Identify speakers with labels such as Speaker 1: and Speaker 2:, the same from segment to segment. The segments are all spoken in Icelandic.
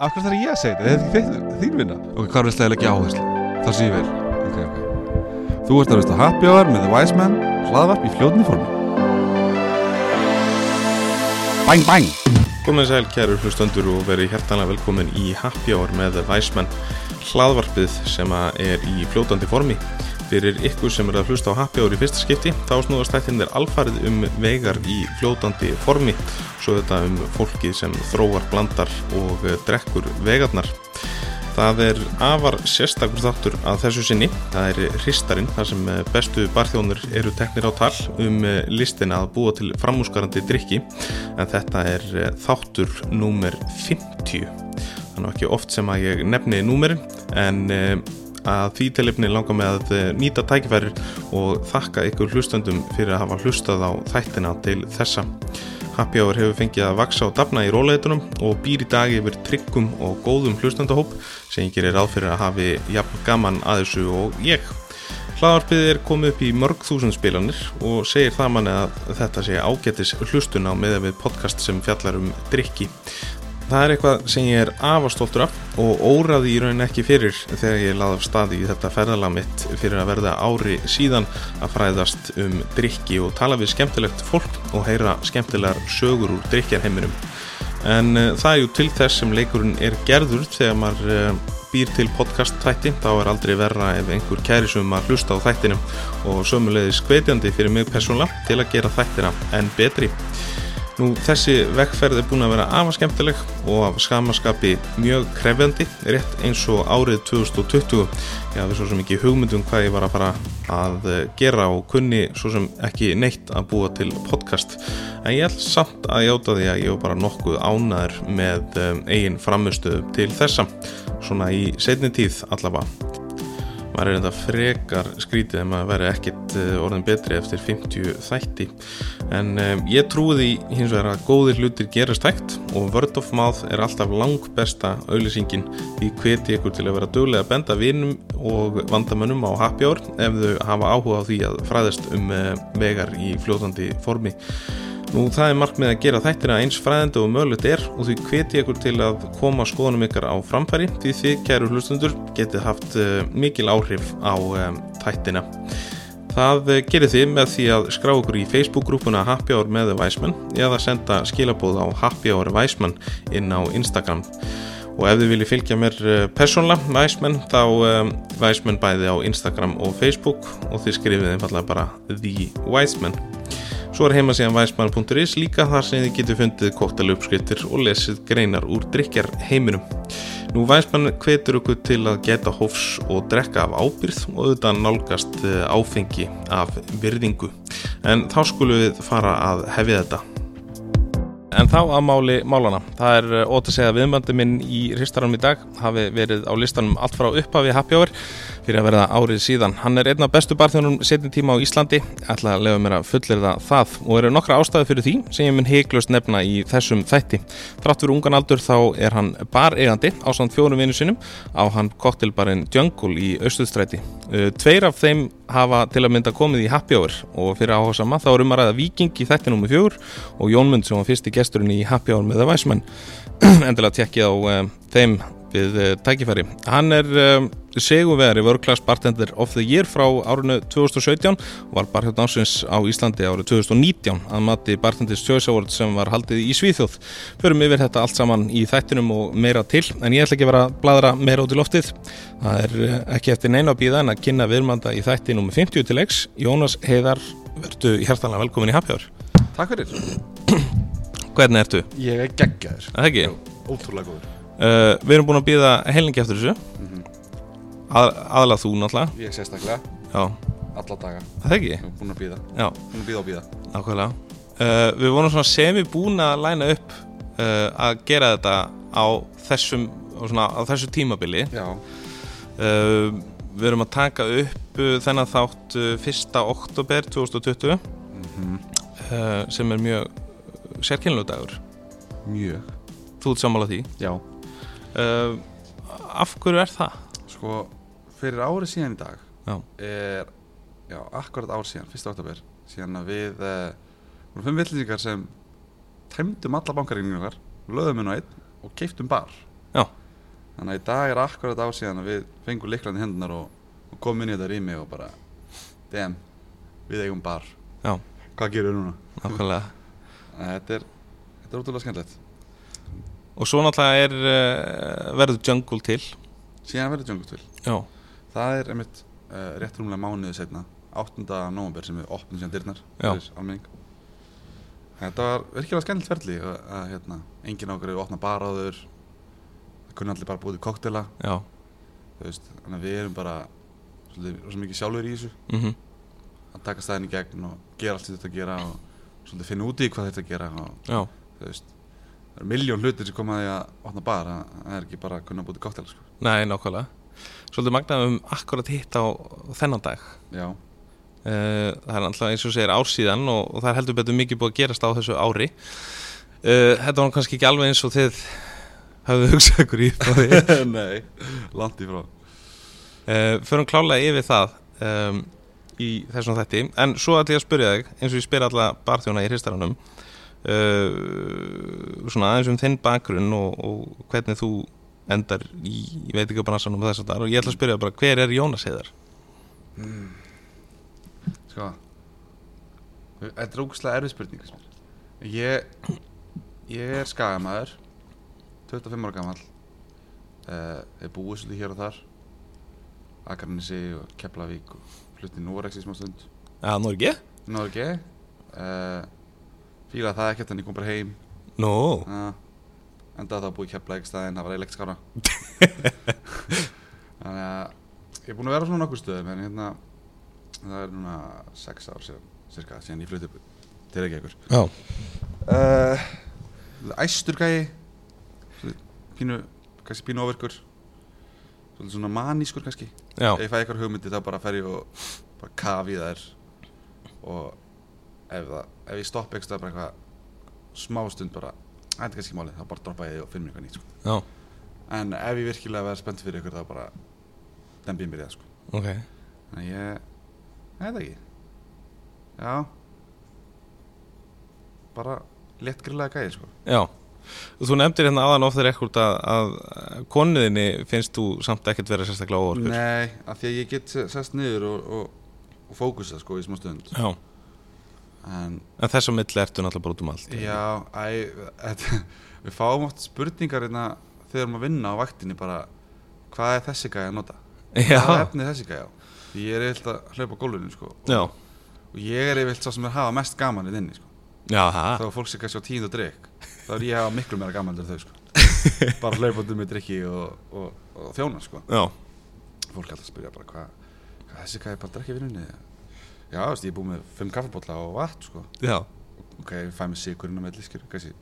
Speaker 1: Af hverju þarf ég að segja þetta? Þetta er þitt- þín vinna
Speaker 2: Ok, hvað er við slegið ekki áherslu? Það sé ég vel Ok, ok Þú ert að veist að happy hour með The Wise Man Hlaðvarp í fljóðni formi Bang, bang
Speaker 3: Komið sæl kæru hlustöndur og verið hjertanlega velkomin í Happy Hour með Væsmenn hlaðvarpið sem að er í fljótandi formi. Fyrir ykkur sem er að hlusta á Happy Hour í fyrsta skipti þá snúðast þættin þér alfarið um vegar í fljótandi formi svo þetta um fólkið sem þróar, blandar og eh, drekkur vegarnar. Það er afar sérstakur þáttur að þessu sinni. Það er hristarinn, þar sem eh, bestu barþjónur eru teknir á tal um eh, listina að búa til framúskarandi drikki. En þetta er eh, þáttur númer 50. Það er nú ekki oft sem að ég nefni númerin, en eh, að því tilefni langar mig að eh, nýta tækifæri og þakka ykkur hlustendum fyrir að hafa hlustað á þættina til þessa. Happy Hour hefur fengið að vaksa og dafna í róleitunum og býr í dag yfir tryggum og góðum hlustendahóp sem ég gerir ráð fyrir að hafi jafn gaman að þessu og ég. Hlaðarpið er komið upp í mörg þúsund spilanir og segir það manni að þetta sé ágætis hlustun á meða við podcast sem fjallar um drikki. Það er eitthvað sem ég er afastoltur af og óraði í raunin ekki fyrir þegar ég laði af staði í þetta ferðalag mitt fyrir að verða ári síðan að fræðast um drikki og tala við skemmtilegt fólk og heyra skemmtilegar sögur úr drikjarheiminum. En uh, það er jú til þess sem leikurinn er gerður þegar maður uh, býr til podcast þætti þá er aldrei verra ef einhver kæri sem maður hlusta á þættinum og sömulegis hvetjandi fyrir mig persónulega til að gera þættina enn betri. Nú, þessi vegferð er búin að vera afar skemmtileg og af skamaskapi mjög krefjandi, rétt eins og árið 2020. Ég hafði svo sem ekki hugmyndum hvað ég var að fara að eh, gera og kunni svo sem ekki neitt að búa til podcast. En ég ætl samt að játa því að ég var bara nokkuð ánæður með eh, eigin framustuðu til þessa, svona í setni tíð allavega maður er enda frekar skrítið en maður veri ekkit eh, orðin betri eftir 50 þætti en um, ég trúi því hins vegar að góðir hlutir gerast hægt og word of mouth er alltaf langbesta auðlýsingin í hveti ykkur til að vera duglega að benda vinum og vandamönnum á happy hour ef þau hafa áhuga á því að fræðast um eh, vegar í fljóðandi formi Nú það er markmið að gera þættina eins fræðandi og mögulegt er og því hveti ykkur til að koma skoðunum ykkar á framfæri því þið kæru hlustundur getið haft eh, mikil áhrif á um, þættina. Það eh, gerir þið með því að skrá ykkur í Facebook-grúpuna Happy Hour með Væsmann eða senda skilabóð á Happy Hour Væsmann inn á Instagram og ef þið viljið fylgja mér persónlega, Væsmenn, þá um, Væsmenn bæði á Instagram og Facebook og þið skrifið einfallega bara The Væsmenn. Svo er heimasíðan væsmann.is líka þar sem þið getur fundið koktelu uppskriftir og lesið greinar úr drikjar heiminum. Nú væsmann hvetur okkur til að geta hófs og drekka af ábyrð og auðvitað nálgast eh, áfengi af virðingu. En þá skulum við fara að hefja þetta. En þá að máli málana. Það er eh, ótt að segja að viðmöndi minn í hristaranum í dag hafi verið á listanum allt frá upphafi Happy Hour fyrir að verða árið síðan. Hann er einn af bestu barþjónum setjum tíma á Íslandi, ætla að lefa mér að fullirða það og eru nokkra ástæði fyrir því sem ég mun heiklust nefna í þessum þætti. Þrátt fyrir ungan aldur þá er hann bareigandi á samt fjórum vinnu sinum á hann koktelbarinn Jungle í Östuðstræti. Eh, Tveir af þeim hafa til að mynda komið í Happy Hour og fyrir áhuga sama þá er um að ræða Viking í þætti nummer fjögur og Jónmund sem var fyrsti gesturinn í Happy Hour með The Weisman endilega tekkið á um, þeim við uh, tækifæri. Hann er um, seguveri vörklass bartender of the year frá árinu 2017 og var barhjótt ánsins á Íslandi árið 2019 að mati Bartenders Choice Award sem var haldið í Svíþjóð. Förum yfir þetta allt saman í þættinum og meira til en ég ætla ekki að vera að bladra meira út í loftið. Það er uh, ekki eftir neina að býða en að kynna viðmanda í þætti nummer 50 til X. Jónas Heiðar, verðu hjertanlega velkomin í Hapjár.
Speaker 2: Takk fyrir
Speaker 3: Hvernig ertu?
Speaker 1: Ég er geggjaður
Speaker 3: Er Það ekki?
Speaker 1: Ótrúlega góður
Speaker 3: Uh, við erum búin að býða heilingi eftir þessu að, aðalega þú náttúrulega
Speaker 1: Ég er sérstaklega
Speaker 3: já,
Speaker 1: alla daga
Speaker 3: það ekki,
Speaker 1: Búin að býða
Speaker 3: já,
Speaker 1: Búin að býða og býða
Speaker 3: nákvæmlega uh, við vorum svona semi búin að læna upp uh, að gera þetta á þessum, á svona, á þessu tímabili
Speaker 1: Já
Speaker 3: uh, við erum að taka upp uh, þennan þátt uh, 1. oktober 2020
Speaker 2: Mhm.
Speaker 3: uh, sem er mjög sérkynlega dagur
Speaker 1: Mjög
Speaker 3: þú ert sammála því
Speaker 1: Já
Speaker 3: uh, af hverju er það?
Speaker 1: Sko fyrir árið síðan í dag
Speaker 3: Já.
Speaker 1: Er Já, akkurat ár síðan Fyrsta oktober Síðan að við uh,
Speaker 2: eh,
Speaker 1: Vorum fimm villýsingar sem Tæmdum alla bankaríningar Löðum hennu einn Og keiftum bar
Speaker 3: Já.
Speaker 2: Þannig að í dag er akkurat ár síðan að við fengum líklan í hendunar og, og komum inn í þetta rými og bara Damn, við eigum bar
Speaker 3: Já.
Speaker 2: Hvað gerum við núna?
Speaker 3: nákvæmlega
Speaker 2: Þannig að Þetta er, þetta er ótrúlega skemmtilegt
Speaker 3: Og svo náttúrulega er uh, verður jungle til
Speaker 2: Síðan verður Jungle Twill
Speaker 3: Já,
Speaker 2: Það er einmitt uh, rétt rúmlega mánuðu setna 8. november sem við opnum síðan dyrnar
Speaker 3: Já.
Speaker 2: fyrir almenning Þetta var virkilega skemmtilegt ferli að, að hérna, enginn okkur hefur opnað bar áður það kunni allir bara búið til koktela
Speaker 3: já,
Speaker 2: þú veist, þannig að við erum bara svolítið rosa mikið sjálfur í þessu
Speaker 3: mhm
Speaker 2: að taka staðin í gegn og gera allt sem þetta að gera og svolítið finna út í hvað þetta að gera og
Speaker 3: Já,
Speaker 2: þú veist, það eru miljón hlutir sem koma að því að opna bar það það er ekki bara að kunna búið til koktela sko.
Speaker 3: nei, nákvæmlega Svolítið magnað um akkurat hitt á þennan dag
Speaker 2: Já,
Speaker 3: uh, Það er alltaf eins og segir ár síðan og, og það er heldur betur mikið búið að gerast á þessu ári uh, Þetta var nú kannski ekki alveg eins og þið hafðu hugsað ykkur í upphafi.
Speaker 2: nei, langt í frá
Speaker 3: Uh, förum klálega yfir það um, í þessum þætti en svo ætlum ég að spyrja þig eins og ég spyr alla barþjóna í hristaranum uh, svona aðeins um þinn bakgrunn og, og hvernig þú endar í, ég veit ekki bransanum og þess að það og ég ætla að spyrja bara hver er Jónas heiðar
Speaker 2: Sko Þetta er ógustlega erfið spurning finnst mér. Ég Ég er skagamæður 25 ára gamall uh, Er búið svolítið hér og þar Akarnesi og Keflavík og flutti Norex í smá stund
Speaker 3: að nú er ekki?
Speaker 2: Norge uh, Fílaði það ekkert en ég kom bara heim
Speaker 3: Nú,
Speaker 2: uh, Endaði það að búið í Keflavík staðinn Það var eiginlega ekkert skára Þannig að Ég er búin að vera á svona nokkur stöðum En hérna Það er núna 6 ár síðan Cirka síðan ég flutti til ekki ekkur
Speaker 3: já,
Speaker 2: uh, Æstur gæi svolítið Pínu, kannski pínu ofirkur Svolítið svona manískur kannski
Speaker 3: já,
Speaker 2: Ef ég fæ eitthvað hugmyndi þá bara fer ég og bara kafi þær og ef, það, ef ég stoppa eitthvað bara eitthvað smástund bara, "Æ, þetta er kannski ekki málið, þá bara droppa ég því og finn mér eitthvað nýtt sko.
Speaker 3: já,
Speaker 2: En ef ég virkilega verð spennt fyrir ykkur þá bara dembi ég mér í það sko.
Speaker 3: ok
Speaker 2: Þannig að ég, ég veit það ekki Já Bara létt grillaði gæði sko
Speaker 3: já Og Þú nefndir hérna aðan ofþur ekkert að, að konuðinni finnst þú samt ekkert vera sérstaklega óorkur
Speaker 2: Nei, af því að ég get sest niður og, og, og fókusað sko í smá stund
Speaker 3: Já,
Speaker 2: En
Speaker 3: en þess að milli ertu náttúrulega bara út um allt
Speaker 2: já, æ, þetta, við fáum oft spurningar hérna þegar við erum að vinna á vaktinni bara Hvað er þessi gæði að nota? Hvað er
Speaker 3: já,
Speaker 2: efnið þessi gæði á? Því Ég er yfirleitt að hlaupa á gólfinu sko
Speaker 3: já.
Speaker 2: Og ég er yfirleitt sá sem er að hafa mest gaman í þinni sko
Speaker 3: Já, það,
Speaker 2: þá er fólk sem kannski á tíund og drikk þá er ég að hafa miklu meira gaman en þau sko bara hlaupandi með drikki og, og, og þjóna sko
Speaker 3: já,
Speaker 2: fólk er alltaf að spyrja bara hvað hva, þessi hvað er bara að drekka í vinnunni eða? já, veist, ég er búið með fimm kaffabólla og vatn sko
Speaker 3: já,
Speaker 2: ok, ég fæ mig sigurinn á melli skilur kannski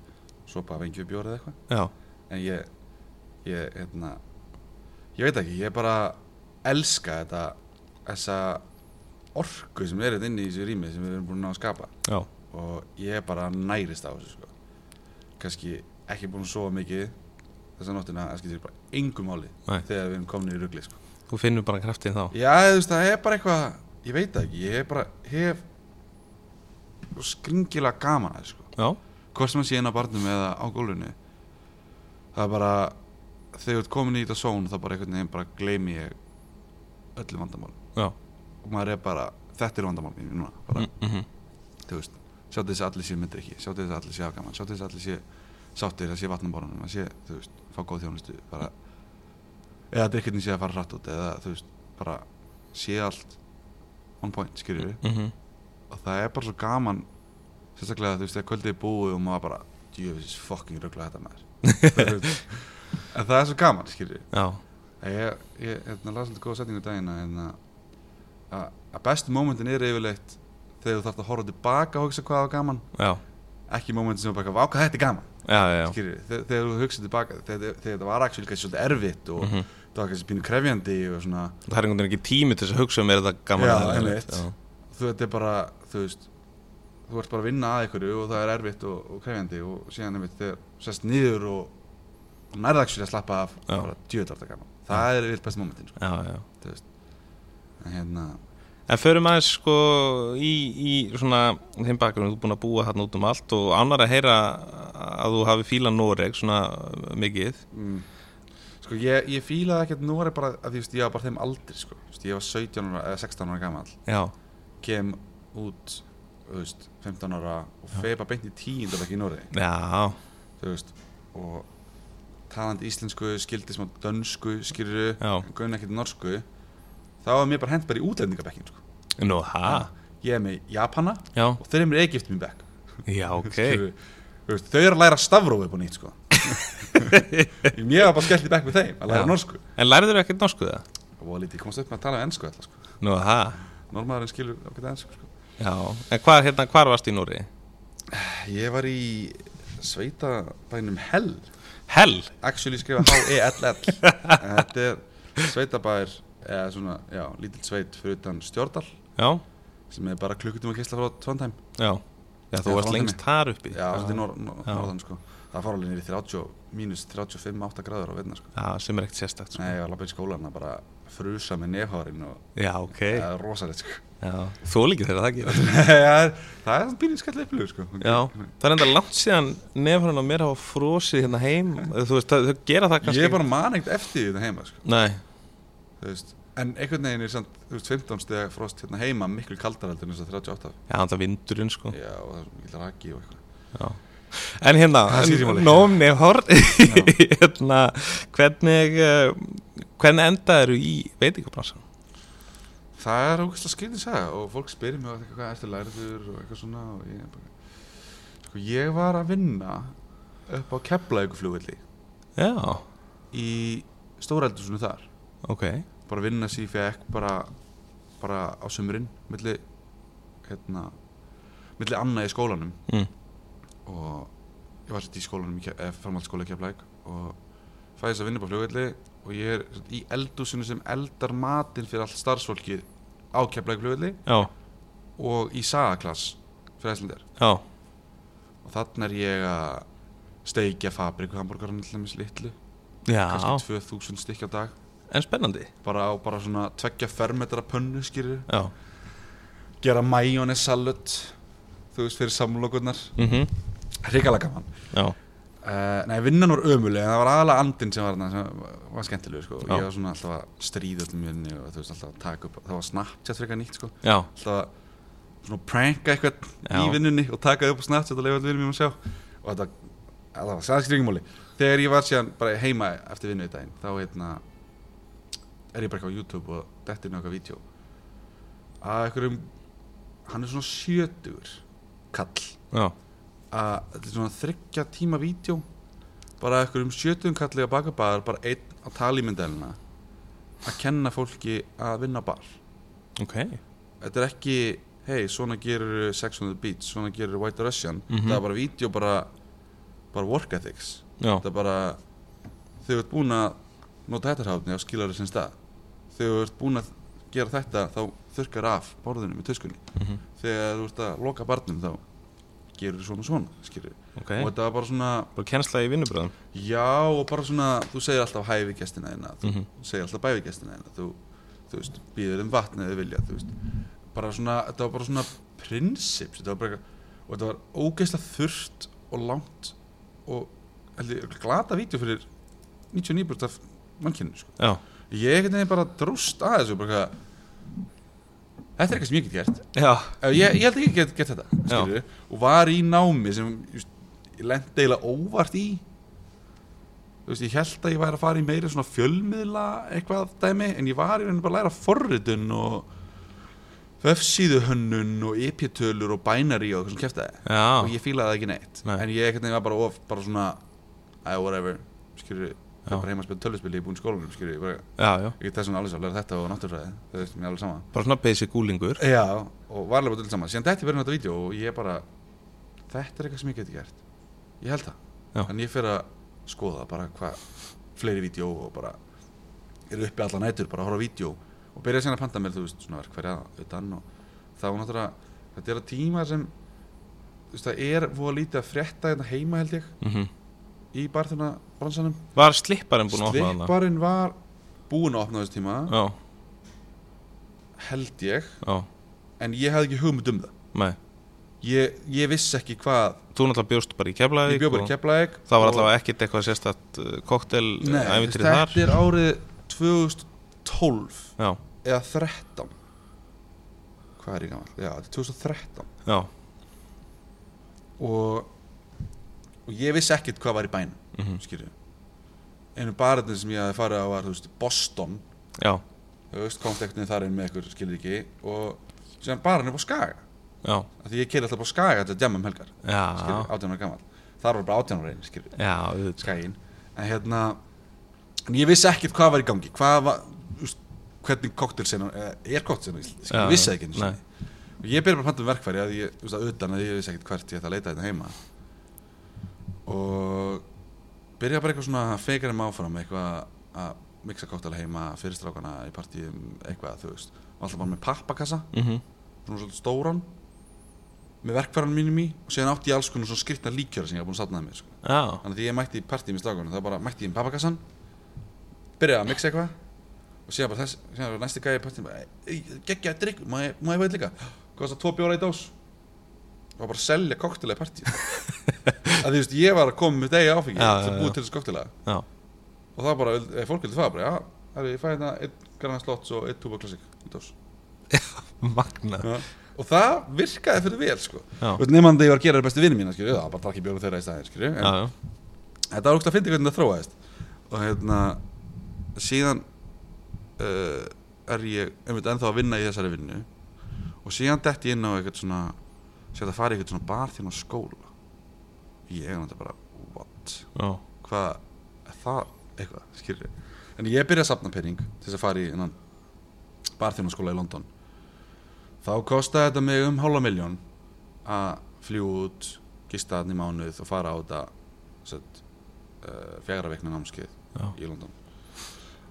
Speaker 2: sopa af engjöf bjóra eða eitthvað
Speaker 3: já,
Speaker 2: en ég, ég, hérna ég veit ekki, ég bara elska þetta þessa orku sem er hérna inni í þessu rými sem við erum búin að ná að skapa
Speaker 3: já,
Speaker 2: og ég bara nærist á þessu sko. kannski ekki búin að sofa mikið þessa nóttina, það skiptir bara engum máli
Speaker 3: Nei.
Speaker 2: þegar við erum komin í rugli sko.
Speaker 3: þú finnur bara kraftinn þá
Speaker 2: já, þú veist, það er bara eitthvað ég veit það ekki, ég hef bara hef svo skringilega gaman að þessu, sko.
Speaker 3: Já,
Speaker 2: hvort sem að sé inn á barnum eða á gólfinu það er bara þegar þú ert komin í þetta són þá bara einhvern veginn bara gleymi ég öllu vandamál
Speaker 3: já,
Speaker 2: og maður er bara, þetta er vandamál mín núna, bara
Speaker 3: mm -hmm.
Speaker 2: þú veist, sjáttu þess að allir séu myndir ekki sjáttu þess að allir séu afgaman, sjáttu þess að allir séu sáttir að séu vatnaborunum, að séu, þú veist fá góð þjónustu, bara eða að drikkirni séu að fara hratt út eða þú veist, bara séu allt on point, skilur við,
Speaker 3: Mm -hmm.
Speaker 2: og það er bara svo gaman sérstaklega, þú veist, þegar kvöldið er búið og maður bara, djöfis, fucking ruggla þetta maður Þú veist, en það er svo gaman, skilur við
Speaker 3: já,
Speaker 2: Ég, ég, hérna, las alltaf góða setningu daginn að, hérna, að- að bestu momentin er yfirleitt þegar þú þarft að horfa tilbaka og hugsa hvað var gaman
Speaker 3: já,
Speaker 2: ekki mómentin sem er bara eitthvað, vá hvað þetta er gaman
Speaker 3: já, já, já,
Speaker 2: Skilurðu, þegar, þegar þú hugsað tilbaka þegar, þegar þetta var aksjóli kannski svolítið erfitt og
Speaker 3: Mhm.
Speaker 2: það var kannski pínu krefjandi og svona
Speaker 3: það er einhvern veginn ekki tími til þess að hugsa um er þetta gaman
Speaker 2: Já,
Speaker 3: eða leiðinlegt?
Speaker 2: einmitt. þú þetta er bara, þú veist þú ert bara að vinna að ykkur og það er erfitt og, og krefjandi og síðan einmitt þegar sest niður og nærða aksjóli að slappa af
Speaker 3: Já.
Speaker 2: bara djöðar þetta gaman það er yfirleitt besta momentin sko,
Speaker 3: Já, já, já
Speaker 2: þú veist en hérna,
Speaker 3: En förum aðeins sko í, í svona þeim bakgrunum, þú er búin að búa þarna út um allt og annar að heyra að þú hafi fíla Noreg svona mikið
Speaker 2: mm, Sko ég, ég fílaði ekkert núri bara að því, þú veist, ég var bara þeim aldri sko. Þú veist, Ég var 17 ára eða 16 ára gamall
Speaker 3: Já,
Speaker 2: Kem út þú veist, 15 ára og feipa beint í tíundabæk í Nóri
Speaker 3: já,
Speaker 2: Þú veist Og talandi íslensku, skildi smá dönsku, skýrðu
Speaker 3: Já.
Speaker 2: Gunn ekkert norsku Þá var mér bara hent bara í útlendingabækkin sko.
Speaker 3: nú það
Speaker 2: Ég er með Japana
Speaker 3: Já,
Speaker 2: og þeir eru með Egyptum í bekk
Speaker 3: já, ok
Speaker 2: Skilurðu. Þú veist, Þau eru að læra stafrófið búin nýtt sko. Mér var bara skellt í bekk með þeim að læra
Speaker 3: Já.
Speaker 2: norsku
Speaker 3: En lærður ekkert norsku það?
Speaker 2: og lítið, ég komst upp með að tala um ennsku alltaf sko.
Speaker 3: Nú það
Speaker 2: normaðurinn skilur okkur ennsku sko.
Speaker 3: Já, en hvað, hérna, hvar varst í Núri?
Speaker 2: ég var í sveitabænum Hell
Speaker 3: Hell
Speaker 2: actually skrifa H-E-L-L En þetta er sveitabær eða svona, já, lítill sveit fyrir utan Stjórdal
Speaker 3: Já,
Speaker 2: sem er bara klukkutum að kysla frá Trondheim
Speaker 3: já Já, þú
Speaker 2: Já, það
Speaker 3: varst
Speaker 2: var
Speaker 3: lengst þar uppi
Speaker 2: já, svolítið nor nor
Speaker 3: Já.
Speaker 2: norðan sko það fór alveg nýri 30, mínus 35, 8 gráður á veðna sko
Speaker 3: Já, sem er ekkert sérstakt sko.
Speaker 2: Nei, ég var lappið í skólan að bara frusa með nefhárin og
Speaker 3: Já, ok
Speaker 2: það er rosalegt sko
Speaker 3: Já, þú líkir þegar það ekki
Speaker 2: það er svona býrið skall upplöf sko
Speaker 3: Já, það er enda langt síðan nefnum og mér hafa frosið hérna heim Þú veist, þau þau gera það kannski
Speaker 2: ég bara man ekkert eftir þetta heima sko
Speaker 3: Nei,
Speaker 2: Þú veist, en einhvern veginn er samt, þú veist, 15 steg frost hérna heima miklu kaldar heldur en þess að 38
Speaker 3: já, það er vindurinn sko
Speaker 2: já, og það er mikil raki og eitthvað
Speaker 3: En hérna,
Speaker 2: Það skiptir máli.
Speaker 3: nóm nefnhor Hérna, hvernig eh, Hvernig endaðu í veitingabransan?
Speaker 2: það er ógæslega skýrðin saga og fólk spyrir mig "Hvað- hvað ertu lærður og eitthvað svona og ég er bara sko, ég var að vinna upp á Keflavíkuflugvelli
Speaker 3: Já,
Speaker 2: í stórældursunni þar
Speaker 3: ok
Speaker 2: bara vinna sér fyrir ekki bara bara á sömurinn milli hérna milli annað í skólanum
Speaker 3: mm.
Speaker 2: og ég var sett í skólanum í Ke- eh, framhaldsskóla í Keflæk og fæði þess að vinna upp á flugvelli og ég er sem sagt í eldúsinu sem eldar matinn fyrir allt starfsfólkið á Keflæk flugvelli
Speaker 3: Já,
Speaker 2: og í sagaklass fyrir æslandar
Speaker 3: já,
Speaker 2: og þannig er ég að steikja fabrikuhamburgaran til þess litlu
Speaker 3: já
Speaker 2: kannski 2000 stykki á dag
Speaker 3: En spennandi
Speaker 2: bara á bara svona tveggja fermetra pönnu skýrur
Speaker 3: Já,
Speaker 2: gera majónis salut þú veist fyrir samlokurnar
Speaker 3: mm
Speaker 2: hrikalega gaman
Speaker 3: já,
Speaker 2: Uh, nei, vinnan var ömuleg, en það var aðalega andinn sem var, þarna sem var- var skemmtilegur sko.
Speaker 3: Já.
Speaker 2: Ég var svona alltaf að stríða öllum í henni og þú veist alltaf að taka upp, það var Snapchat frekar nýtt sko.
Speaker 3: já,
Speaker 2: Alltaf að svona pranka eitthvað
Speaker 3: Já.
Speaker 2: í vinnunni og taka það upp á Snapchat og leifa allir vinnum að sjá. Og þetta, það var sæðskringumáli. Þegar ég var síðan bara heima eftir vinnu í daginn, þá heitna, er ég bara eitthvað á YouTube og dettir nokkað vídeo. Að einhverjum, hann er svona sjötugur kall
Speaker 3: já,
Speaker 2: að þetta er svona þryggja tíma vídeo bara eitthvað um sjötum kallið að baka bar bara einn á talímyndelina að kenna fólki að vinna á bar
Speaker 3: ok
Speaker 2: þetta er ekki, hei, svona gerur Sex on the Beach, svona gerur White Russian
Speaker 3: Mhm.
Speaker 2: það er bara vídeo bara bara work ethics
Speaker 3: Já,
Speaker 2: þetta er bara þau ert búin að nota þetta hráfni á skilari sem stað þau ert búin að gera þetta þá þurkar af borðinu með töskunni
Speaker 3: Mhm.
Speaker 2: þegar þú ert að loka barnum þá gerur svona og svona skilur
Speaker 3: ok
Speaker 2: og þetta var bara svona
Speaker 3: Bara kennsla í vinnubröðum
Speaker 2: já og bara svona þú segir alltaf hæfi gestina þína þú
Speaker 3: Mhm.
Speaker 2: segir alltaf bæfi gestina þína þú, þú veist, býður um vatn eða þau vilja þú veist, bara svona, þetta var bara svona prinsips, þetta var bara eitthvað- og þetta var ógeðslega þurft og langt og held ég glata vídeo fyrir 99% af mannkynni sko.
Speaker 3: Já,
Speaker 2: ég einhvern veginn bara dróst að þessu bara eitthvað þetta er eitthvað sem ég get gert
Speaker 3: já,
Speaker 2: Já, Eh, ég, ég held ekki að get, get þetta skilurðu, og var í námi sem just, ég lendi eiginlega óvart í þú veist, ég held að ég væri að fara í meira svona fjölmiðla eitthvað dæmi, en ég var í rauninu bara að læra forritun og vefsíðuhönnun og epitölur og bænari og eitthvað sem kæftaði
Speaker 3: já,
Speaker 2: og ég fílaði það ekki neitt
Speaker 3: Nei.
Speaker 2: en ég ekkert nefnir bara of, bara svona I whatever, skilur ég
Speaker 3: Já.
Speaker 2: er bara heima að spila tölvspil, ég er búinn í skólanum skilur ég, bara,
Speaker 3: já, já
Speaker 2: ég get þess vegna alveg svo að læra þetta og náttúrfræði, það veist, mér er alveg sama
Speaker 3: Bara svona basic úlingur
Speaker 2: Já, og varlega bara til saman síðan þetta er verið þetta vídeo og ég bara þetta er eitthvað sem ég geti gert ég held það,
Speaker 3: Já.
Speaker 2: en ég fyrir að skoða bara hvað, fleiri vídeo og bara eru uppi allar nætur bara að horfa á vídeo og byrja síðan að panta mér þú veist, svona verk hverja utan og þá náttúrulega, þetta er að tíma sem þú veist, það er voða lítið að frétta þetta heima held ég
Speaker 3: mm
Speaker 2: í barþjóna bransanum
Speaker 3: Var slipparinn búinn að opna þarna?
Speaker 2: Slipparinn var búin að opna á þessu tíma
Speaker 3: Já,
Speaker 2: held ég,
Speaker 3: já,
Speaker 2: en ég hafði ekki hugmynd um það
Speaker 3: nei
Speaker 2: ég, ég vissi ekki hvað
Speaker 3: Þú náttúrulega bjóst bara í Keflavík
Speaker 2: ég bjóð bara í
Speaker 3: og
Speaker 2: Keflavík
Speaker 3: Það var
Speaker 2: og-
Speaker 3: allavega ekkert eitthvað uh, sérstætt koktel
Speaker 2: Nei,
Speaker 3: ævindrið
Speaker 2: þetta
Speaker 3: þar
Speaker 2: er árið 2012
Speaker 3: Já,
Speaker 2: eða 13 hvað er ég gammal? Já, þetta er 2013
Speaker 3: já,
Speaker 2: og, og ég vissi ekkert hvað var í bænum mm
Speaker 3: Mhm.
Speaker 2: skýrðu einu barðin sem ég hafði farið á var, þú veist, Boston
Speaker 3: já,
Speaker 2: þú veist, komst ekkert niður þar inn með ykkur, skilur ekki og síðan barðin upp á Skaga
Speaker 3: já,
Speaker 2: af því ég keiri alltaf upp á Skaga til að djama um helgar skilur,
Speaker 3: já,
Speaker 2: 18 ára gammal þar var bara 18 ára einu, skilur
Speaker 3: já, auðvitað.
Speaker 2: skæin en hérna en ég vissi ekkert hvað var í gangi hvað var, úst, hvernig koktelsennan er koktelsennan,
Speaker 3: Já,
Speaker 2: ég vissi það ekki einu
Speaker 3: nei.
Speaker 2: sinni. og ég byrja bara að panta um verkfæri að ég, úst, að utan að ég vissi ekkert hvert ég ætla að leita þetta heima og byrja bara eitthvað svona að feika þeim áfram eitthvað að mixa koktel heima fyrir strákana í partíum eitthvað þú veist, og alltaf bara með pappakassa
Speaker 3: Mhm.
Speaker 2: svona svolítið stóran með verkfæran mínum í og síðan átti ég alls konar svona skrittna líkjöra sem ég var búin að satnaði mér sko.
Speaker 3: Já,
Speaker 2: Þannig að því ég mætti í partíum í slagunum, þá bara mætti ég í pappakassan, byrjaði að mixa eitthvað og síðan bara þess, síðan var næsti gæði í partíum bara, geggja að drikk, má ég, má ég veit líka, kostar tvo bjóra í dós og bara selja koktelega í partíum. að því, veist, ég var að koma með degi áfengi
Speaker 3: Já,
Speaker 2: til
Speaker 3: já,
Speaker 2: að
Speaker 3: já.
Speaker 2: búið til þessu koktelega
Speaker 3: já,
Speaker 2: og það bara, vild- ef fólk vildi fara bara, já, það er ég fæði hérna einn granna slots og einn túba klassik í dós.
Speaker 3: magna
Speaker 2: Já. og það virkaði fyrir vel, sko.
Speaker 3: Já, já,
Speaker 2: Nefnandi ég var að gera það bestu vinni mína, skilju, það bara drakk ég bjóra þeirra í staðin, skilju, en
Speaker 3: já,
Speaker 2: þetta var ógst að fyndi hvernig það þróaðist og hérna síðan uh, er ég einmitt ennþá að vinna í þessari vinnu og síðan dett ég inn á eitthvað svona sér að fara í eitthvað svona bar þín á skóla ég er náttúrulega bara what,
Speaker 3: já,
Speaker 2: hvað er það eitthvað, skilur en ég byrja að sapna pening til þess að fara í innan bar þín á skóla í London þá kostaði þetta mig um hálfa miljón að fljú út gista þarna í mánuð og fara á þetta sett, uh, fjagra veikna námskeið
Speaker 3: Já.
Speaker 2: í London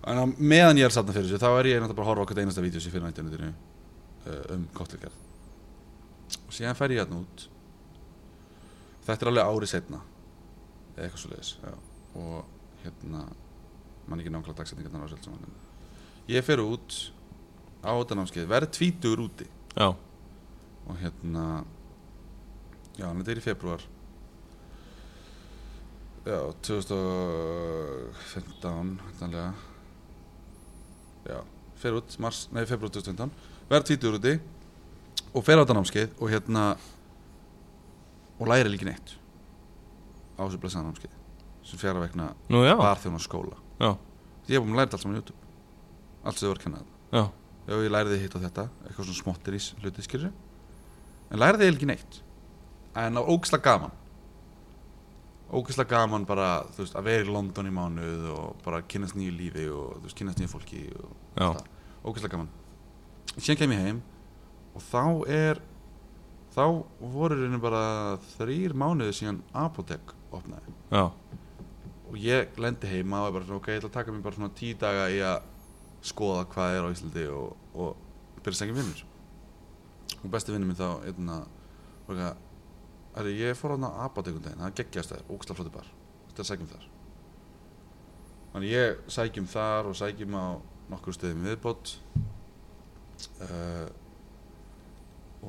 Speaker 2: en á meðan ég er satna fyrir þessu þá er ég náttúrulega bara að horfa okkur einasta vídeo sem ég finna á internetinu uh, um kottleikjarð og síðan fer ég hérna út þetta er alveg ári setna eða eitthvað svo leiðis og hérna mann ekki nákvæmlega dagsetningarnar á þessu öllu saman. ég fer út á þetta námskeið verð tvítur úti
Speaker 3: já,
Speaker 2: og hérna já, hann þetta er í februar já, 2015 hættanlega já, fer út mars, nei, februar 2015 verð tvítur úti og fer á þetta námskeið og hérna og læri líka neitt á þessu blessaða námskeið sem fjara vegna
Speaker 3: nú já,
Speaker 2: barþjóna skóla
Speaker 3: já,
Speaker 2: ég hef búin að læra þetta allt saman á YouTube allt sem þau var að kenna þetta
Speaker 3: já,
Speaker 2: Já, ég læriði hitt á þetta, eitthvað svona smottir í hluti skilur En læriði eiginlega ekki neitt En á ógislega gaman Ógislega gaman bara, þú veist, að vera í London í mánuð Og bara kynnast nýju lífi og, þú veist, kynnast nýju fólki og
Speaker 3: já,
Speaker 2: allt það. Ógislega gaman Síðan kem ég heim Og þá er Þá voru reyni bara þrýr mánuði síðan Apotek opnaði
Speaker 3: já,
Speaker 2: Og ég lendi heima og er bara svona, ok, ég ætla að taka mér bara svona tíu daga í að skoða hvað er á Íslandi og, og byrja að segja vinnur og besti vinnur minn þá einna, var eitthvað Æri, ég fór hann á Abatekun daginn, það er geggjastæður, ógstla flóti bar þetta er sækjum þar þannig ég sækjum þar og sækjum á nokkur stöðum í viðbót uh,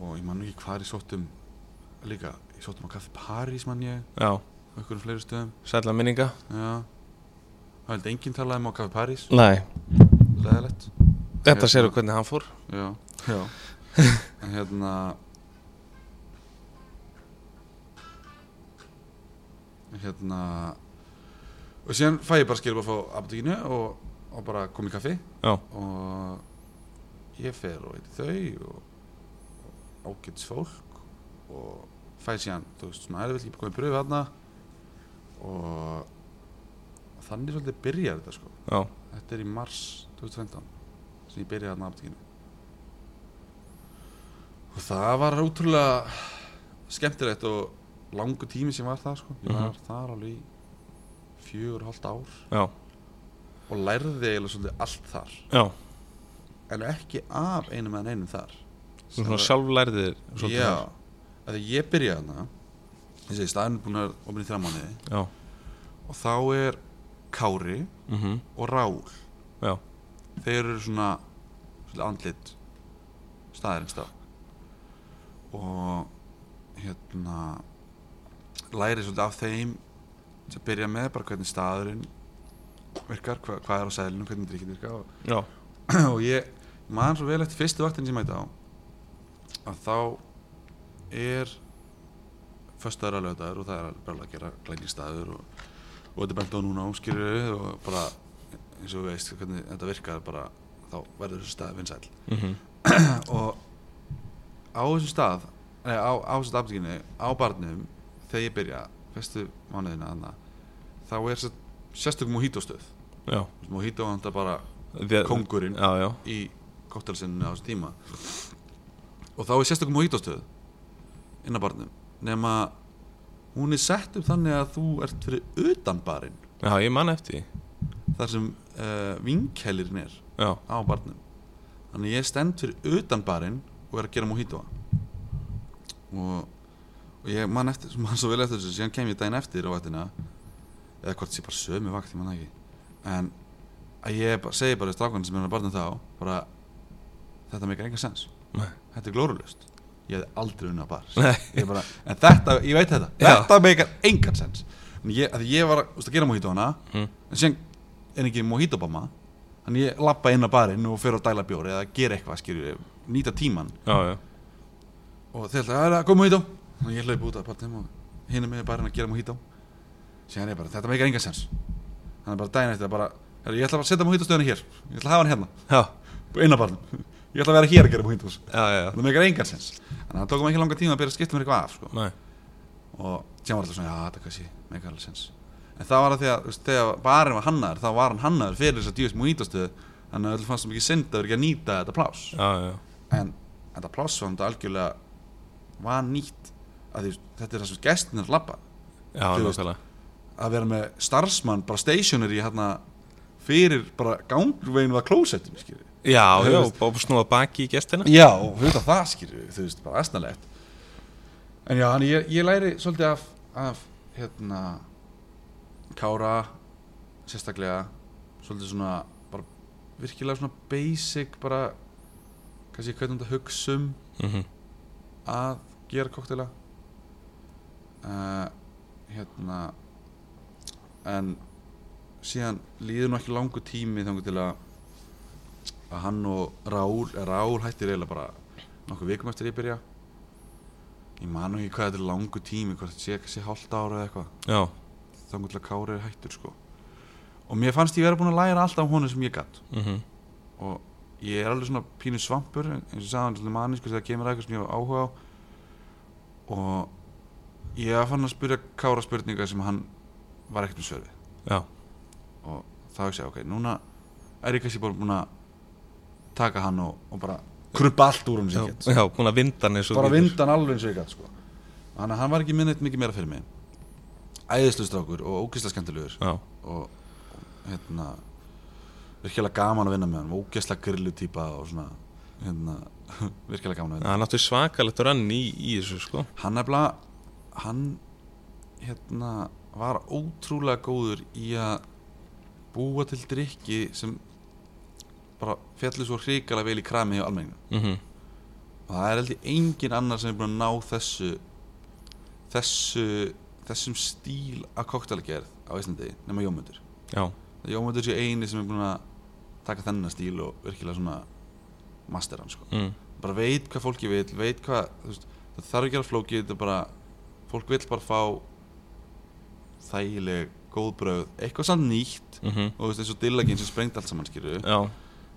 Speaker 2: og ég man nú ekki hvað ég sóttum líka, ég sóttum á Kaffi París man ég,
Speaker 3: já,
Speaker 2: á einhverjum fleiri stöðum
Speaker 3: sætla minninga
Speaker 2: Já Það held enginn talaði um á Café París
Speaker 3: Nei,
Speaker 2: Leðilegt
Speaker 3: þetta séru hvernig hann fór
Speaker 2: Já Já En hérna En Hérna Og síðan fæ ég bara skilur bara frá apotekinu og, og bara kom í kaffi
Speaker 3: Já.
Speaker 2: Og ég fer og heiti þau og, og ágætis fólk og fæ síðan, þú veist, svona erfitt, ég bara komið pröfu þarna og þannig svolítið byrjar þetta sko
Speaker 3: Já,
Speaker 2: Þetta er í mars 2015 sem ég byrjaði að nabdeginu og það var útrúlega skemmtilegt og langu tími sem var það sko. ég var þar alveg í fjögur og hálft ár
Speaker 3: Mhm. já,
Speaker 2: og lærði eiginlega svolítið allt þar
Speaker 3: já,
Speaker 2: en ekki af einum en einum þar
Speaker 3: þú svona sjálflæriðir svolítið
Speaker 2: Já, af því ég byrjaði þarna ég segi staðinu búin að opna í þrjá mánuði
Speaker 3: þar. Já,
Speaker 2: og þá er Kári
Speaker 3: mhm,
Speaker 2: og Rál
Speaker 3: já,
Speaker 2: þeir eru svona, svona andlit staðarins þá og hérna læri svolítið af þeim sem byrja með bara hvernig staðurinn virkar, hva, hvað er á seðlinu, hvernig drikkið virka og,
Speaker 3: Já,
Speaker 2: og ég man svo vel eftir fyrstu vaktin sem ég mæti á að þá er föstaður að lögdagur og það er bara að gera glæningsstaður og, og þetta er bent á núna áskýrur og bara eins og þú veist hvernig þetta virkar bara þá verður þessu stað vinsæll
Speaker 3: mm
Speaker 2: og á þessum stað nei, á, á þessum aftekinu, á barnum þegar ég byrja, fyrstu mánuðina anna, þá er sér, sérstök mojítostöð
Speaker 3: já.
Speaker 2: mojító er þetta bara
Speaker 3: The,
Speaker 2: kóngurinn
Speaker 3: Já, já,
Speaker 2: í kóttelsinnu á þessum tíma og þá er sérstök mojítostöð inn á barnum nema hún er sett upp þannig að þú ert fyrir utan barinn
Speaker 3: já, ég man eftir því.
Speaker 2: þar sem uh, vinkelirinn er
Speaker 3: Já,
Speaker 2: á barnum þannig að ég stend fyrir utan barinn og er að gera mojito og, og ég man, eftir, man svo vel eftir þessu síðan kem ég daginn eftir á vaktina eða hvort sé bara sömu vakt ég man það ekki en að ég bara, segi bara strákan sem er á barnum þá bara þetta meikar enga sens
Speaker 3: Nei.
Speaker 2: þetta er glórulust ég hefði aldrei unnað bar
Speaker 3: Nei.
Speaker 2: ég, bara, en þetta, ég veit þetta
Speaker 3: Já.
Speaker 2: þetta meikar engan sens En ég, að ég var úst, að gera mojito hana
Speaker 3: Mm.
Speaker 2: en síðan er ekki mojito bama þannig ég lappa inn á barinn og fer á dæla bjóri eða gera eitthvað skilur ég, nýta tíman
Speaker 3: já, já.
Speaker 2: og þeir ætla að koma mojito og ég hlaup út af partum og hinum með barinn að gera mojito síðan er ég bara, þetta meikar engan sens þannig bara daginn eftir að bara "Herra, ég ætla bara að setja mojito stöðuna hér ég ætla að hafa hann hérna,
Speaker 3: Já,
Speaker 2: inn á barinn ég ætla að vera hér að gera mojitos
Speaker 3: já, já, já.
Speaker 2: það meikar engan sens þannig að það tókum ekki langa tíma að byrja að skipta mér eitthvað af sko.
Speaker 3: Nei,
Speaker 2: og sem var alltaf svona, já þetta kannski meikar alveg sens en það var að því að þú veist, þegar barinn var hannaður þá var hann hannaður fyrir þess að djúist múítastöðu þannig að öll fannst það mikið synd að vera ekki að nýta þetta pláss
Speaker 3: já, já,
Speaker 2: en þetta pláss var þetta algjörlega var nýtt að því þetta er það sem gestinir labba
Speaker 3: já,
Speaker 2: Þú veist.
Speaker 3: nákvæmlega.
Speaker 2: að vera með starfsmann bara stationary hérna fyrir bara gangveginn við að klósettum skilur
Speaker 3: Já,
Speaker 2: Þú
Speaker 3: já,
Speaker 2: veist.
Speaker 3: og snúa baki í gestina.
Speaker 2: Já, auðvitað það skilur við, þú veist, bara aðsnalegt En já, hann, ég, ég læri svolítið af, af hérna Kára sérstaklega svolítið svona, bara virkilega svona basic, bara kannski hvernig þetta hugsa um
Speaker 3: Mm
Speaker 2: að gera koktela uh, hérna en síðan líður nú ekki langu tími þangur til að að hann og Rál eh, Rál hættir eiginlega bara nokkuð vikum eftir ég byrja ég man nú ekki hvað þetta er langu tími hvort þetta sé, sé hálft ára eða eitthvað
Speaker 3: Já,
Speaker 2: þangur til að Kári er hættur sko og mér fannst ég vera búin að læra allt af honum sem ég gatt
Speaker 3: mm
Speaker 2: og ég er alveg svona pínu svampur eins og ég sagði hann til manni sko þegar kemur að eitthvað sem ég hef áhuga á og ég var fann að spyrja Kára spurningar sem hann var ekkert með svör við
Speaker 3: já,
Speaker 2: og þá hugsa ég ok, núna er ég kannski bara búin að taka hann og, og bara kruppa allt úr hann
Speaker 3: já,
Speaker 2: sem ég get
Speaker 3: já, búin að vinda hann eins og
Speaker 2: bara
Speaker 3: bíður.
Speaker 2: vinda hann alveg eins og ég gætt sko. þannig að hann var ekki minnit mikið meira fyrir mig æðislu strákur og ógeðslega skemmtilegur
Speaker 3: Já,
Speaker 2: og hérna virkilega gaman að vinna með hann ógeðslega grillu típa og svona hérna, virkilega gaman að vinna
Speaker 3: það er náttúrulega svakalegt rann í, í þessu, sko.
Speaker 2: hann nefnilega hann hérna var ótrúlega góður í að búa til drikki sem bara fjallu svo hrikalega vel í krami hjá almenningu
Speaker 3: Mm
Speaker 2: og það er heldur engin annar sem er búin að ná þessu þessu þessum stíl að koktelagerð á Íslandi nema jómundur
Speaker 3: Já,
Speaker 2: Jómundur sé eini sem er búin að taka þennan stíl og virkilega svona master hann sko.
Speaker 3: mm.
Speaker 2: bara veit hvað fólki vil, veit hvað þú veist, það þarf ekki að flóki, þetta er bara fólk vil bara fá þægileg, góð bröð eitthvað samt nýtt
Speaker 3: Mm
Speaker 2: og þú veist, eins og dillaginn sem sprengt allt saman skýru
Speaker 3: já,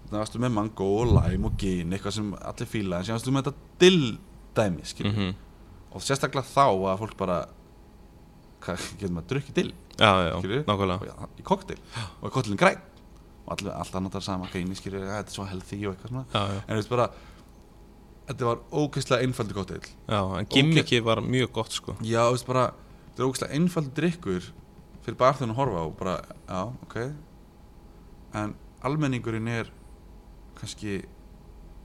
Speaker 2: þannig varstu með mango og lime og gin eitthvað sem allir fíla, en síðan varstu með þetta dilldæmi skýru
Speaker 3: mm
Speaker 2: og sérstaklega þá að fólk bara hvað, getur maður að drukki dill
Speaker 3: já, já,
Speaker 2: Skilurðu?
Speaker 3: nákvæmlega.
Speaker 2: Og já, í koktel og í koktelin græn og allir, allt annað það er sama gríni skilur að þetta er svo healthy og eitthvað svona
Speaker 3: Já, já,
Speaker 2: en þú veist bara þetta var ógeðslega einfaldur koktel
Speaker 3: já, en gimmiki var mjög gott, sko.
Speaker 2: já þú veist bara þetta er ógeðslega einfaldur drikkur fyrir barþjóðin að horfa á og bara já ok en almenningurinn er kannski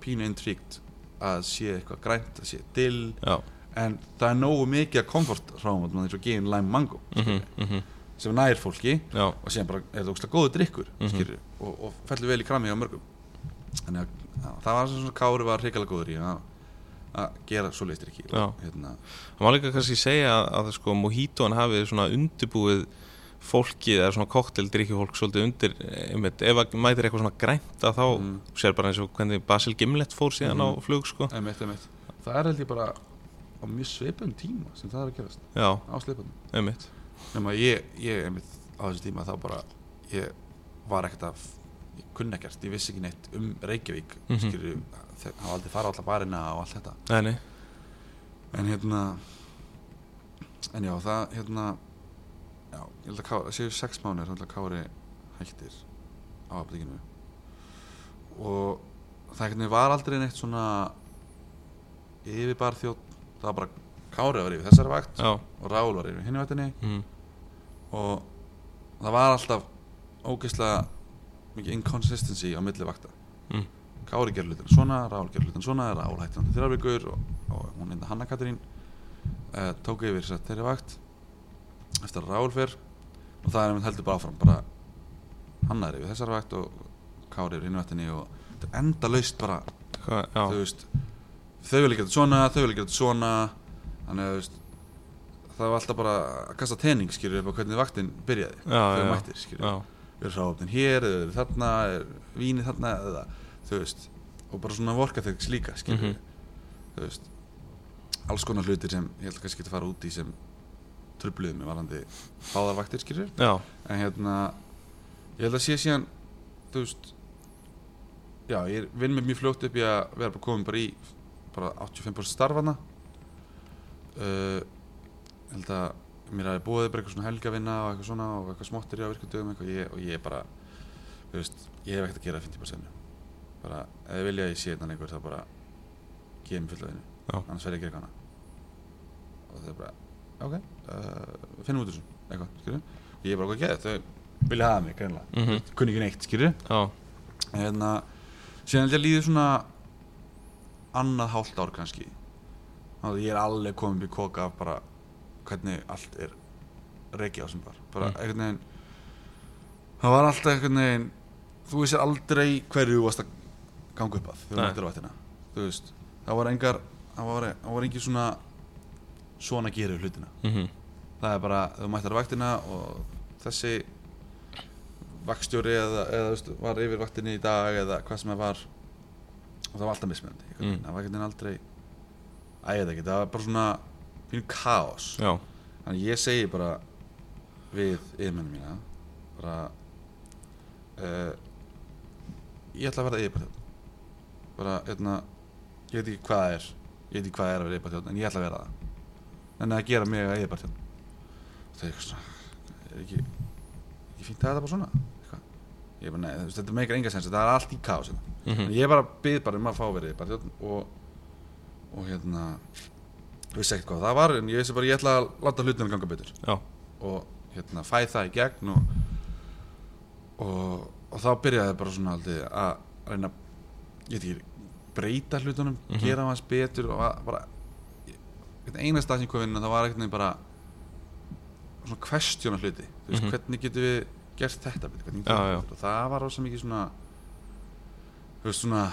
Speaker 2: pínu intríkt að sé eitthvað grænt að sé dill
Speaker 3: Já,
Speaker 2: en það er nógu mikið að komfort ráðum eins og gin, lime, mango
Speaker 3: mm -hmm,
Speaker 2: sem nær fólki
Speaker 3: já,
Speaker 2: og síðan bara er þetta ógstlega góðu drikkur mm
Speaker 3: Mhm.
Speaker 2: og, og fellur vel í kramið á mörgum þannig að, að það var svona svona Kári var hrikalega góður í að, að gera svo leistir ekki
Speaker 3: Já.
Speaker 2: hérna,
Speaker 3: Það má líka kannski segja að, að sko, Mojitoan hafi svona undirbúið fólkið eða svona koktel drikkjufólk svolítið undir, einmitt, ef að mætir eitthvað svona grænt að þá sér bara eins og hvernig Basil Gimlet fór síðan á flug sko.
Speaker 2: einmitt, einmitt. það er held ég bara á mjög sveipum tíma sem það er að gerast
Speaker 3: Já,
Speaker 2: á sleipunum
Speaker 3: einmitt
Speaker 2: nema ég, ég einmitt á þessu tíma þá bara ég var ekkert að ég kunni ekkert, ég vissi ekki neitt um Reykjavík mm
Speaker 3: Mhm.
Speaker 2: -hmm. skilju, það var aldrei fara alltaf barina og allt þetta
Speaker 3: Nei, nei,
Speaker 2: en hérna en já, það hérna já, ég held að Kári, það séu sex mánuðir þannig að Kári hættir á aptekinu og það hérna var aldrei neitt svona yfirbar þjótt það var bara Kári var yfir þessari vakt
Speaker 3: já
Speaker 2: og Rál var yfir hinni vaktinni
Speaker 3: mm.
Speaker 2: og það var alltaf ógeðslega mikið inconsistency á milli vakta
Speaker 3: Mm.
Speaker 2: Kári gerir hlutin svona, Rál gerir hlutin svona Rál hætti hann þrjár vikur og, og hún enda Hanna Katrín uh, tók yfir þess að þeirri vakt eftir að Rál fer og það er einmitt heldur bara áfram bara Hanna er yfir þessar vakt og Kári yfir hinvættinni og þetta er enda laust bara
Speaker 3: Hva, já,
Speaker 2: þú veist þau vilja gera þetta svona, þau vilja gera þetta svona þannig að þú veist það var alltaf bara að kasta tening skilur upp á hvernig vaktin byrjaði
Speaker 3: Já,
Speaker 2: þau
Speaker 3: já, já.
Speaker 2: mættir skilur,
Speaker 3: já,
Speaker 2: við erum ráfnir hér eða eru þarna, er vínið þarna eða þú veist, og bara svona vorka þegar slíka skilur
Speaker 3: Mhm.
Speaker 2: þú veist alls konar hlutir sem ég held kannski að fara út í sem trubluðum með varandi báðar vaktir skilur
Speaker 3: já,
Speaker 2: en hérna ég held að sé síðan þú veist já, ég er- vinn mig mjög fljótt upp í að vera bara komin bara í bara 85% starfana uh, ég held að mér hafi búið bara eitthvað svona helgavinna og eitthvað svona og eitthvað smottir í á virkundum eitthvað ég, og ég er bara, þú veist ég hef ekkert að gera 50% bara, ef þið vilja að ég sé hérna lengur þá bara gefa mér fulla vinnu,
Speaker 3: Já.
Speaker 2: annars verð ég að gera eitthvað annað og þau bara, ok uh, finnum út úr þessu, eitthvað, skilju ég er bara okkur að geða, þau vilja hafa mig greinlega,
Speaker 3: mm
Speaker 2: kunni ekki neitt, skilju
Speaker 3: já,
Speaker 2: hérna, síðan held ég að líði svona annað hálft ár kannski þannig að ég er alveg komin upp í koka af bara hvernig allt er reikið á sem var bara
Speaker 3: Mm.
Speaker 2: einhvern veginn það var alltaf einhvern veginn þú vissir aldrei hverju þú varst að ganga upp að þegar þú
Speaker 3: Nei.
Speaker 2: mættir á vatnina þú veist, það var engar það var, það var engin svona svona gerir við hlutina
Speaker 3: mm
Speaker 2: það er bara, þú mættar á vaktina og þessi vaktstjóri eða, eða veist, var yfir vaktinni í dag eða hvað sem það var og það var alltaf mismunandi einhvern veginn.
Speaker 3: Mm.
Speaker 2: það var ekki aldrei ægða ekki, það var bara svona pínu kaos
Speaker 3: já
Speaker 2: þannig ég segi bara við yfirmennum mína bara uh, ég ætla að verða yfirbættjótt bara, hérna ég veit ekki hvað það er ég veit ekki hvað það er að vera yfirbættjótt en ég ætla að vera það en að gera mig að yfirbættjótt það er eitthvað svona er ekki, ekki fínt að þetta bara svona eitthvað. ég bara, nei, þú veist, þetta meikar enga sens þetta er allt í kaos hérna.
Speaker 3: mm
Speaker 2: En ég bara byrði bara um að fá verið bara, og, og hérna vissi ekkert hvað það var en ég vissi bara ég ætla að láta hlutinu ganga betur
Speaker 3: já,
Speaker 2: og hérna fæ það í gegn og, og, og þá byrjaði bara svona aldrei að reyna ég veit ekki, breyta hlutunum
Speaker 3: Mhm.
Speaker 2: gera hans betur og að, bara einn einasta dag sem ég kom inn þá var eitthvað bara svona questiona hluti þú veist,
Speaker 3: Mhm.
Speaker 2: hvernig getum við gert þetta betur, hvernig getum
Speaker 3: Já,
Speaker 2: við
Speaker 3: já.
Speaker 2: gert þetta betur? og það var rosa mikið svona þú veist svona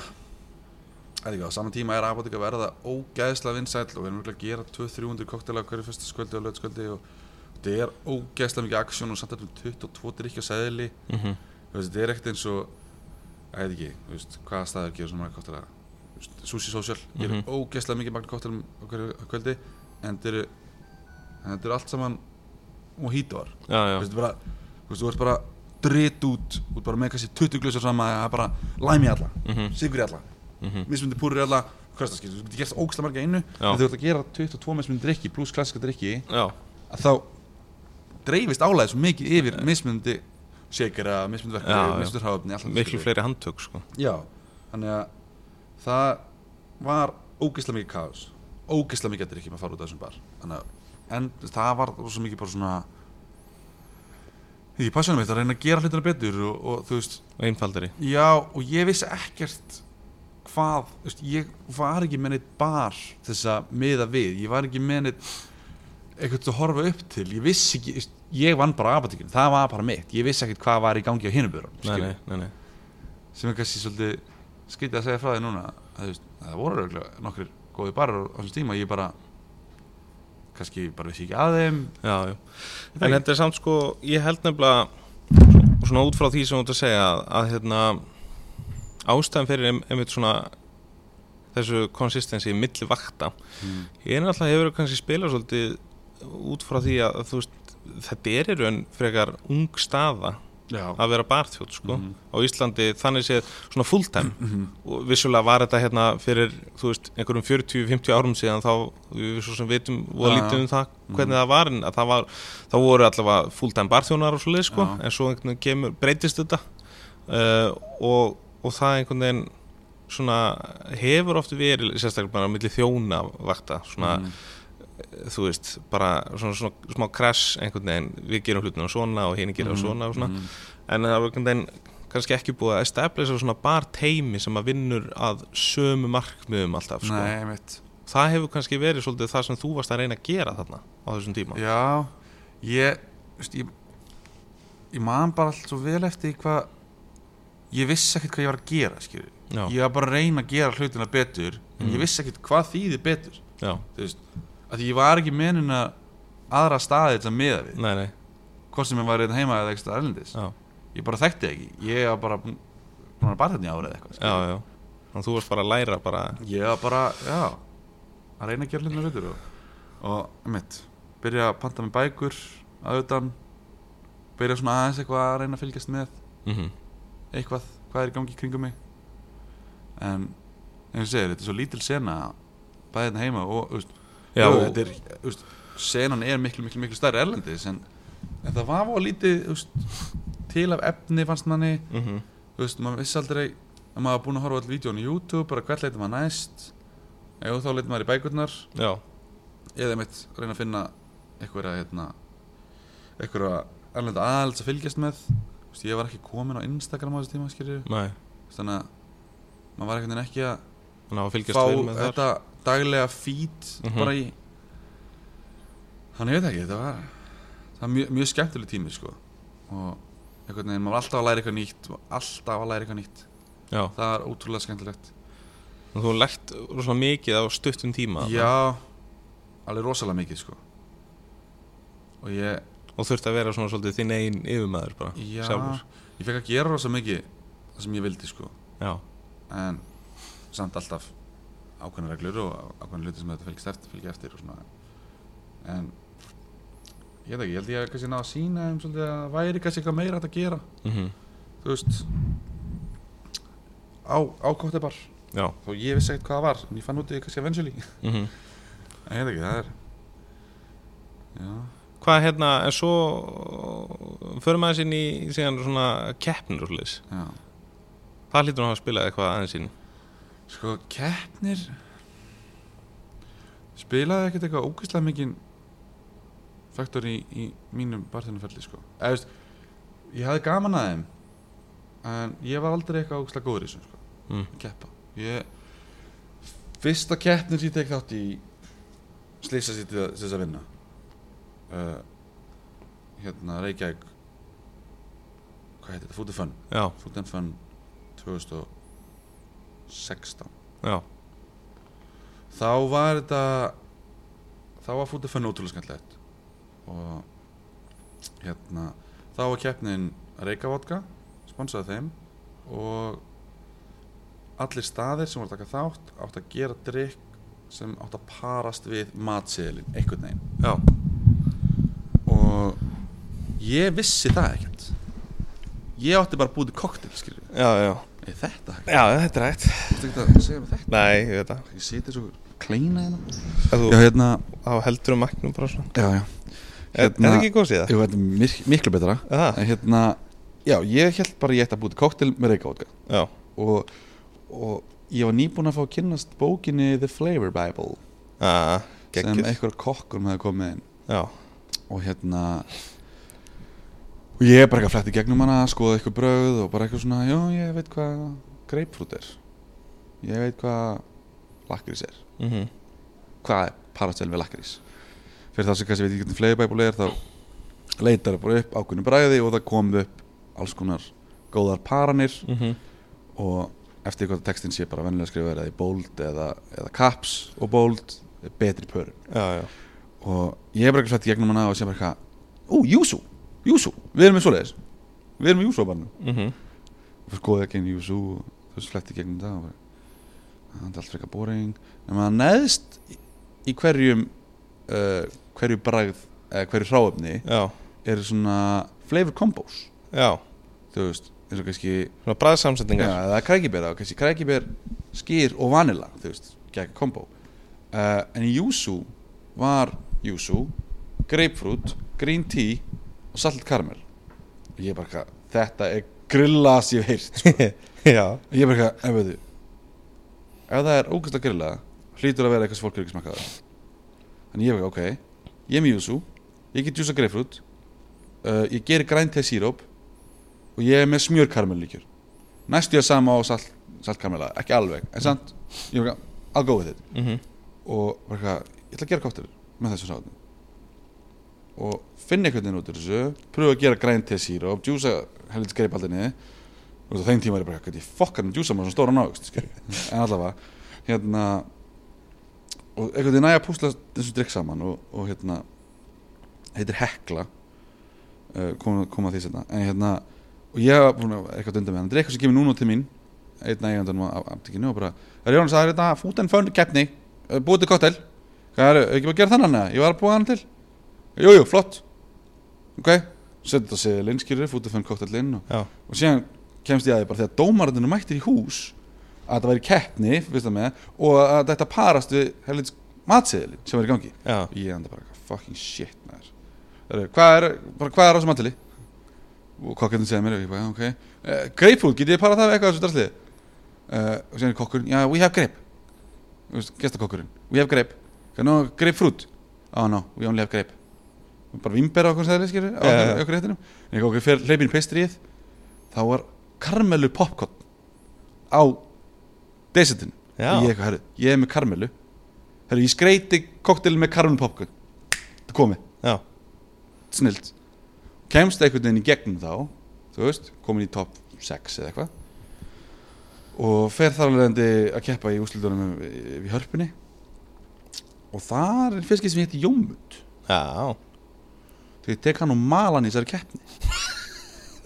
Speaker 2: er ekki á saman tíma er apotek að verða ógæðslega vinsæll og við erum örugglega að gera 200-300 koktela hverju fyrstaskvöldi og lögskvöldi og þetta er ógæðslega mikið aksjón og samt að þetta er 22 drikkja sæðili
Speaker 3: mm
Speaker 2: þú veist, þetta er ekkert eins og ég veit ekki, þú veist, hvaða staður gerir svona marga koktela Sushi Social gerir
Speaker 3: Mhm.
Speaker 2: ógæðslega mikið magna koktelum á hverju á kvöldi en þetta eru en þetta eru allt saman og hítuar
Speaker 3: já, já,
Speaker 2: þú veist, bara, þú veist, þú ert bara dritt út, þú ert bara með kannski 20 glösar sama það er bara læmi alla
Speaker 3: mhm,
Speaker 2: sigur í alla
Speaker 3: mhm,
Speaker 2: mismundi púrur í alla hverstaskil, þú getur gert ógæðslega marga einu
Speaker 3: Já.
Speaker 2: en þú ert að gera 22 mismundi drikki pluss klassiska drikki
Speaker 3: já,
Speaker 2: að þá dreifist álæðið svo mikið yfir mismundi shakera, mismundi
Speaker 3: Já,
Speaker 2: verkefni,
Speaker 3: já.
Speaker 2: mismundi hráfni
Speaker 3: miklu fleiri handtök sko
Speaker 2: Já, þannig að það var ógeðslega mikið kaos ógeðslega mikið að drikki maður fara út af þessum bar þannig að en, það var svo mikið bara svona ég passaði mitt að reyna að gera hlutina betur og, og þú veist,
Speaker 3: og einfaldari,
Speaker 2: já og ég vissi ekkert hvað, þú veist, ég var ekki með neitt bar þess að miða við, ég var ekki með neitt eitthvað að horfa upp til, ég vissi ekki þú veist, ég vann bara apatíkinu, það var bara mitt ég vissi ekkert hvað var í gangi á hinubjörunum
Speaker 3: nei, nei, nei, nei.
Speaker 2: sem er kannski svolítið skytið að segja frá því núna að, þú veist, að það voru örgulega nokkur góði barar á þessum tíma, ég bara kannski bara vissi ekki að þeim
Speaker 3: já, já.
Speaker 2: Það
Speaker 3: En
Speaker 2: ekki.
Speaker 3: þetta er samt sko, ég held nefnilega svona út frá því sem þú ert að segja að, að hérna, ástæðan fyrir ein, einmitt svona þessu konsistensi milli vakta
Speaker 2: Mm.
Speaker 3: ég er náttúrulega hefur kannski spilað svolítið út frá því að þú veist þetta er í raun frekar ung staða
Speaker 2: Já,
Speaker 3: að vera barþjótt sko
Speaker 2: Mhm.
Speaker 3: á Íslandi þannig séð svona fulltime og vissulega var þetta hérna fyrir þú veist einhverjum 40-50 árum síðan þá við svo sem vitum og
Speaker 2: Já, Mhm.
Speaker 3: lítið um það hvernig það var en að það var þá voru allavega fulltime barþjónar og svo leið sko
Speaker 2: Já.
Speaker 3: en svo einhvern veginn kemur, breytist þetta uh, og, og það einhvern veginn svona hefur oft verið sérstaklega bara á milli þjóna vakta
Speaker 2: Mm.
Speaker 3: svona
Speaker 2: Mhm.
Speaker 3: þú veist, bara svona, svona smá crash einhvern veginn, við gerum hlutinu svona og hinn gerir
Speaker 2: Mhm.
Speaker 3: mm svona og svona en það var einhvern veginn kannski ekki búið að establisha svona bar teimi sem að vinnur að sömu markmiðum alltaf sko.
Speaker 2: nei, mitt
Speaker 3: það hefur kannski verið svolítið það sem þú varst að reyna að gera þarna á þessum tíma
Speaker 2: Já, ég, veist, ég, ég man bara allt svo vel eftir því hvað, ég vissi ekkert hvað ég var að gera, skilur.
Speaker 3: já, Mm.
Speaker 2: Ég var bara að reyna að gera hlutina betur, en ég vissi ekkert hvað þýði betur,
Speaker 3: já,
Speaker 2: þú veist. Af því ég var ekki menina aðra staði þetta meða við,
Speaker 3: nei, nei
Speaker 2: hvort sem ég var reynd heima eða eitthvað erlendis.
Speaker 3: já,
Speaker 2: Ég bara þekkti ekki, ég var bara búin búin að bara þetta í árið eða eitthvað,
Speaker 3: já, já Þannig að þú varst bara að læra bara
Speaker 2: Ég var bara, já, að reyna að gera hlutina betur og, og mitt, byrja að panta með bækur að utan, byrja svona aðeins eitthvað að reyna að fylgjast með
Speaker 3: mm
Speaker 2: eitthvað, hvað er í gangi í kringum mig en eins og segir, þetta er svo lítil sena bæði þetta heima og, þú veist,
Speaker 3: já,
Speaker 2: jú,
Speaker 3: og-
Speaker 2: þetta er, þú veist, senan er miklu, miklu, miklu stærri erlendis en, en það var fá lítið, þú veist, til af efni fannst manni,
Speaker 3: mhm,
Speaker 2: þú veist, maður vissi aldrei að maður var búin að horfa all vídjón í YouTube bara hvert leitum maður næst eða þá leitum maður í bækurnar
Speaker 3: já,
Speaker 2: eða mitt reyna að finna einhverja hérna, einhverja erlenda aðalds að fylgjast með Þú veist, ég var ekki komin á Instagram á þessu tíma skýrju
Speaker 3: nei
Speaker 2: þannig að maður var einhvern veginn ekki að
Speaker 3: Þannig að fylgjast
Speaker 2: fá
Speaker 3: vel með þar
Speaker 2: þetta daglega feed
Speaker 3: Mhm.
Speaker 2: bara í þannig ég veit ekki, þetta var það var mjög, mjög skemmtileg tími sko og einhvern veginn, maður var alltaf að læra eitthvað nýtt var alltaf að læra eitthvað nýtt
Speaker 3: Já,
Speaker 2: það var ótrúlega skemmtilegt
Speaker 3: og þú lært rosalega mikið á stuttum tíma þarna.
Speaker 2: já, alveg rosalega mikið sko og ég
Speaker 3: og þurfti að vera svona svolítið þinn einn yfirmaður bara
Speaker 2: já,
Speaker 3: sjálfur
Speaker 2: ég fekk að gera rosalega mikið það sem ég vildi sko
Speaker 3: já,
Speaker 2: en samt alltaf ákveðna reglur og ákveðna hluti sem þetta fylgist eftir, fylgja eftir og svona en ég veit ekki, ég held ég að kannski ná að sína um svolítið að það væri kannski eitthvað meira hægt að gera
Speaker 3: mm
Speaker 2: þú veist á, á kóttibar
Speaker 3: já.
Speaker 2: þó ég vissi ekkert hvað það var en ég fann út í kannski eventually en
Speaker 3: Mm
Speaker 2: ég veit ekki, það er já,
Speaker 3: hvað hérna, en svo uh, förum aðeins inn í síðan svona keppnir og sliðis
Speaker 2: já
Speaker 3: það hlýtur hann að spila eitthvað aðeins inn í.
Speaker 2: sko, keppnir spilaði ekkert eitthvað ógeðslega mikinn faktor í, í mínum barþjónuferli sko. Eða, þú veist, ég hafði gaman að þeim en ég var aldrei eitthvað ógeðslega góður í þessu sko,
Speaker 3: Mm.
Speaker 2: að keppa ég fyrsta keppnir sem ég tek þátt í slýsa sér til þess að vinna uh, hérna Reykjavík hvað heitir þetta, Food and Fun
Speaker 3: já,
Speaker 2: Food and Fun 2016
Speaker 3: já,
Speaker 2: þá var þetta þá var Food and Fun ótrúlega skemmtilegt og hérna þá var keppnin Reykja Vodka sponsaði þeim og allir staðir sem voru að taka þátt átt að gera drikk sem átt að parast við matseðilinn einhvern veginn
Speaker 3: já,
Speaker 2: og ég vissi það ekkert ég átti bara að búið til koktel skilju,
Speaker 3: já, já,
Speaker 2: er þetta hægt?
Speaker 3: já þetta er hægt
Speaker 2: Þú veist ekki að segja mér þetta
Speaker 3: nei, ég veit það
Speaker 2: Ég seti svo kleina hérna
Speaker 3: Að þú,
Speaker 2: Já, hérna
Speaker 3: þá heldur um magnum bara svona
Speaker 2: Já, já
Speaker 3: er, er
Speaker 2: Hérna-
Speaker 3: það ekki Ah. góð síða?
Speaker 2: Ég veit mik miklu betra
Speaker 3: Aha,
Speaker 2: En hérna Já, ég held bara ég ætti að búið kóktel með reykavótka
Speaker 3: já,
Speaker 2: og, og ég var nýbúin að fá að kynnast bókinni The Flavor Bible
Speaker 3: já,
Speaker 2: sem
Speaker 3: geggjur
Speaker 2: einhver kokkur með að koma inn
Speaker 3: já,
Speaker 2: og hérna og ég er bara eitthvað flætt í gegnum hana skoða eitthvað bröð og bara eitthvað svona já, ég veit hvað greipfrút er ég veit hvað lakrís er
Speaker 3: mm
Speaker 2: hvað er parastel við lakrís fyrir það sem kannski veit ekki hvernig fleibæbúli er þá leitar það bara upp ákveðinu bræði og það kom upp alls konar góðar paranir
Speaker 3: Mhm.
Speaker 2: og eftir hvað textin sé bara vennilega skrifa eða í bold eða, eða caps og bold er betri pörun
Speaker 3: já, já,
Speaker 2: og ég er bara ekki slætt í gegnum hana og sé bara eitthvað ú, Júsú, Júsú, við erum með svoleiðis við erum með Júsú á barnum
Speaker 3: mm
Speaker 2: og skoðið ekki einu Júsú og þú veist fletti gegnum það og bara það er allt frekar boring en maður neðst í- í hverjum uh, hverju bragð eða hverju hráöfni
Speaker 3: já,
Speaker 2: eru svona flavor combos
Speaker 3: já
Speaker 2: þú veist, eins og kannski
Speaker 3: svona
Speaker 2: já,
Speaker 3: bræðsamsetningar
Speaker 2: eða krækibér þá, kannski krækibér, skýr og vanilla þú veist, gegn kombo uh, en í Júsú var Júsú, grapefruit green tea og salt karamel og ég bara, eitthvað, þetta er grilla sem ég hef heyrt sko.
Speaker 3: já,
Speaker 2: Og ég bara, eitthvað, ef veitu ef það er ógæst að grilla hlýtur að vera eitthvað sem fólk er ekki smakkaða þannig ég bara, ok, ég er með Júsú ég get júsa grapefruit uh, ég gerir grænt teg síróp og ég er með smjörkarmellíkjur næstu ég sama á salt, saltkarmela ekki alveg, en samt ég bara, I'll go with it
Speaker 3: mhm
Speaker 2: og bara eitthvað, ég ætla að gera kóttel með þessu sáðum og finna einhvern veginn út úr þessu pröfa að gera græn til síru og djúsa helvits greip alltaf niður og á þeim tíma er ég bara eitthvað, ég fokkar með djúsa maður svona stóra návöxt skilur. en allavega hérna og einhvern veginn næja að púsla þessu drikk saman og, og hérna heitir Hekla uh, koma, koma að því sérna en hérna, og ég var búin að vera eitthvað undan með hann, þetta er eitthvað sem kemur núna til mín einn eigandanum á aptekinu og bara hérna, er Jónas það er þetta fút en fönn keppni uh, búið til kottel hvað er, er ekki bara að gera þannan eða ég var að búa hann til jújú, jú, flott ok, setja þetta seðilinn skýrir fút en fönn kottellinn og,
Speaker 3: Já.
Speaker 2: og síðan kemst ég að því bara þegar dómarinn er mættir í hús að þetta væri keppni, veist það með og að þetta parast við helvits matseðilinn sem er í gangi
Speaker 3: Já,
Speaker 2: ég enda bara eitthvað fucking shit maður Heru, hvað, er, bara, hvað er á sem aðtali og kokkurinn segir mér og ég bara, ok uh, Grapefruit, getið þið parað það við eitthvað af þessu drasli uh, og segir kokkurinn, já, we have grape Þú veist, gestakokkurinn, we have grape can no grapefruit oh no, we only have grape Og bara vimber á okkur sæðri, skilur á
Speaker 3: Já,
Speaker 2: okkur,
Speaker 3: já.
Speaker 2: okkur réttinum en ég okkur fyrir hleypin pestrið þá var karmelu popcorn á desertin
Speaker 3: Já.
Speaker 2: ég, eitthvað, herru, ég er með karmelu herru, ég skreiti koktelin með karmelu popcorn það komið
Speaker 3: já,
Speaker 2: snilt kemst einhvern veginn í gegnum þá þú veist, komin í top 6 eða eitthvað og fer þar alveg endi að keppa í úslitunum við hörpunni og þar er fiskið sem hétti Jómund
Speaker 3: já,
Speaker 2: þegar ég tek hann og mala hann í þessari keppni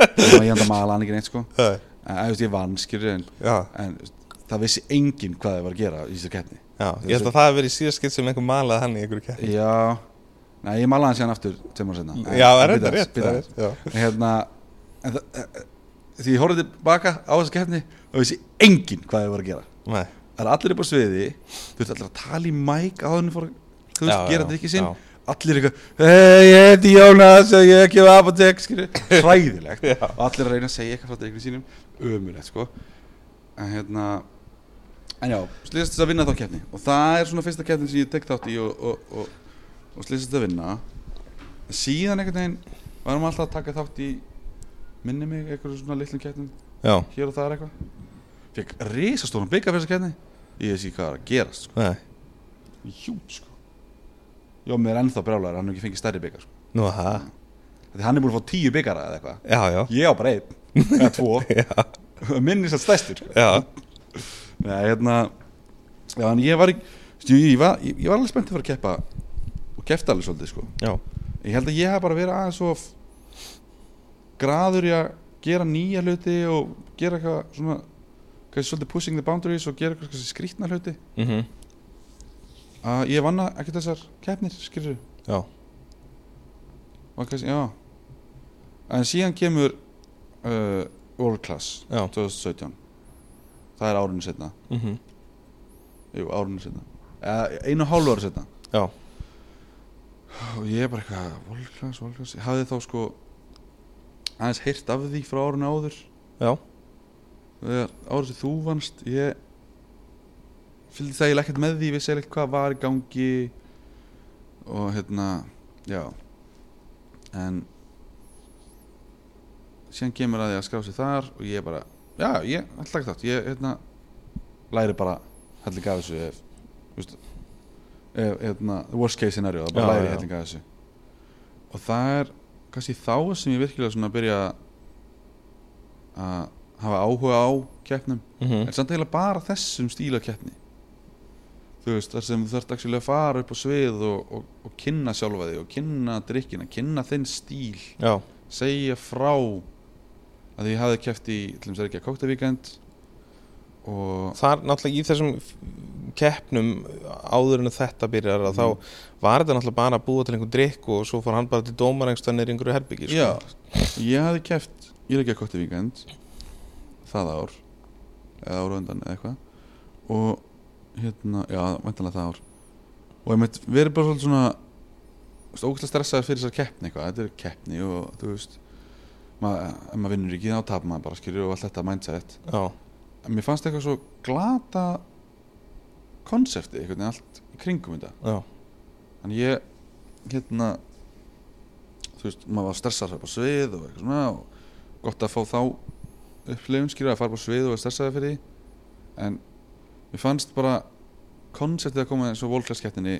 Speaker 2: og ég enda að mala hann ekki neitt sko
Speaker 3: Nei.
Speaker 2: en þú veist, ég vann skilur en,
Speaker 3: já,
Speaker 2: en þú veist, það vissi enginn hvað það var að gera í þessari keppni
Speaker 3: já. Ég held að það hef verið síðast skipt sem einhver malaði hann í einhverju kæði
Speaker 2: já, nei, ég mala hann síðan aftur tveim ára senna
Speaker 3: Já, það er rétt, það er rétt, það er rétt já.
Speaker 2: hérna en það, eh, því ég horfði tilbaka á þessa keppni og vissi enginn hvað þið voru að gera
Speaker 3: Nei.
Speaker 2: það er allir upp á sviði þú veist allir að tala í mæk á þenni fór þú veist,
Speaker 3: Já,
Speaker 2: gera
Speaker 3: já,
Speaker 2: þetta ekki sinn
Speaker 3: já.
Speaker 2: allir eitthvað, hei, ég heiti Jónas og ég er ekki af að tek, skilju hræðilegt,
Speaker 3: Já.
Speaker 2: og allir að reyna að segja eitthvað frá driknum sínum ömulegt, sko en hérna en já, slýsast að vinna þá keppni og það er svona fyrsta keppni sem ég tek þátt í og, og, og, og slýsast að vinna síðan einhvern veginn varum alltaf að taka þátt í minni mig, eitthvað svona litlum keppnum
Speaker 3: já,
Speaker 2: hér og það er eitthvað fekk risastóran byggar fyrir þessa keppni ég veist ekki hvað er að gerast sko.
Speaker 3: nei,
Speaker 2: hjút sko já, mér er ennþá brjálæður, hann hefur ekki fengið stærri byggar sko.
Speaker 3: nú að það
Speaker 2: Þegar hann er búin að fá tíu byggara eða eitthvað
Speaker 3: Já, já,
Speaker 2: ég á bara einn, eða tvo
Speaker 3: já,
Speaker 2: minni satt stærstur sko.
Speaker 3: já,
Speaker 2: Nei, hérna já, en ég var, ekki- stu, ég, var ég, ég var alveg spenntið fyrir að keppa og kefta alveg svolítið sko
Speaker 3: já,
Speaker 2: ég held að ég hef bara verið aðeins svo f- graður í að gera nýja hluti og gera eitthvað svona kannski svolítið pushing the boundaries og gera eitthvað skrýtna hluti
Speaker 3: mhm,
Speaker 2: að ég vanna ekki þessar keppnir skilur
Speaker 3: já,
Speaker 2: og kannski, já en síðan kemur uh, World Class
Speaker 3: já,
Speaker 2: 2017 það er árinu setna
Speaker 3: mhm,
Speaker 2: jú, árinu setna eða einu og hálfu ári setna
Speaker 3: já,
Speaker 2: og ég er bara eitthvað, World Class, World Class ég hafði þá sko aðeins heyrt af því frá árinu áður
Speaker 3: já,
Speaker 2: þegar árið sem þú vannst ég fylgdi það ég ekkert með því við segir ekkert hvað var í gangi og hérna já en síðan kemur að ég að skrá sig þar og ég bara, já ég alltaf ekki þátt ég hérna læri bara helling af þessu ef, þú veist, ef hérna, the worst case scenario, þá bara
Speaker 3: Já,
Speaker 2: læri
Speaker 3: já.
Speaker 2: ég helling af þessu og það er kannski þá sem ég virkilega svona byrja að hafa áhuga á keppnum
Speaker 3: mm
Speaker 2: en samt eiginlega bara þessum stíla keppni þú veist, þar sem þú þarft actually að fara upp á svið og, og, og kynna sjálfa þig og kynna drikkina, kynna þinn stíl
Speaker 3: Já,
Speaker 2: segja frá að því ég hafði keppt í til þess að ekki að kóktavíkend og
Speaker 3: þar náttúrulega í þessum f- keppnum áður en að þetta byrjar að
Speaker 2: Mhm.
Speaker 3: þá var þetta náttúrulega bara að búa til einhver drikk og svo fór hann bara til dómarengstanir í einhverju sko. herbyggi
Speaker 2: já, ég hafði keppt í ekki að kóktavíkend það ár eða ára undan eða eitthvað og hérna, já, vantanlega það ár og ég meitt, við erum bara svolítið svona ógæslega stressaðar fyrir þessar keppni eitthvað, þetta er keppni og þú veist maður, ef maður vinnur ekki þá tapar maður bara skilur og allt þetta mindset
Speaker 3: já,
Speaker 2: en mér fannst eitthvað svo glata konsepti, einhvern veginn allt í kringum þetta
Speaker 3: já,
Speaker 2: þannig ég hérna þú veist, maður var stressað upp á svið og eitthvað svona og gott að fá þá upplifun skýra að fara upp á svið og vera stressaði fyrir því en mér fannst bara konseptið að koma eins og volklaskeppninni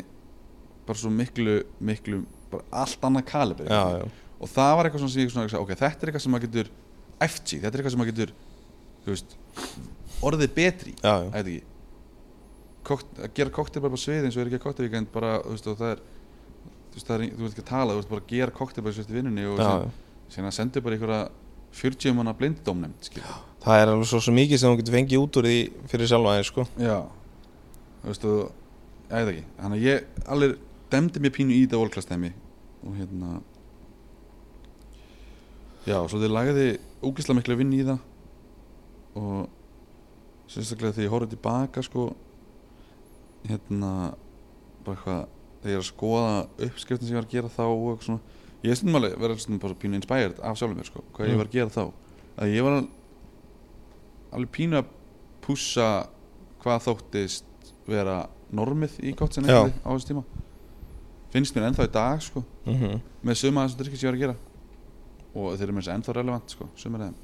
Speaker 2: bara svo miklu, miklu bara allt annað kalibri
Speaker 3: já, já.
Speaker 2: og það var eitthvað svona sem ég svona, hugsaði, ok, þetta er eitthvað sem maður getur FG, þetta er eitthvað sem maður getur þú veist, orðið betri í.
Speaker 3: já,
Speaker 2: Ég
Speaker 3: já.
Speaker 2: veit ekki Kokt, að gera koktel bara á sviði eins og er ekki að koktel en bara, þú veist, og það er þú veist, það er, þú veist ekki að tala, þú veist bara að gera koktel bara sviðt í vinnunni og
Speaker 3: já,
Speaker 2: sen-
Speaker 3: já.
Speaker 2: síðan að senda bara einhverja 40 manna blinddómnefnd, skilja
Speaker 3: Það er alveg svo, svo mikið sem þú getur fengið út úr því fyrir sjálfa þeir sko
Speaker 2: Já, þú veist, og ég veit ekki, þannig að ég alveg demdi mér pínu í þetta volklastæmi og hérna Já, svo þið lagði úkislega miklu vinn í það og sérstaklega þegar ég horfði tilbaka sko hérna bara eitthvað þegar ég er að skoða uppskriftin sem ég var að gera þá og eitthvað svona ég er stundum alveg verið svona bara pínu inspired af sjálfum mér sko, hvað
Speaker 3: Mm.
Speaker 2: ég var að gera þá að ég var al- alveg pínu að pússa hvað þóttist vera normið í gott sem
Speaker 3: Já.
Speaker 2: eitthvað á þessu tíma finnst mér ennþá í dag sko
Speaker 3: mm
Speaker 2: með suma af þessum drikkis ég var að gera og þeir eru með þessi ennþá relevant sko, sumar af þeim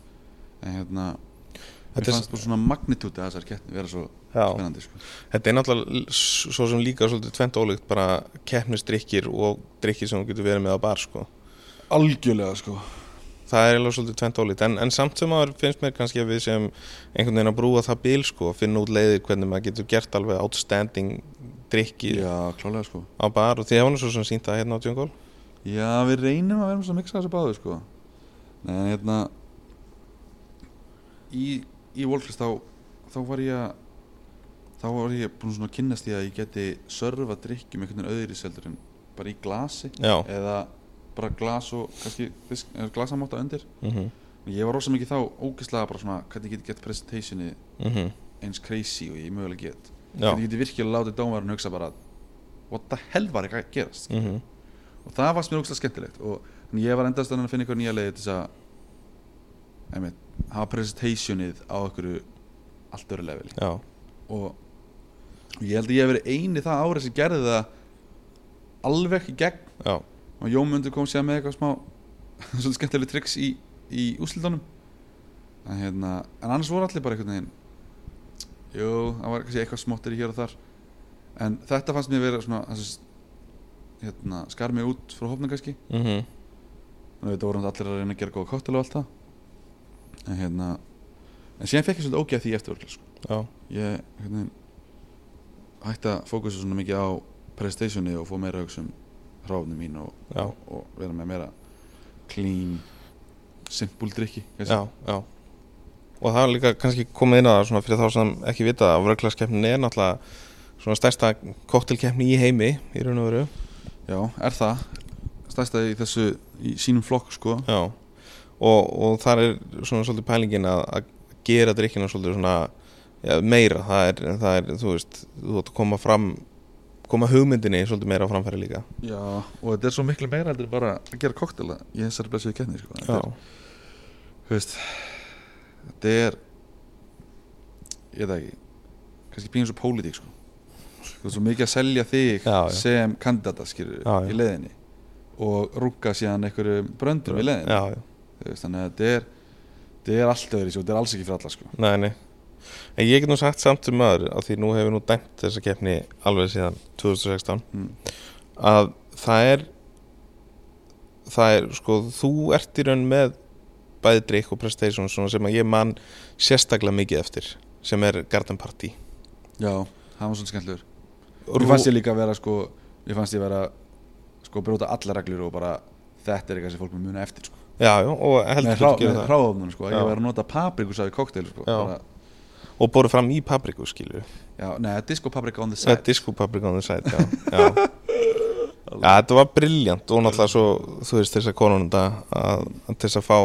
Speaker 2: en hérna, mér
Speaker 3: Þetta er-
Speaker 2: fannst bara svona magnitúti að þessar kettni vera svo
Speaker 3: Já,
Speaker 2: spennandi sko.
Speaker 3: þetta er náttúrulega l- s- svo sem líka svolítið tvent ólíkt bara keppnisdrykkir og drykkir sem þú getur verið með á bar sko
Speaker 2: algjörlega sko
Speaker 3: það er alveg svolítið tvent ólít en, en samt sem maður finnst mér kannski að við sem einhvern veginn að brúa það bíl sko að finna út leiðir hvernig maður getur gert alveg outstanding drikki
Speaker 2: já, klálega sko
Speaker 3: á bar og því hefur hann svo sem sínt það hérna á Djöngól
Speaker 2: já, við reynum að vera með svo að mixa þessu báðu sko Nei, en hérna í, í Wolflist þá, þá var ég að þá var ég búin svona að kynnast því að ég geti sörfa drikkjum einhvern veginn öðri seldur en bara í glasi
Speaker 3: já,
Speaker 2: eða bara glas og kannski fisk, glasamáta undir
Speaker 3: mm -hmm.
Speaker 2: Ég var rosa mikið þá ógeðslega bara svona hvernig ég geti gett presentationi eins crazy og ég mögulega get
Speaker 3: mhm, já.
Speaker 2: hvernig ég geti virkilega látið dómarinn hugsa bara what the hell var ekki að gerast
Speaker 3: Mm
Speaker 2: og það varst mér ógeðslega skemmtilegt og þannig ég var endast að finna ykkur nýja leiði til þess að einmitt, hafa presentationið á ykkur allt öru level
Speaker 3: já,
Speaker 2: og, og ég held að ég hef verið eini það árið sem gerði það alveg í gegn
Speaker 3: já,
Speaker 2: og Jómundur kom sér með eitthvað smá svolítið skemmtileg triks í, í úsildunum en, hérna, en annars voru allir bara einhvern veginn jú, það var kannski eitthvað smottir í hér og þar en þetta fannst mér vera svona þessi, hérna, skar mig út frá hófnum kannski
Speaker 3: mm
Speaker 2: þannig að þetta voru náttúrulega allir að reyna að gera góða kóttel og allt það en hérna en síðan fekk ég svolítið ógeð því eftir sko.
Speaker 3: já,
Speaker 2: ég hérna, hætti að fókusa svona mikið á prestationi og fóð meira að hugsa um ráfnum mín og
Speaker 3: já,
Speaker 2: og vera með meira clean simple drikki kannski.
Speaker 3: já, já. og það er líka kannski komið inn að það svona fyrir þá sem ekki vita að vröglaskeppnin er náttúrulega svona stærsta koktelkeppni í heimi í raun og veru
Speaker 2: já, er það stærsta í þessu í sínum flokk sko
Speaker 3: Já, og, og þar er svona svolítið pælingin að, að gera drikkina svolítið svona ja, meira, það er, það er, þú veist þú ætti að koma fram koma hugmyndinni svolítið meira á framfæri líka
Speaker 2: já, og þetta er svo miklu meira heldur en bara að gera koktela í þessari blessuðu kenni sko.
Speaker 3: Já,
Speaker 2: þetta, er, þú veist, þetta er ég veit það ekki kannski pínu svo pólitík sko þú veist svo mikið að selja þig
Speaker 3: Já, já.
Speaker 2: sem kandidata skilur
Speaker 3: Já, já.
Speaker 2: í leðinni og rúka síðan einhverjum bröndum í leðinni
Speaker 3: já, já,
Speaker 2: Þú veist, þannig að þetta er þetta er allt öðru þetta er alls ekki fyrir alla sko
Speaker 3: nei, nei En ég get nú sagt samt um maður að því nú hefur nú dæmt þessa keppni alveg síðan 2016
Speaker 2: mm.
Speaker 3: að það er það er, sko, þú ert í raun með bæði drikk og prestation svona sem að ég man sérstaklega mikið eftir sem er Garden Party
Speaker 2: já, það var svona skemmtilegur
Speaker 3: Rú-
Speaker 2: Mér fannst ég líka að vera sko Mér fannst ég vera sko að brjóta allar reglur og bara þetta er eitthvað sem fólk mun muna eftir sko.
Speaker 3: Já, já, og heldur
Speaker 2: með
Speaker 3: þú að gera það
Speaker 2: hráöfnum sko.
Speaker 3: Já.
Speaker 2: ég var að nota paprikusaði kokteil sko.
Speaker 3: Já.
Speaker 2: Bara-
Speaker 3: og boru fram í papriku skilur
Speaker 2: já, neða, disco paprika on the
Speaker 3: Sæt.
Speaker 2: side
Speaker 3: Disco paprika on the side, já Já, já þetta var briljant og náttúrulega svo, þú veist, þess að konunum þetta að að til þess að fá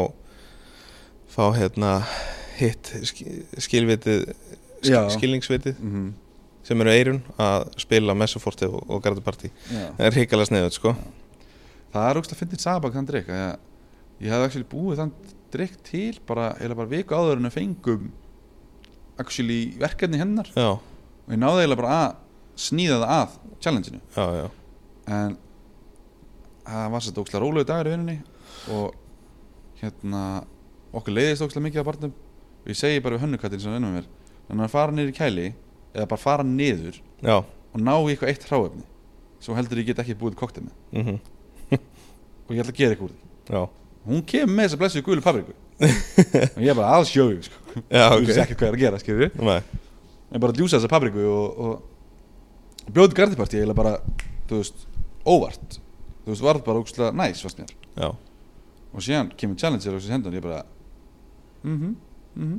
Speaker 3: fá hérna hitt ski- skilvitið sk,
Speaker 2: Já.
Speaker 3: skilningsvitið
Speaker 2: Mhm,
Speaker 3: sem eru eirun að spila messuforti og, og gardapartí
Speaker 2: já.
Speaker 3: það er hrikalega sniðut, sko
Speaker 2: það er ógst að fyndið sabak þann drikk að ég- ég hafði actually búið þann drikk til bara, eiginlega bara viku áður en við fengum actually verkefni hennar
Speaker 3: Já,
Speaker 2: og ég náði eiginlega bara að sníða það að challenge-inu
Speaker 3: já, já
Speaker 2: en það var sætt ókslega rólegur dagur í vinnunni og hérna okkur leiðist ókslega mikið að barnum og ég segi bara við hönnukattin sem vinnum mér þannig að fara niður í kæli eða bara fara niður
Speaker 3: Já,
Speaker 2: og ná í eitthvað eitt hráefni svo heldur ég get ekki búið koktel með
Speaker 3: mhm,
Speaker 2: og ég ætla að gera eitthvað úr því
Speaker 3: já
Speaker 2: hún kemur með þess að blessu gulu papriku og ég er bara að sjóðu sko.
Speaker 3: Já,
Speaker 2: þú
Speaker 3: ok
Speaker 2: veist ekki hvað er að gera skilur
Speaker 3: Nei,
Speaker 2: en bara að djúsa þessa papriku og, og bjóði gardipartí eiginlega bara, þú veist, óvart þú veist, varð bara ókslega næs fast mér
Speaker 3: Já,
Speaker 2: og síðan kemur Challenger og þessi hendur og ég bara mhm, mhm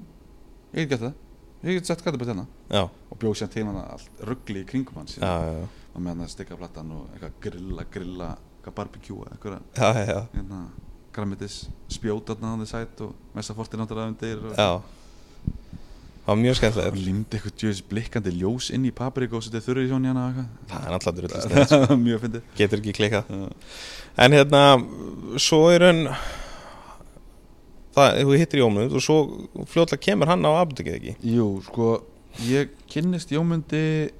Speaker 2: ég get gert það, ég get sett kattabætt hérna
Speaker 3: já,
Speaker 2: og bjóð síðan til hann allt ruggli í kringum hann
Speaker 3: já,
Speaker 2: síðan
Speaker 3: já,
Speaker 2: og með hann að stikka platan og eitthvað grilla, grilla eitthvað barbecue, eitthvað
Speaker 3: já, já, já.
Speaker 2: hérna, grammetis spjóta hann hann þið sætt og messa fortið náttúrulega undir og,
Speaker 3: Já Það var mjög
Speaker 2: og
Speaker 3: skemmtilegt
Speaker 2: limdi eitthvað djöðis blikkandi ljós inn í paprika og setið þurrið hjón hérna og
Speaker 3: Það er sko. náttúrulega drullist
Speaker 2: eitthvað það var mjög fyndið
Speaker 3: Getur ekki klikkað
Speaker 2: Já.
Speaker 3: En hérna, svo er hann Það, þú hittir Jómund og svo fljótlega kemur hann á aftekið ekki
Speaker 2: Jú, sko, ég kynnist Jómundi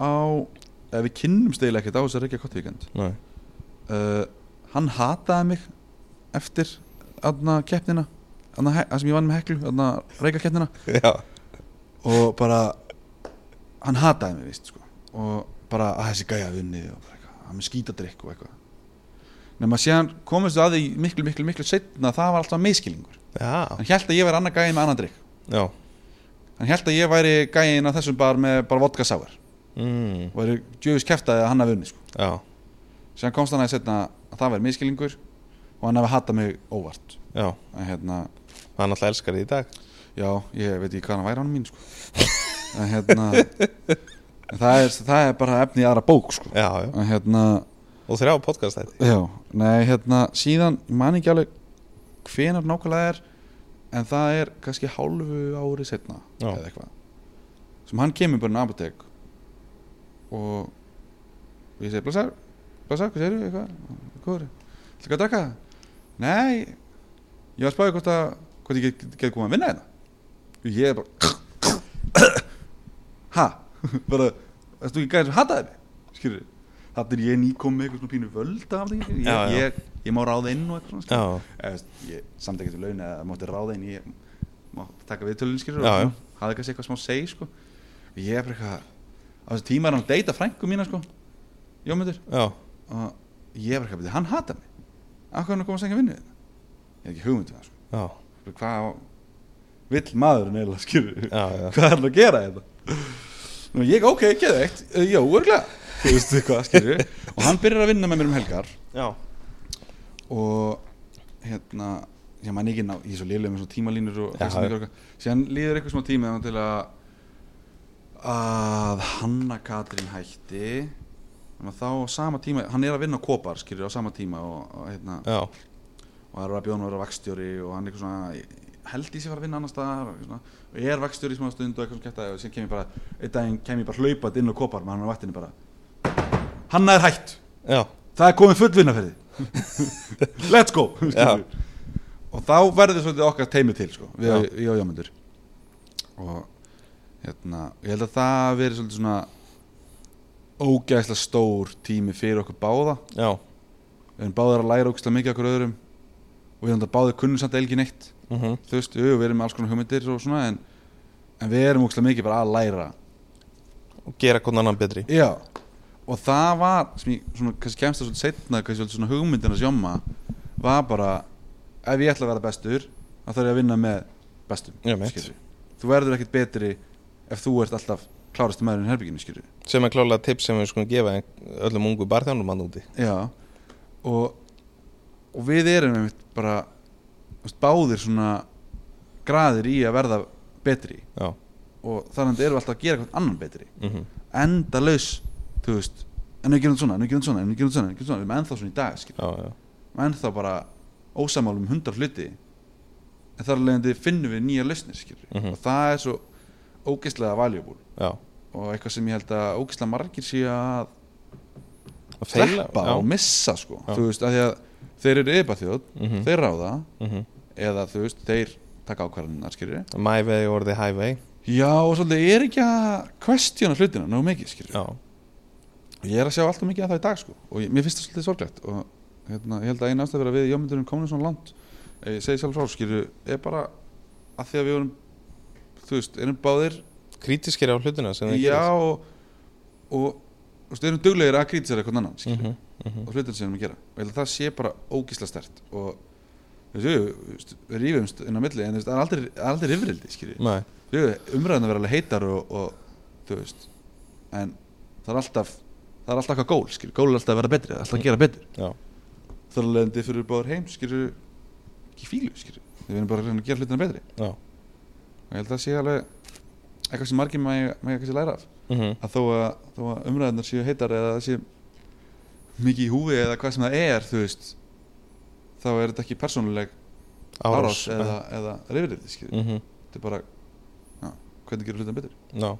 Speaker 2: á, eða við kynnumst eiginlega ekkert á þess að reykja kottvíkend
Speaker 3: Nei.
Speaker 2: uh, Hann hataði mig eftir aðna keppnina aðna, að sem ég vann með heklu, aðna reykja keppnina
Speaker 3: Já,
Speaker 2: og bara, hann hataði mig, víst, sko og bara að þessi gæja hafi unnið og bara eitthvað, hann með skítadrykk og eitthvað Nefn að síðan komist við að því miklu, miklu, miklu setna að það var alltaf meðskilingur
Speaker 3: já,
Speaker 2: Hann hélt að ég væri annar gæja með annan drykk
Speaker 3: já.
Speaker 2: Hann held að ég væri gæin á þessum bar með bara vodka sour
Speaker 3: Mm.
Speaker 2: og væri djöfis kæftaði að hann hafi unni sko.
Speaker 3: já.
Speaker 2: Síðan komst hann að setna að það væri miskilingur og hann hafi hatað mig óvart
Speaker 3: Já,
Speaker 2: en hérna,
Speaker 3: hann alltaf elskar þið í dag
Speaker 2: já, ég veit ekki hvað hann væri hann mín sko. en hérna en það, er, það er bara efni í aðra bók sko.
Speaker 3: Já, já,
Speaker 2: en hérna,
Speaker 3: og þrjá podcast þetta
Speaker 2: já nei, hérna, síðan, ég man ekki alveg hvenar nákvæmlega er en það er kannski hálfu ári setna
Speaker 3: Já.
Speaker 2: eða eitthvað sem hann kemur bara inn á apotek og og ég segi blessar, blessar, hvað segirðu eitthvað, hvað er það, ætlaðu að drakka það nei, ég var að spáði hvort að hvort ég get, get komið að vinna þetta og ég er bara ha, bara það stú ekki gæðin sem hataði mig skilur, þetta er ég nýkom með eitthvað svona pínu völd af því, ég,
Speaker 3: Já, já.
Speaker 2: ég, ég má ráða inn og eitthvað svona skilurðu.
Speaker 3: Já,
Speaker 2: Eða, veist, ég, samt ekkert við laun eða mátti ráða en ég mátti taka viðtölun skilur
Speaker 3: Já, já.
Speaker 2: og hafði kannski eitthvað smá segi sko. og ég er bara eitthvað á þessu tíma er hann að deyta frængu mína sko, jómundur
Speaker 3: já,
Speaker 2: og ég er bara eitthvað, "Bíddu, hann hata mig af hvernig komast ekki að vinna við þetta ég er ekki hugmynd við það sko.
Speaker 3: já,
Speaker 2: Bara hvað á- vill maður neila skilur
Speaker 3: já, já.
Speaker 2: hvað er hann að gera þetta Nú, ég, ok, geða eitt, já, örglega þú veist hvað, skilur og hann byrjar að vinna með mér um helgar
Speaker 3: já.
Speaker 2: og hérna ég man ekki ná, ég er svo liðlega með svona tímalínur og
Speaker 3: Já,
Speaker 2: þess að mikilvægt, síðan líður eitthvað svona tíma til að að Hanna Katrín hætti þannig að þá á sama tíma hann er að vinna á kopar, skilur, á sama tíma og, og hérna,
Speaker 3: já.
Speaker 2: og það eru að bjóna að vera vakstjóri og hann eitthvað svona ég held í sig að fara að vinna annar staðar og, eitthvað svona, og ég er vakstjóri í smá stund og eitthvað svona kæta og síðan kem ég bara, einn daginn kem ég bara hlaupat inn á kopar með hann á vaktinu bara Hanna er hætt
Speaker 3: já.
Speaker 2: það er komið fullvinnaferði let's go skilurðu. og þá verður svolítið okkar teimi til sko, við,
Speaker 3: Já.
Speaker 2: við og Jómundur og hérna, ég held að það verið svolítið svona ógæðslega stór tími fyrir okkur báða
Speaker 3: já.
Speaker 2: við erum báðar að læra ógæðslega mikið okkur öðrum og við erum þetta báðir kunnum samt elgin eitt
Speaker 3: mhm,
Speaker 2: þú veist, jú, við erum með alls konar hugmyndir og svona en, en við erum ógæðslega mikið bara að læra
Speaker 3: Og gera hvernig annan betri
Speaker 2: Já Og það var, sem ég svona, kannski kemst það svolítið setna kannski svolítið svona hugmyndina sjóma var bara ef ég ætla að vera bestur þá þarf ég að vinna með bestum
Speaker 3: Já, mitt.
Speaker 2: skilurðu. þú verður ekkert betri ef þú ert alltaf klárastu maðurinn í herbygginu skilur
Speaker 3: sem er klálega tips sem við skulum gefa öllum ungu barþjónum hann úti
Speaker 2: Já og, og við erum einmitt bara þú veist, báðir svona graðir í að verða betri
Speaker 3: já,
Speaker 2: og þannig erum við alltaf að gera eitthvað annan betri
Speaker 3: mm
Speaker 2: endalaus, þú veist en við gerum þetta svona, en við gerum þetta svona, en við gerum þetta svona, en við gerum þetta svona við erum ennþá svona í dag, skil
Speaker 3: já, já,
Speaker 2: við erum ennþá bara ósamálum hundar hluti en þar leðandi finnum við nýja lausnir, skil
Speaker 3: Mhm.
Speaker 2: og það er svo ógeðslega valuable
Speaker 3: já
Speaker 2: og eitthvað sem ég held að ógeðslega margir sé að
Speaker 3: Að feila-
Speaker 2: sleppa
Speaker 3: já.
Speaker 2: og missa sko
Speaker 3: Já.
Speaker 2: þú veist, af því að þeir eru yfirbæþjóð
Speaker 3: Mhm.
Speaker 2: þeir ráða,
Speaker 3: Mhm.
Speaker 2: eða þú veist þeir taka ákvarðanar, skilur
Speaker 3: my way or the highway
Speaker 2: já, og svolítið er ekki að questiona hlutina nógu mikið, skilur
Speaker 3: já,
Speaker 2: og ég er að sjá alltaf mikið að það í dag sko og ég, mér finnst það svolítið sorglegt og hérna, ég held að eina ástæð vera við jómyndurum komin svona langt eh, ég segi sjálf frá, skilur, er bara að því að við vorum þú veist, erum báðir
Speaker 3: krítiskir á hlutina sem það
Speaker 2: já og, og, og þú veist, erum duglegir að kritisera hvernig annan, skilur
Speaker 3: mm -hmm.
Speaker 2: og hlutin sem við erum að gera og ég held að það sé bara ógísla stert og þú veist, jú, þú veist, við rífumst inn á milli en þú veist, það er aldrei, það er aldrei rifrildi skilji,
Speaker 3: Nei,
Speaker 2: þú veist, umræðan að vera alveg heitar og, og þú veist en það er alltaf það er alltaf eitthvað gól, skilji, gól er alltaf að vera betri það er alltaf að gera betur
Speaker 3: já,
Speaker 2: þar að leiðandi fyrir báður heim, skilji ekki í fílu, skilji, við erum bara að reyna að gera hlutina betri
Speaker 3: já
Speaker 2: og ég held að það sé alveg eitthvað sem margir mæg, mæg kannski læra af
Speaker 3: mm -hmm.
Speaker 2: að þó að, þó að umræðunar séu heitar eða það sé mikið í húfi eða hvað sem það er þú veist þá er þetta ekki persónuleg árás eða, eða reyfriði skilur
Speaker 3: mm -hmm.
Speaker 2: þetta er bara já, hvernig gerir hlutin betur
Speaker 3: Já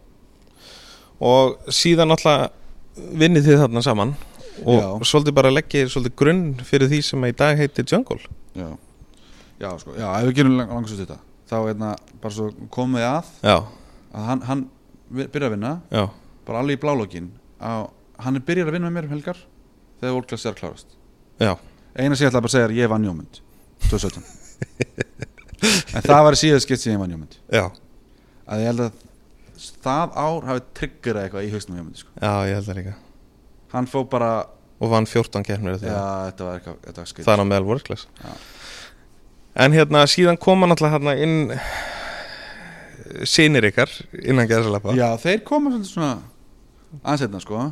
Speaker 3: Og síðan alltaf vinnið þið þarna saman og
Speaker 2: Já.
Speaker 3: svolítið bara leggja þér svolítið grunn fyrir því sem í dag heitir Jungle
Speaker 2: já, já sko já, ef við gerum lang, langsum þetta þá er þetta bara svo komið að
Speaker 3: Já,
Speaker 2: að hann, hann vi- byrjar að vinna
Speaker 3: já,
Speaker 2: bara alveg í blálókin að hann er byrjar að vinna með mér um helgar þegar volklass er að klárast
Speaker 3: já,
Speaker 2: eina sem ég ætla bara að segja er ég vann jómynd 2017 en það var síðan skipt sem ég vann jómynd
Speaker 3: já,
Speaker 2: að ég held að það ár hafi triggerað eitthvað í hausnum hjá mér sko.
Speaker 3: já, ég held það líka
Speaker 2: hann fó bara
Speaker 3: og vann 14 keppnir
Speaker 2: já,
Speaker 3: þegar
Speaker 2: þetta var eitthvað, þetta var skrið
Speaker 3: það er á meðal workless
Speaker 2: Já.
Speaker 3: En hérna, síðan koma náttúrulega hérna inn sinir ykkar innan geðsalapa
Speaker 2: já, þeir koma svolítið svona aðeins hérna sko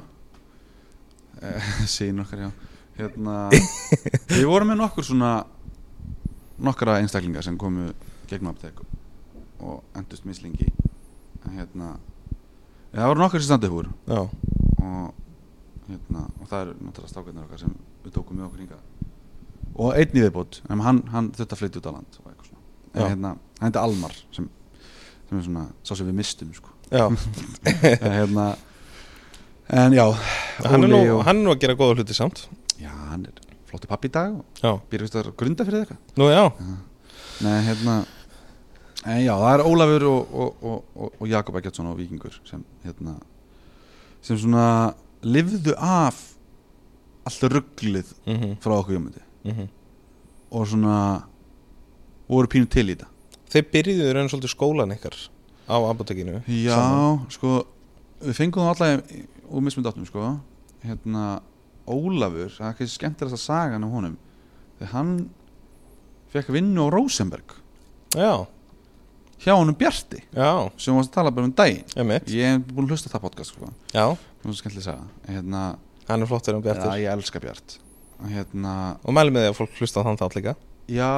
Speaker 2: Eh, sín okkar já hérna, við vorum með nokkur svona nokkra einstaklingar sem komu gegnum aptek og endust mislingi En hérna ja, það voru nokkur sem standið húr
Speaker 3: já,
Speaker 2: og, hérna, og það eru náttúrulega stákarnir okkar sem við tókum með okkur hingað og einn í viðbót en hann, hann þurfti að flytja út á land og eitthvað svona en
Speaker 3: Já.
Speaker 2: hérna, hann heiti Almar sem, sem er svona, sá sem við mistum sko.
Speaker 3: já.
Speaker 2: en hérna en já,
Speaker 3: Hann, er nú,
Speaker 2: Óli og,
Speaker 3: hann er nú að gera góða hluti samt
Speaker 2: já, hann er flottu pappi í dag og
Speaker 3: Já,
Speaker 2: býr veist að grunda fyrir eitthvað
Speaker 3: nú já,
Speaker 2: Nei, hérna En já, það er Ólafur og, og, og, og, og Jakob Eggertsson og Víkingur sem hérna sem svona lifðu af allt rugglið
Speaker 3: mm
Speaker 2: frá okkur jömundi
Speaker 3: mhm.
Speaker 2: og svona voru pínu til í þetta
Speaker 3: Þeir byrjuðu í raun svolítið skólan ykkar á apotekinu
Speaker 2: Já,
Speaker 3: saman.
Speaker 2: sko við fengum það allavega úr mismund áttum sko hérna Ólafur, það er kannski skemmtilegast að sagan um honum þegar hann fekk vinnu á Rosenberg
Speaker 3: Já,
Speaker 2: hjá honum Bjarti
Speaker 3: já,
Speaker 2: sem var að tala bara um daginn
Speaker 3: emitt
Speaker 2: Ég hef búin að hlusta á það podcast sko.
Speaker 3: Já,
Speaker 2: Nú er skemmtileg að segja hérna,
Speaker 3: hann er flottur um
Speaker 2: Já,
Speaker 3: Bjartur
Speaker 2: ég elska Bjart hérna,
Speaker 3: Og mælum með því að fólk hlusta á þann þátt líka
Speaker 2: Já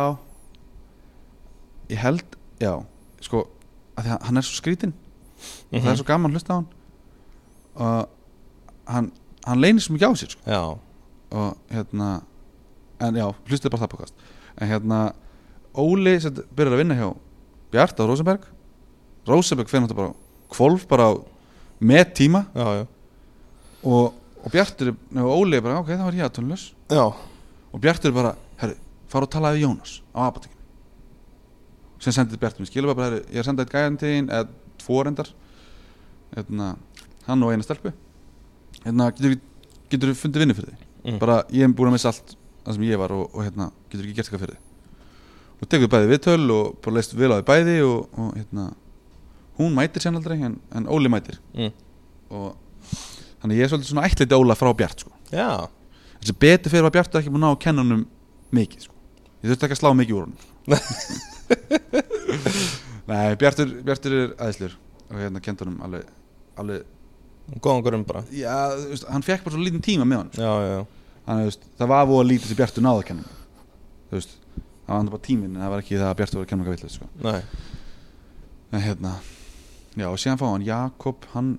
Speaker 2: Ég held Já, sko að að Hann er svo skrítinn Það
Speaker 3: Mhm.
Speaker 2: er svo gaman að hlusta á hann og hann, hann leynir svo mikið á sér sko.
Speaker 3: Já,
Speaker 2: og hérna en já, hlustið bara á það podcast en hérna, Óli sem sagt byrjar að vinna hjá Bjart á Rosenberg Rosenberg fyrir náttúrulega bara kvolf bara á með tíma
Speaker 3: já, já
Speaker 2: og, og Bjartur er- og Óli er bara, ok, þá er ég aðtunlaus
Speaker 3: Já,
Speaker 2: og Bjartur er bara, herru, fara og talaði við Jónas á apotekinu sem sendið Bjartur mér skilur bara, herru, ég er að senda eitt gæðan til þín eða tvo reyndar hérna, hann og eina stelpu hérna, getur, getur fundið vinnu fyrir þig
Speaker 3: Mm.
Speaker 2: bara, ég hef búin að missa allt það sem ég var og, og hérna, getur ekki gert eitthvað fyrir þig og tekur við bæði viðtöl og bara leist vel á því bæði og, og hérna, hún mætir sérna aldrei en, en Óli mætir
Speaker 3: mm.
Speaker 2: og þannig að ég er svolítið svona ættleiti Óla frá Bjart sko.
Speaker 3: já
Speaker 2: þessi betur fyrir að Bjart er ekki búin að ná að kenna hann um mikið sko. Ég þurfti ekki að slá mikið úr honum Nei, Bjartur, Bjartur er aðeinslur og hérna kendur hann alveg, alveg
Speaker 3: Góðan gurum bara
Speaker 2: Já, þú veist, hann fekk bara svo lítinn tíma með hann
Speaker 3: Já, já, já
Speaker 2: Þannig, þú veist, það var voða lítið sem Bjartur náði að kenna honum. Þú veist, það var hann bara tíminn en það var ekki það að Bjartur var að kenna hann eitthvað vill sko.
Speaker 3: Nei,
Speaker 2: En hérna Já, og síðan fá hann Jakob Hann,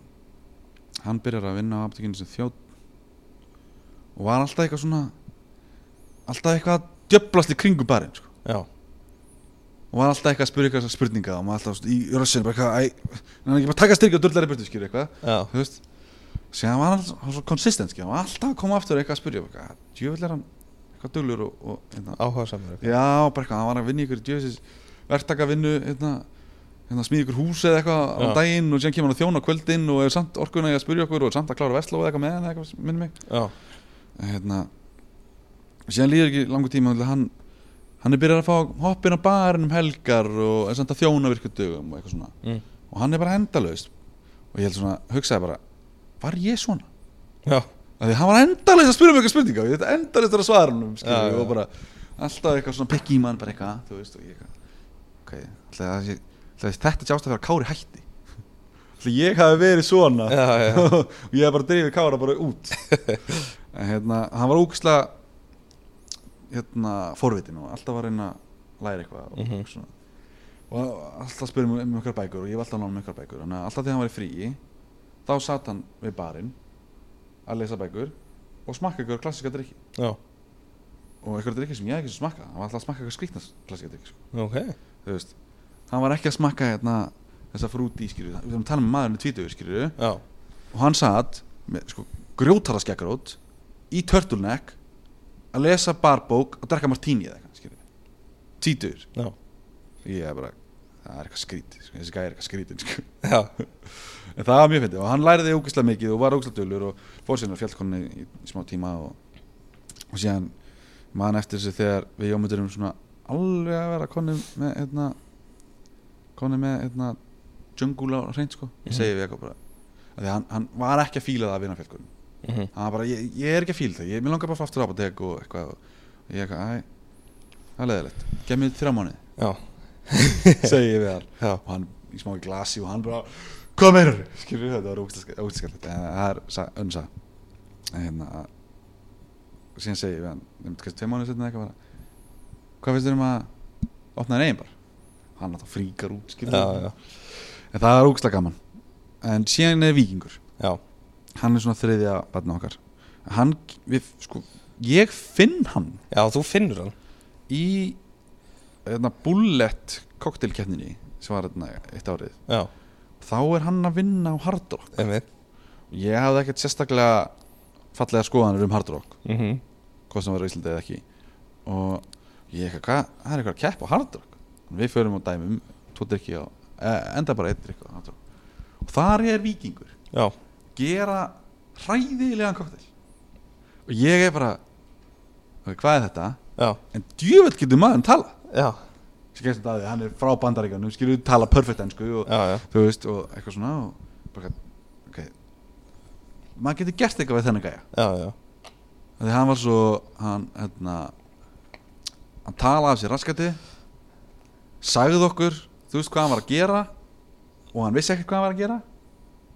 Speaker 2: hann byrjar að vinna á aptekinu sem þjóð og var alltaf eitthvað svona alltaf eitthvað að djöblast í kringum barinn sko.
Speaker 3: já,
Speaker 2: og var alltaf eitthvað að spyrja eitthvað spurninga og maður alltaf svona í rössinu bara eitthvað æ, hann er ekki bara að taka styrkja og dörðlega burtu skýr eitthvað
Speaker 3: já
Speaker 2: þú veist síðan var hann, hann var svo konsistent skýr hann var alltaf að koma aftur eitthvað að spyrja bara eitthvað djöfull er hann eitthvað duglur og, og hérna,
Speaker 3: Áhuga samar
Speaker 2: Já, bara eitthvað, hann var að vinna í ykkur djöfisins verktakavinnu, hérna, hérna smíði ykkur hús eða eitthvað á
Speaker 3: Já.
Speaker 2: daginn og síðan kemur hann að þjóna á kvöldin og er samt orkuna í að spyrja okkur og er samt að klára versló eða eitthvað með hann eða eitthvað, minnum mig.
Speaker 3: Já,
Speaker 2: En, Hérna, síðan líður ekki langur tíma, þannig að hann, hann er byrjað að fá hoppin á barinn um helgar og er samt að þjóna virku dögum og eitthvað svona.
Speaker 3: mm.
Speaker 2: Og hann er bara endalaust og ég held svona, hugsaði bara, var ég svona?
Speaker 3: já,
Speaker 2: Af því hann var endalaust að spyrja mig eitthvað spurninga og ég þetta endalaust að svara hann um skilur
Speaker 3: Já, já.
Speaker 2: við, og bara alltaf eitthvað svona pikk í mann bara eitthvað þú veist og ég eitthvað ok, alltaf að þessi- alltaf að þetta sjást að vera kári hætti alltaf ég hafi verið svona
Speaker 3: Já, já.
Speaker 2: og ég hef bara drifið kára bara út en hérna, hann var ógislega hérna, forvitin og alltaf var að reyna að læra eitthvað og,
Speaker 3: Mhm.
Speaker 2: svona og alltaf spurði mig um ykkur bækur og ég var alltaf að lána um ykkur bækur þannig að alltaf þegar hann var í fríi þá satt hann við barinn að lesa bækur og smakka ykkur klassika drikki
Speaker 3: já,
Speaker 2: og ykkur drikki sem ég hef ekki svo smakka hann var alltaf að smakka ykkur skrýtna klassika drikki sko.
Speaker 3: ok
Speaker 2: þú veist hann var ekki að smakka hérna þessa frúti í skýrðu við erum að tala með maðurinn í tvítugur skýrðu
Speaker 3: Já,
Speaker 2: og hann satt með sko, grjótara skekkarót í turtleneck að lesa barbók og drekka martíni eða eitthvað skýrðu tvítugur
Speaker 3: já,
Speaker 2: ég er bara það er eitthvað skrítið sko. þessi gæði er eitthvað skrítið sko.
Speaker 3: já,
Speaker 2: en það var mjög fyndið og hann læriði ógislega mikið og var ógislega dölur og fór síðan á fjallkonni í í smá tíma og, og síðan mann eftir þessu þegar við jómundur erum svona alveg að vera konni með hérna konni með hérna jungle á hreint sko, ég segi við eitthvað bara af því að hann, hann var ekki að fíla það að vinna fjallkonni
Speaker 3: mhm,
Speaker 2: hann var bara, ég, ég er ekki að fíla það ég, mér langar bara að fá aftur á bara deg og eitthvað og ég eitthvað, æ, það er leðilegt gef mér þrjá mánuði,
Speaker 3: já,
Speaker 2: segi ég við hann
Speaker 3: já
Speaker 2: og hann í smá í glasi og hann bara hvað meinar þau? skilur þetta var ógstiskallið en það er sa- önnur saga. en hérna að- síðan segi ég við hann nefnt kannski tveim mánuð setna eitthvað bara hvað finnst þér um að opna þér eigin bar hann alltaf fríkar út skilur
Speaker 3: Já, já,
Speaker 2: en það er ógstilega gaman en síðan er vikingur
Speaker 3: já,
Speaker 2: hann er svona þriðja barna okkar hann við sko ég finn hann
Speaker 3: já, þú finnur hann
Speaker 2: í hérna bullet koktelkeppninni sem var hérna eitt árið
Speaker 3: Já,
Speaker 2: þá er hann að vinna á Hard Rock
Speaker 3: einmitt
Speaker 2: ég hafði ekkert sérstaklega fallega skoðanir um Hard Rock
Speaker 3: mhm,
Speaker 2: hvað sem var á Íslandi eða ekki og ég eitthvað, hvað, það er eitthvað að keppa á Hard Rock við förum og dæmum tvo drikki og eh, enda bara eitt drikki á Hard Rock og þar er vikingur
Speaker 3: Já,
Speaker 2: gera hræðilegan koktel og ég er bara ok, hvað er þetta
Speaker 3: já,
Speaker 2: en djöfell getur maður tala
Speaker 3: já,
Speaker 2: sem gerst þetta að því, hann er frá bandaríkanum skilur tala perfekt ennsku og
Speaker 3: já, já
Speaker 2: þú veist, og eitthvað svona og bara, ok maður getur gert eitthvað við þennan gæja
Speaker 3: Já, já,
Speaker 2: þegar hann var svo hann, hérna hann talaði af sér raskati sagði okkur, þú veist hvað hann var að gera og hann vissi ekkert hvað hann var að gera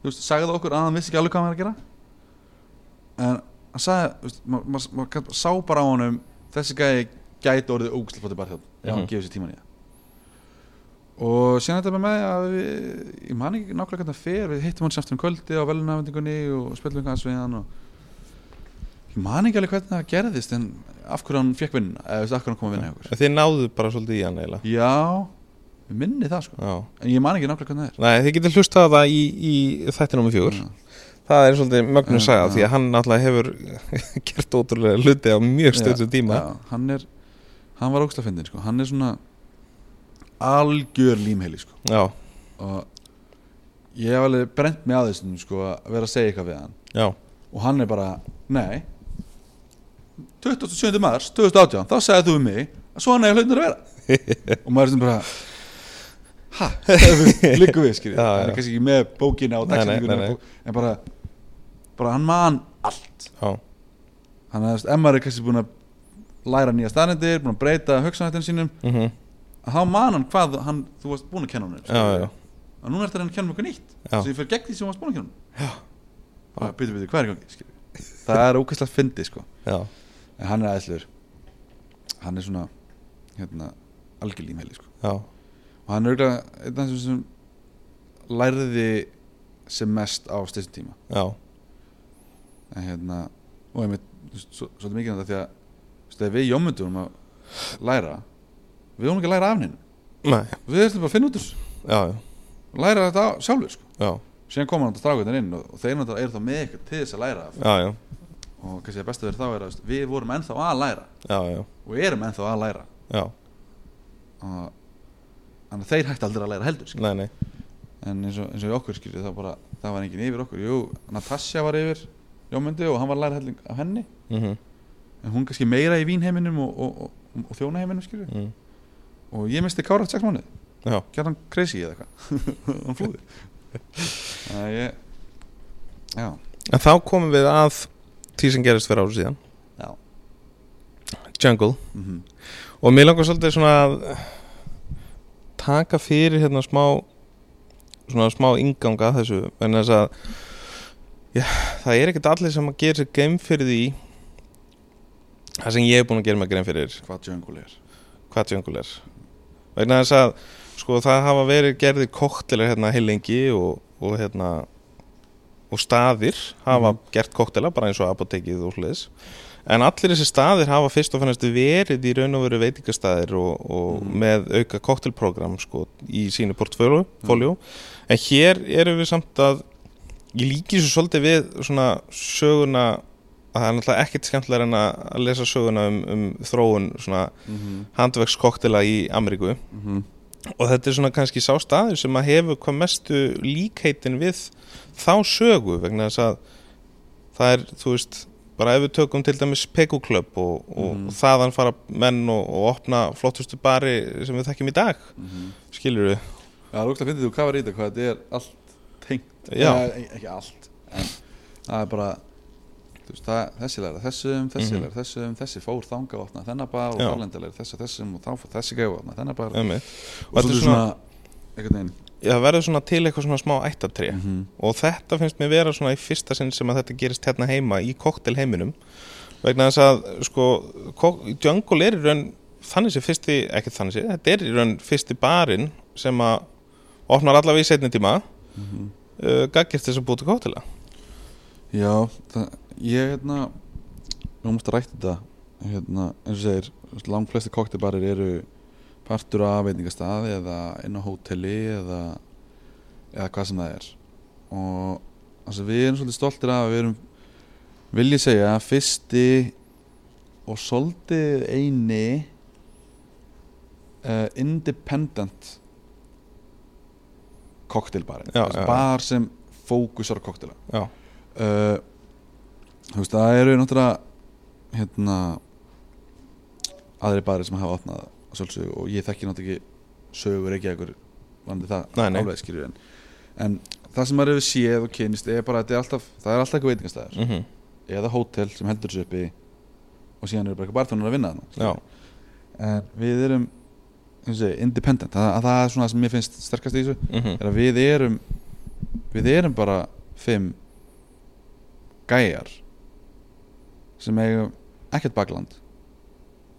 Speaker 2: þú veist, sagði okkur að hann vissi ekki alveg hvað hann var að gera en hann sagði, þú veist, maður ma, ma, ma, sá bara á honum þessi gæi gæti orðið ógæslega fótið bara hjá ef hann
Speaker 3: Mhm.
Speaker 2: gefur sér tíman í það og síðan þetta bara með að við, ég man ekki nákvæmlega hvernig það fer við hittum hann sem aftur um kvöldi á velunafendingunni og spilum eitthvað aðeins við hann og ég man ekki alveg hvernig það gerðist en af hverju hann fekk vinna eða þú veist, af hverju hann kom að vinna hjá okkur
Speaker 3: En Þið náðuð bara svolítið í hann eiginlega
Speaker 2: já, við minni það sko
Speaker 3: Já
Speaker 2: en ég man ekki nákvæmlega hvernig það
Speaker 3: Nei, þið getur hlustað á það í, í þætti nummer fjögur
Speaker 2: er Já.
Speaker 3: Það er svolítið mögnum
Speaker 2: Já,
Speaker 3: saga
Speaker 2: já.
Speaker 3: því að hann náttúrulega hefur gert ótrúlega hluti á mjög stötu
Speaker 2: Já,
Speaker 3: tíma
Speaker 2: já, hann er, hann var ógstlega fyndin sko hann er svona algjör límheili sko
Speaker 3: Já,
Speaker 2: og ég hef alveg brent mig að þessum sko að vera að segja eitthvað við hann
Speaker 3: já,
Speaker 2: og hann er bara, nei 27. mars 2018 þá segði þú við mig að svona er hlutin að vera og maður er sem bara ha, líku við skilja
Speaker 3: Já, já.
Speaker 2: hann er kannski ekki með bókina og
Speaker 3: Nei, nei,
Speaker 2: dagsetninguna
Speaker 3: nei, nei.
Speaker 2: en bara, bara hann man allt
Speaker 3: já,
Speaker 2: hann er, ef maður er kannski búin að læra nýja staðnendir, búin að breyta hugsanhættin sínum,
Speaker 3: Mhm.
Speaker 2: að þá man hann hvað hann, þú varst búin að kenna hann
Speaker 3: Já, já, já.
Speaker 2: og núna ertu að reyna að kenna mér eitthvað nýtt
Speaker 3: Já.
Speaker 2: sem ég fer gegn því sem þú varst búin að kenna hann bara byrju, byrju, hvað er í gangi skilur við. það er ókvæslega fyndi sko
Speaker 3: já,
Speaker 2: en hann er æðslur hann er svona hérna, algjör límheili sko
Speaker 3: já,
Speaker 2: og hann er auðvitað einn af þessum sem lærði sem mest á styrst tíma
Speaker 3: já,
Speaker 2: en hérna og einmitt, þú veist, svo- svolítið mikið um þetta því að þú veist, þegar við jómundum um að læra við vorum ekki að læra af henni
Speaker 3: nei,
Speaker 2: við erum bara að finna út úr þessu
Speaker 3: já, já,
Speaker 2: læra þetta á- sjálfur sko
Speaker 3: já,
Speaker 2: síðan koma hann til strákvæðin inn og, og þeir náttúrulega eru þá með eitthvað til þess að læra af
Speaker 3: já, já,
Speaker 2: og kannski að besta verið þá er að þú veist, við vorum ennþá að læra
Speaker 3: já, já,
Speaker 2: og erum ennþá að læra
Speaker 3: já,
Speaker 2: og þannig að þeir hætti aldrei að læra heldur skilur.
Speaker 3: nei, nei,
Speaker 2: en eins og, eins og í okkur skilur þá bara það var enginn yfir okkur jú, Natasja var yfir Jómundi og hann var að læra helling af henni
Speaker 3: mhm,
Speaker 2: en hún kannski meira í vínheiminum og, og, og, og, og þjónaheiminum skilur
Speaker 3: mhm,
Speaker 2: og ég misti Kára eftir 6 mánuð
Speaker 3: já,
Speaker 2: gerði hann crazy eða eitthvað hann flúði þannig að ég já,
Speaker 3: en þá komum við að því sem gerist fyrir ára síðan
Speaker 2: já.
Speaker 3: Jungle
Speaker 2: Mm
Speaker 3: og mér langar svolítið svona að taka fyrir hérna smá svona smá inganga að þessu en þess að já, það er ekkert allir sem að gera sér geim fyrir því það sem ég er búin að gera mig geim fyrir
Speaker 2: hvað jungle er
Speaker 3: hvað jungle er vegna þess að sko það hafa verið gerðir koktelar hérna heilengi og, og hérna og staðir hafa gert koktela bara eins og apotekið og hliðis en allir þessi staðir hafa fyrst og fannst verið í raun og veru veitingastæðir og, og
Speaker 2: Mhm.
Speaker 3: með auka koktelprogram sko í sínu portfóljó en hér erum við samt að ég líki svo svolítið við svona söguna að það er náttúrulega ekkert skemmtilega en að að lesa söguna um, um þróun svona
Speaker 2: mm -hmm.
Speaker 3: handverkskoktela í Ameríku
Speaker 2: mhm,
Speaker 3: og þetta er svona kannski sá staður sem að hefur hvað mestu líkheitin við þá sögu vegna þess að það er, þú veist, bara ef við tökum til dæmis pekuklöpp og, og,
Speaker 2: Mhm.
Speaker 3: og þaðan fara menn og, og opna flottustu bari sem við þekkjum í dag, skilur við
Speaker 2: mhm. Já, þú finnir þú hvað var í þetta, hvað þetta er allt tengt
Speaker 3: Já.
Speaker 2: Nei, e- Ekki allt en Það er bara þú veist, það, Þessi læra þessum, þessi
Speaker 3: Mhm.
Speaker 2: læra þessum Þessi fór þanga og opna þennan bar og
Speaker 3: Já.
Speaker 2: þálendur læra þess og þessum og þá fór þessi gæfa og opna þennan bar
Speaker 3: um mig.
Speaker 2: Og
Speaker 3: þetta er
Speaker 2: svolítið
Speaker 3: svona-
Speaker 2: svona einhvern veginn
Speaker 3: Það verður svona til eitthvað svona smá ættatri
Speaker 2: -hmm.
Speaker 3: og þetta finnst mér vera svona í fyrsta sinn sem að þetta gerist hérna heima í koktelheiminum vegna þess að sko, kok- Jungle er í raun þannig sé fyrsti, ekki þannig sé, þetta er í raun fyrsti barinn sem að opnar allavega í setni tíma
Speaker 2: Mhm.
Speaker 3: uh, gaggist þess að búti koktela
Speaker 2: Já, það, ég hérna Nú múst að rækta þetta hérna, eins og segir, þú veist, lang flesti koktebarir eru partur af veitingastaði eða inn á hóteli eða, eða hvað sem það er og altså, við erum svolítið stoltir af að við erum vil ég segja fyrsti og svolítið eini uh, independent koktelbarinn
Speaker 3: Já,
Speaker 2: Þessi
Speaker 3: já, já.
Speaker 2: bar sem fókusar á koktela
Speaker 3: Já.
Speaker 2: uh, þú veist það eru náttúrulega hérna aðri barir sem hafa opnað að sjálfsögðu og ég þekki náttúrulega ekki sögur ekki ekkur vandi það
Speaker 3: Nei, nei.
Speaker 2: alveg skilur en, en það sem maður hefur séð og kynist er bara að þetta er alltaf, það er alltaf eitthvað veitingastæðar
Speaker 3: Mm -hmm.
Speaker 2: eða hótel sem heldur þessu uppi og síðan eru bara eitthvað barþjónar að vinna þarna
Speaker 3: Já.
Speaker 2: en við erum eins og segja, independent, það, að það er svona það sem mér finnst sterkast í þessu
Speaker 3: Mm -hmm.
Speaker 2: er að við erum við erum bara fimm gæjar sem eigum ekkert bakland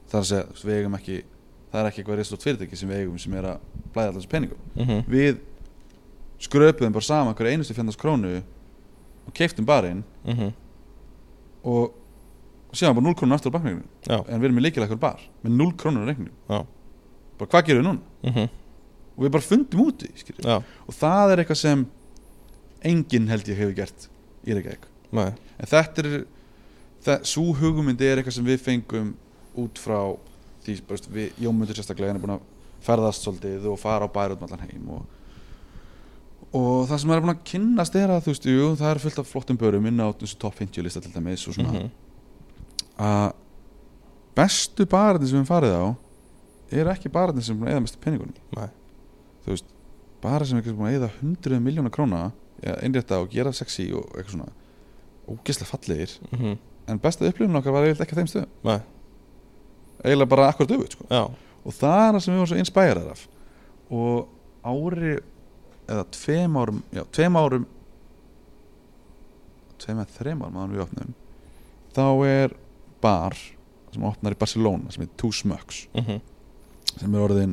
Speaker 2: þar að segja, þú veist, við eigum ekki það er ekki eitthvað reistótt fyrirtæki sem við eigum sem er að blæða allans peningum
Speaker 3: Mm -hmm.
Speaker 2: við skröpuðum bara saman hverja einustu fjandars krónu og keiftum barinn
Speaker 3: Mm -hmm.
Speaker 2: og síðan bara 0 krónur aftur á bankreikningum
Speaker 3: Já.
Speaker 2: en við erum með líkilega ekkur bar með 0 krónur á reikningum
Speaker 3: Já.
Speaker 2: bara hvað gerum við núna?
Speaker 3: Mm -hmm.
Speaker 2: og við bara fundum út í skilurðu.
Speaker 3: Já.
Speaker 2: og það er eitthvað sem enginn held ég hefur gert í Reykjavík
Speaker 3: Nei.
Speaker 2: en þetta er það, svo hugmyndi er eitthvað sem við fengum út frá því bara, veist, við, Jómundur sérstaklega hann er búin að ferðast svolítið og fara á bæri út um allan heim og, og það sem maður er búin að kynnast er að þú veist, jú, það er fullt af flottum börum inn á þessu top 50 lista til dæmis og svona
Speaker 3: Mhm.
Speaker 2: að bestu barðin sem við höfum farið á eru ekki barðin sem er búin að eða mestu peningunum
Speaker 3: Nei.
Speaker 2: þú veist, bara sem er kannski búin að eða 100 miljóna króna eða einrétta og gera sexy og eitthvað svona ógeðslega fallegir
Speaker 3: Mhm.
Speaker 2: en besta upplifun okkar var eiginlega ekki að þeim stöðum
Speaker 3: Nei.
Speaker 2: eiginlega bara akkurat öfugt sko.
Speaker 3: já,
Speaker 2: og það er það sem við varum svo inspirað af og ári eða tveim árum já, tveim árum tveim eða þreim árum áður en við opnum þá er bar sem opnar í Barcelona sem heitir Two Smucks
Speaker 3: mm
Speaker 2: sem er orðin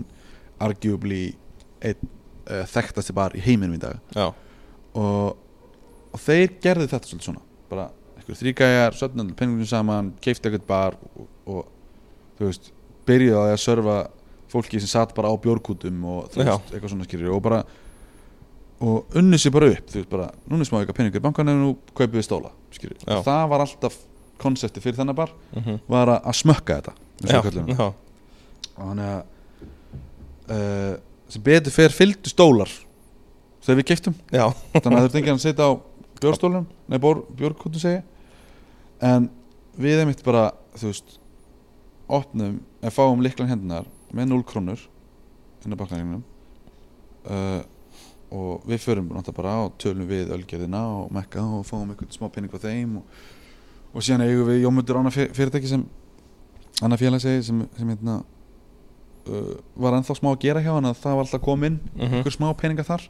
Speaker 2: arguably einn uh, þekktasti bar í heiminum í dag
Speaker 3: já,
Speaker 2: og, og þeir gerðu þetta svolítið svona bara einhver þrýgæjar, sötnandi penningum saman keifti eitthvað bar og, og þú veist, byrjuðu á því að serva fólki sem satt bara á bjórkútum og þú
Speaker 3: Já.
Speaker 2: veist, eitthvað svona skýrir og bara og unnu sér bara upp, þú veist bara núna er smá eitthvað peningur í bankanum, nú kaupið við stóla skýrir,
Speaker 3: Já.
Speaker 2: það var alltaf konsepti fyrir þennan bar,
Speaker 3: mm
Speaker 2: var að- að smökka þetta eins og
Speaker 3: já,
Speaker 2: við köllum
Speaker 3: já,
Speaker 2: og þannig að uh, sem betur fer fylgdu stólar þegar við keiftum
Speaker 3: já,
Speaker 2: þannig að þurfti enginn að sitja á bjórstólum nei, bór, bjórkútum segi ég. en við einmitt bara þú veist, opnum eða fáum líklan hendunar með 0 krónur inn á baklæringnum uh, og við förum náttúrulega bara og tölum við ölgerðina og mekka og fáum einhvern smá pinning á þeim og, og síðan eigum við jómundur annað fyr- fyrirtæki sem annað félag segi sem, sem hérna uh, var ennþá smá að gera hjá hann að það var alltaf kominn
Speaker 3: mhm,
Speaker 2: einhver smá peninga þar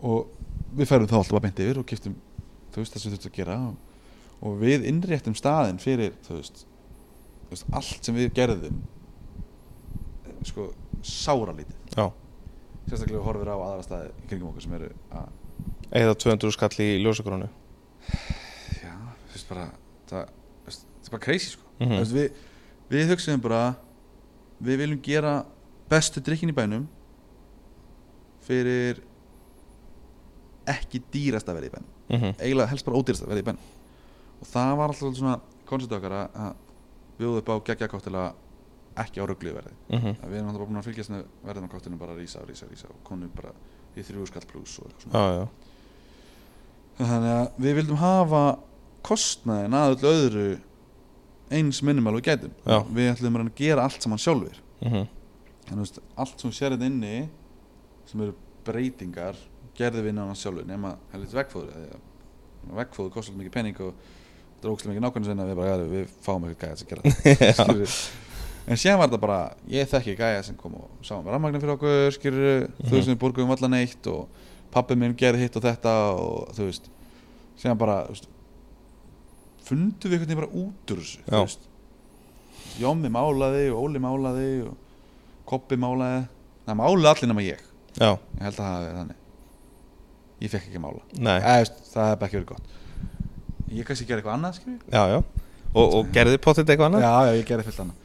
Speaker 2: og við færum þá alltaf bara beint yfir og kiptum þú veist það sem þurfti að gera og, og við innréttum staðinn fyrir þú veist, þú veist allt sem við gerðum eh, sko sáralítið
Speaker 3: já
Speaker 2: sérstaklega við horfir á aðra staði í kringum okkur sem eru að
Speaker 3: eða 200 skall í ljósakrónu
Speaker 2: já, þú veist bara það, þú veist, það er bara crazy sko
Speaker 3: mm
Speaker 2: mm. veist, við, við hugsaðum bara við viljum gera bestu drikkin í bænum fyrir ekki dýrasta verið í bænum
Speaker 3: -hmm.
Speaker 2: eiginlega helst bara ódýrst að verða í benn og það var alltaf svona koncept okkar að- að bjóða upp á geggja kóttila ekki á rugglu verði
Speaker 3: Mhm.
Speaker 2: að við erum alltaf búin að fylgjast með verðin á kóttilinu bara að rísa og rísa og rísa og konu bara í þrjú skall pluss og eitthvað svona
Speaker 3: já, já,
Speaker 2: þannig að við vildum hafa kostnaðin að öllu öðru eins minimal og við gætum
Speaker 3: Já.
Speaker 2: við ætlum að reyna að gera allt saman sjálfur
Speaker 3: mhm,
Speaker 2: en þú veist, allt sem þú sér þetta inni sem eru breytingar gerði við innan sjálfur nema helvits vegfóður eða vegfóður kostar mikið pening og drókslega mikið nákvæmnisvinna við bara, ja, við fáum eitthvað gæja sem gera það skilurðu. en síðan var þetta bara ég þekki gæja sem kom og sá um rafmagnin fyrir okkur skilur,
Speaker 3: Mhm.
Speaker 2: þú veist, við borguðum allan eitt og pappi minn gerði hitt og þetta og þú veist, síðan bara þú veist, fundu við einhvern veginn bara út úr þessu
Speaker 3: Já.
Speaker 2: þú veist Jómi málaði og Óli málaði og Koppi málaði það málaði allir nema ég
Speaker 3: já,
Speaker 2: ég held að það hafi verið þannig ég fekk ekki að mála
Speaker 3: nei
Speaker 2: Eða, veist, það hef ekki verið gott ég kannski gerði eitthvað annað skilur
Speaker 3: já, já, og, og gerði pottit eitthvað annað
Speaker 2: já, já, ég gerði fullt annað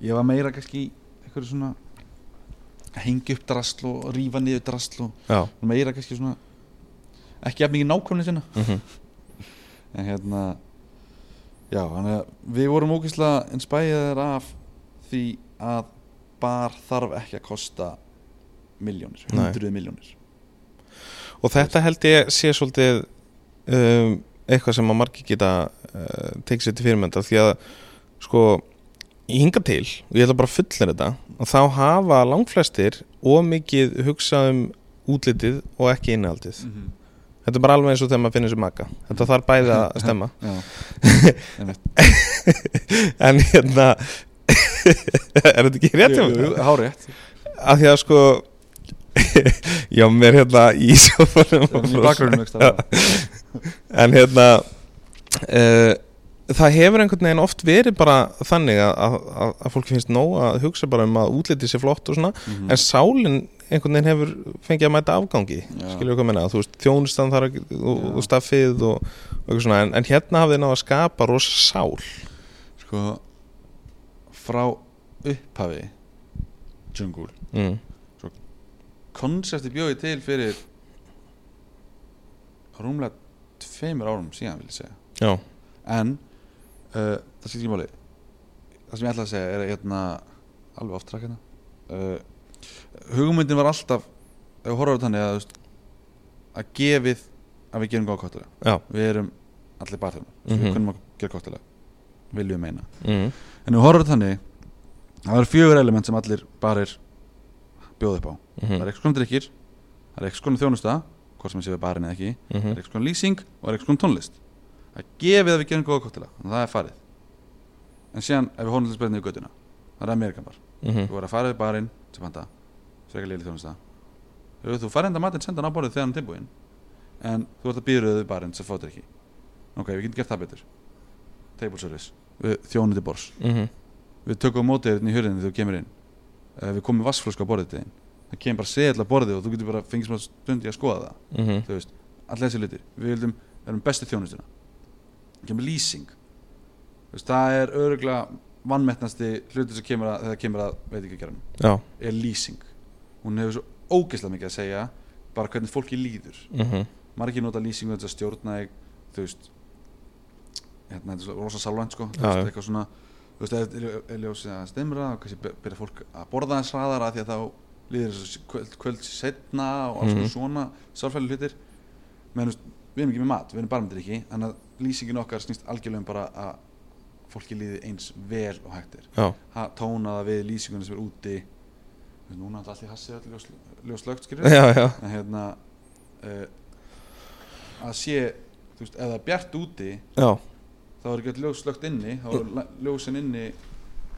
Speaker 2: ég var meira kannski í einhverju svona að hengja upp drasl og rífa niður drasl og
Speaker 3: já,
Speaker 2: meira kannski svona ekki jafn mikið nákvæmni sinna
Speaker 3: mhm,
Speaker 2: en hérna já, hann er, við vorum ógeðslega inspæðir af því að bar þarf ekki að kosta miljónir,
Speaker 3: Nei.
Speaker 2: hundruð miljónir
Speaker 3: og þetta held ég sé svolítið um, eitthvað sem að margir geta uh, tekið sér til fyrirmyndar því að sko í hinga til, og ég ætla bara að fullir þetta og þá hafa langflestir ómikið hugsað um útlitið og ekki innihaldið
Speaker 2: mm -hmm.
Speaker 3: þetta er bara alveg eins og þegar maður finnir sér maka þetta þarf bæði að stemma
Speaker 2: já, einmitt.
Speaker 3: en hérna er þetta ekki rétt hjá
Speaker 2: Jú, jú,
Speaker 3: mér?
Speaker 2: jú, hárétt
Speaker 3: að því að sko já, mér hérna í sjófanum
Speaker 2: Hún er í bakgrunum einhvers staðar.
Speaker 3: en hérna uh, það hefur einhvern veginn oft verið bara þannig að, að, að- að fólki finnst nóg að hugsa bara um að útliti sér flott og svona
Speaker 2: Mhm.
Speaker 3: en sálinn einhvern veginn hefur fengið að mæta afgangi
Speaker 2: Já.
Speaker 3: skilur við hvað ég meina, þú veist, þjónustan þar og,
Speaker 2: Já.
Speaker 3: og staffið og, og eitthvað svona en, en hérna hafði náða að skapa rosa sál
Speaker 2: sko frá upphafi jungle
Speaker 3: mm.
Speaker 2: konsepti bjóði til fyrir rúmlega tveimur árum síðan vil ég segja
Speaker 3: já,
Speaker 2: en uh, það skiptir ekki máli það sem ég ætla að segja er að hérna, alveg oft hérna uh, hugmyndin var alltaf ef við horfum þannig að, þú veist, að gefið að við gerum góða kóttela
Speaker 3: já
Speaker 2: við erum allir barþjóðum
Speaker 3: Mhm.
Speaker 2: við kunnum að gera kóttela viljum meina
Speaker 3: mm.
Speaker 2: en ef við horfum þannig það eru fjögur element sem allir barir bjóða upp á það er
Speaker 3: Mm.
Speaker 2: eitthvað konar drikkir það er eitthvað konar þjónusta hvort sem sé við barinn eða ekki
Speaker 3: Mm.
Speaker 2: það er eitthvað svona lýsing og það er eitthvað svona tónlist það er gefið að við gerum góða koktela og það er farið en síðan ef við horfum til spennið í göttuna það er Amerikan bar
Speaker 3: Mhm.
Speaker 2: þú verður að fara við barinn sem panta svega liðli þjónusta Ef þú farið enda matinn senda hann á borðið þegar hann er tilbúinn en þú ert að býra við barinn sem fátir ekki ok, við getum gert það betur table service, við þjónum til bors
Speaker 3: Mhm.
Speaker 2: við tökum mótið hérna í hurðinni þegar þú kemur inn Eh, við komum vassflösku á borðið til þín það kemur bara segja alltaf borðið og þú getur bara fengið smá stund í að skoða það
Speaker 3: Mhm.
Speaker 2: þú veist, allir þessi litir við vildum, erum bestu þjónustuna það kemur lýsing Þú veist, það er öruglega vannmettnasti hlutur sem kemur að, þegar kemur að veit ekki geranum,
Speaker 3: Já.
Speaker 2: er lýsing hún hefur svo ógeðslega mikið að segja bara hvernig fólki líður
Speaker 3: Mhm.
Speaker 2: margir nota lýsingu til þess að stjórna þig, þú veist hérna, þetta er svo rosa salvænt sko þú
Speaker 3: Já,
Speaker 2: veist,
Speaker 3: já.
Speaker 2: eitthvað svona, þú veist, ef- ef ef ljósið að stemra og kannski be- byrja fólk að borða þess hraðar að því að þá líður þessu kvöld, kvöld setna og alls konar
Speaker 3: Mhm.
Speaker 2: svona sálfæli hlutir menn, þú veist, við erum ekki með mat, við erum bara með drikki þannig að lýsingin okkar snýst algjörlega um bara að fólki líði eins vel og hægt er
Speaker 3: Já.
Speaker 2: Ha- tóna það við lýsingunni sem er úti Þú veist, núna er allir hassið allir ljós, ljóslögt skilur
Speaker 3: Já, já.
Speaker 2: en hérna uh, að sé þú veist, ef það er bjart úti
Speaker 3: Já.
Speaker 2: þá er ekki öll ljós slögt inni þá er la- ljósin inni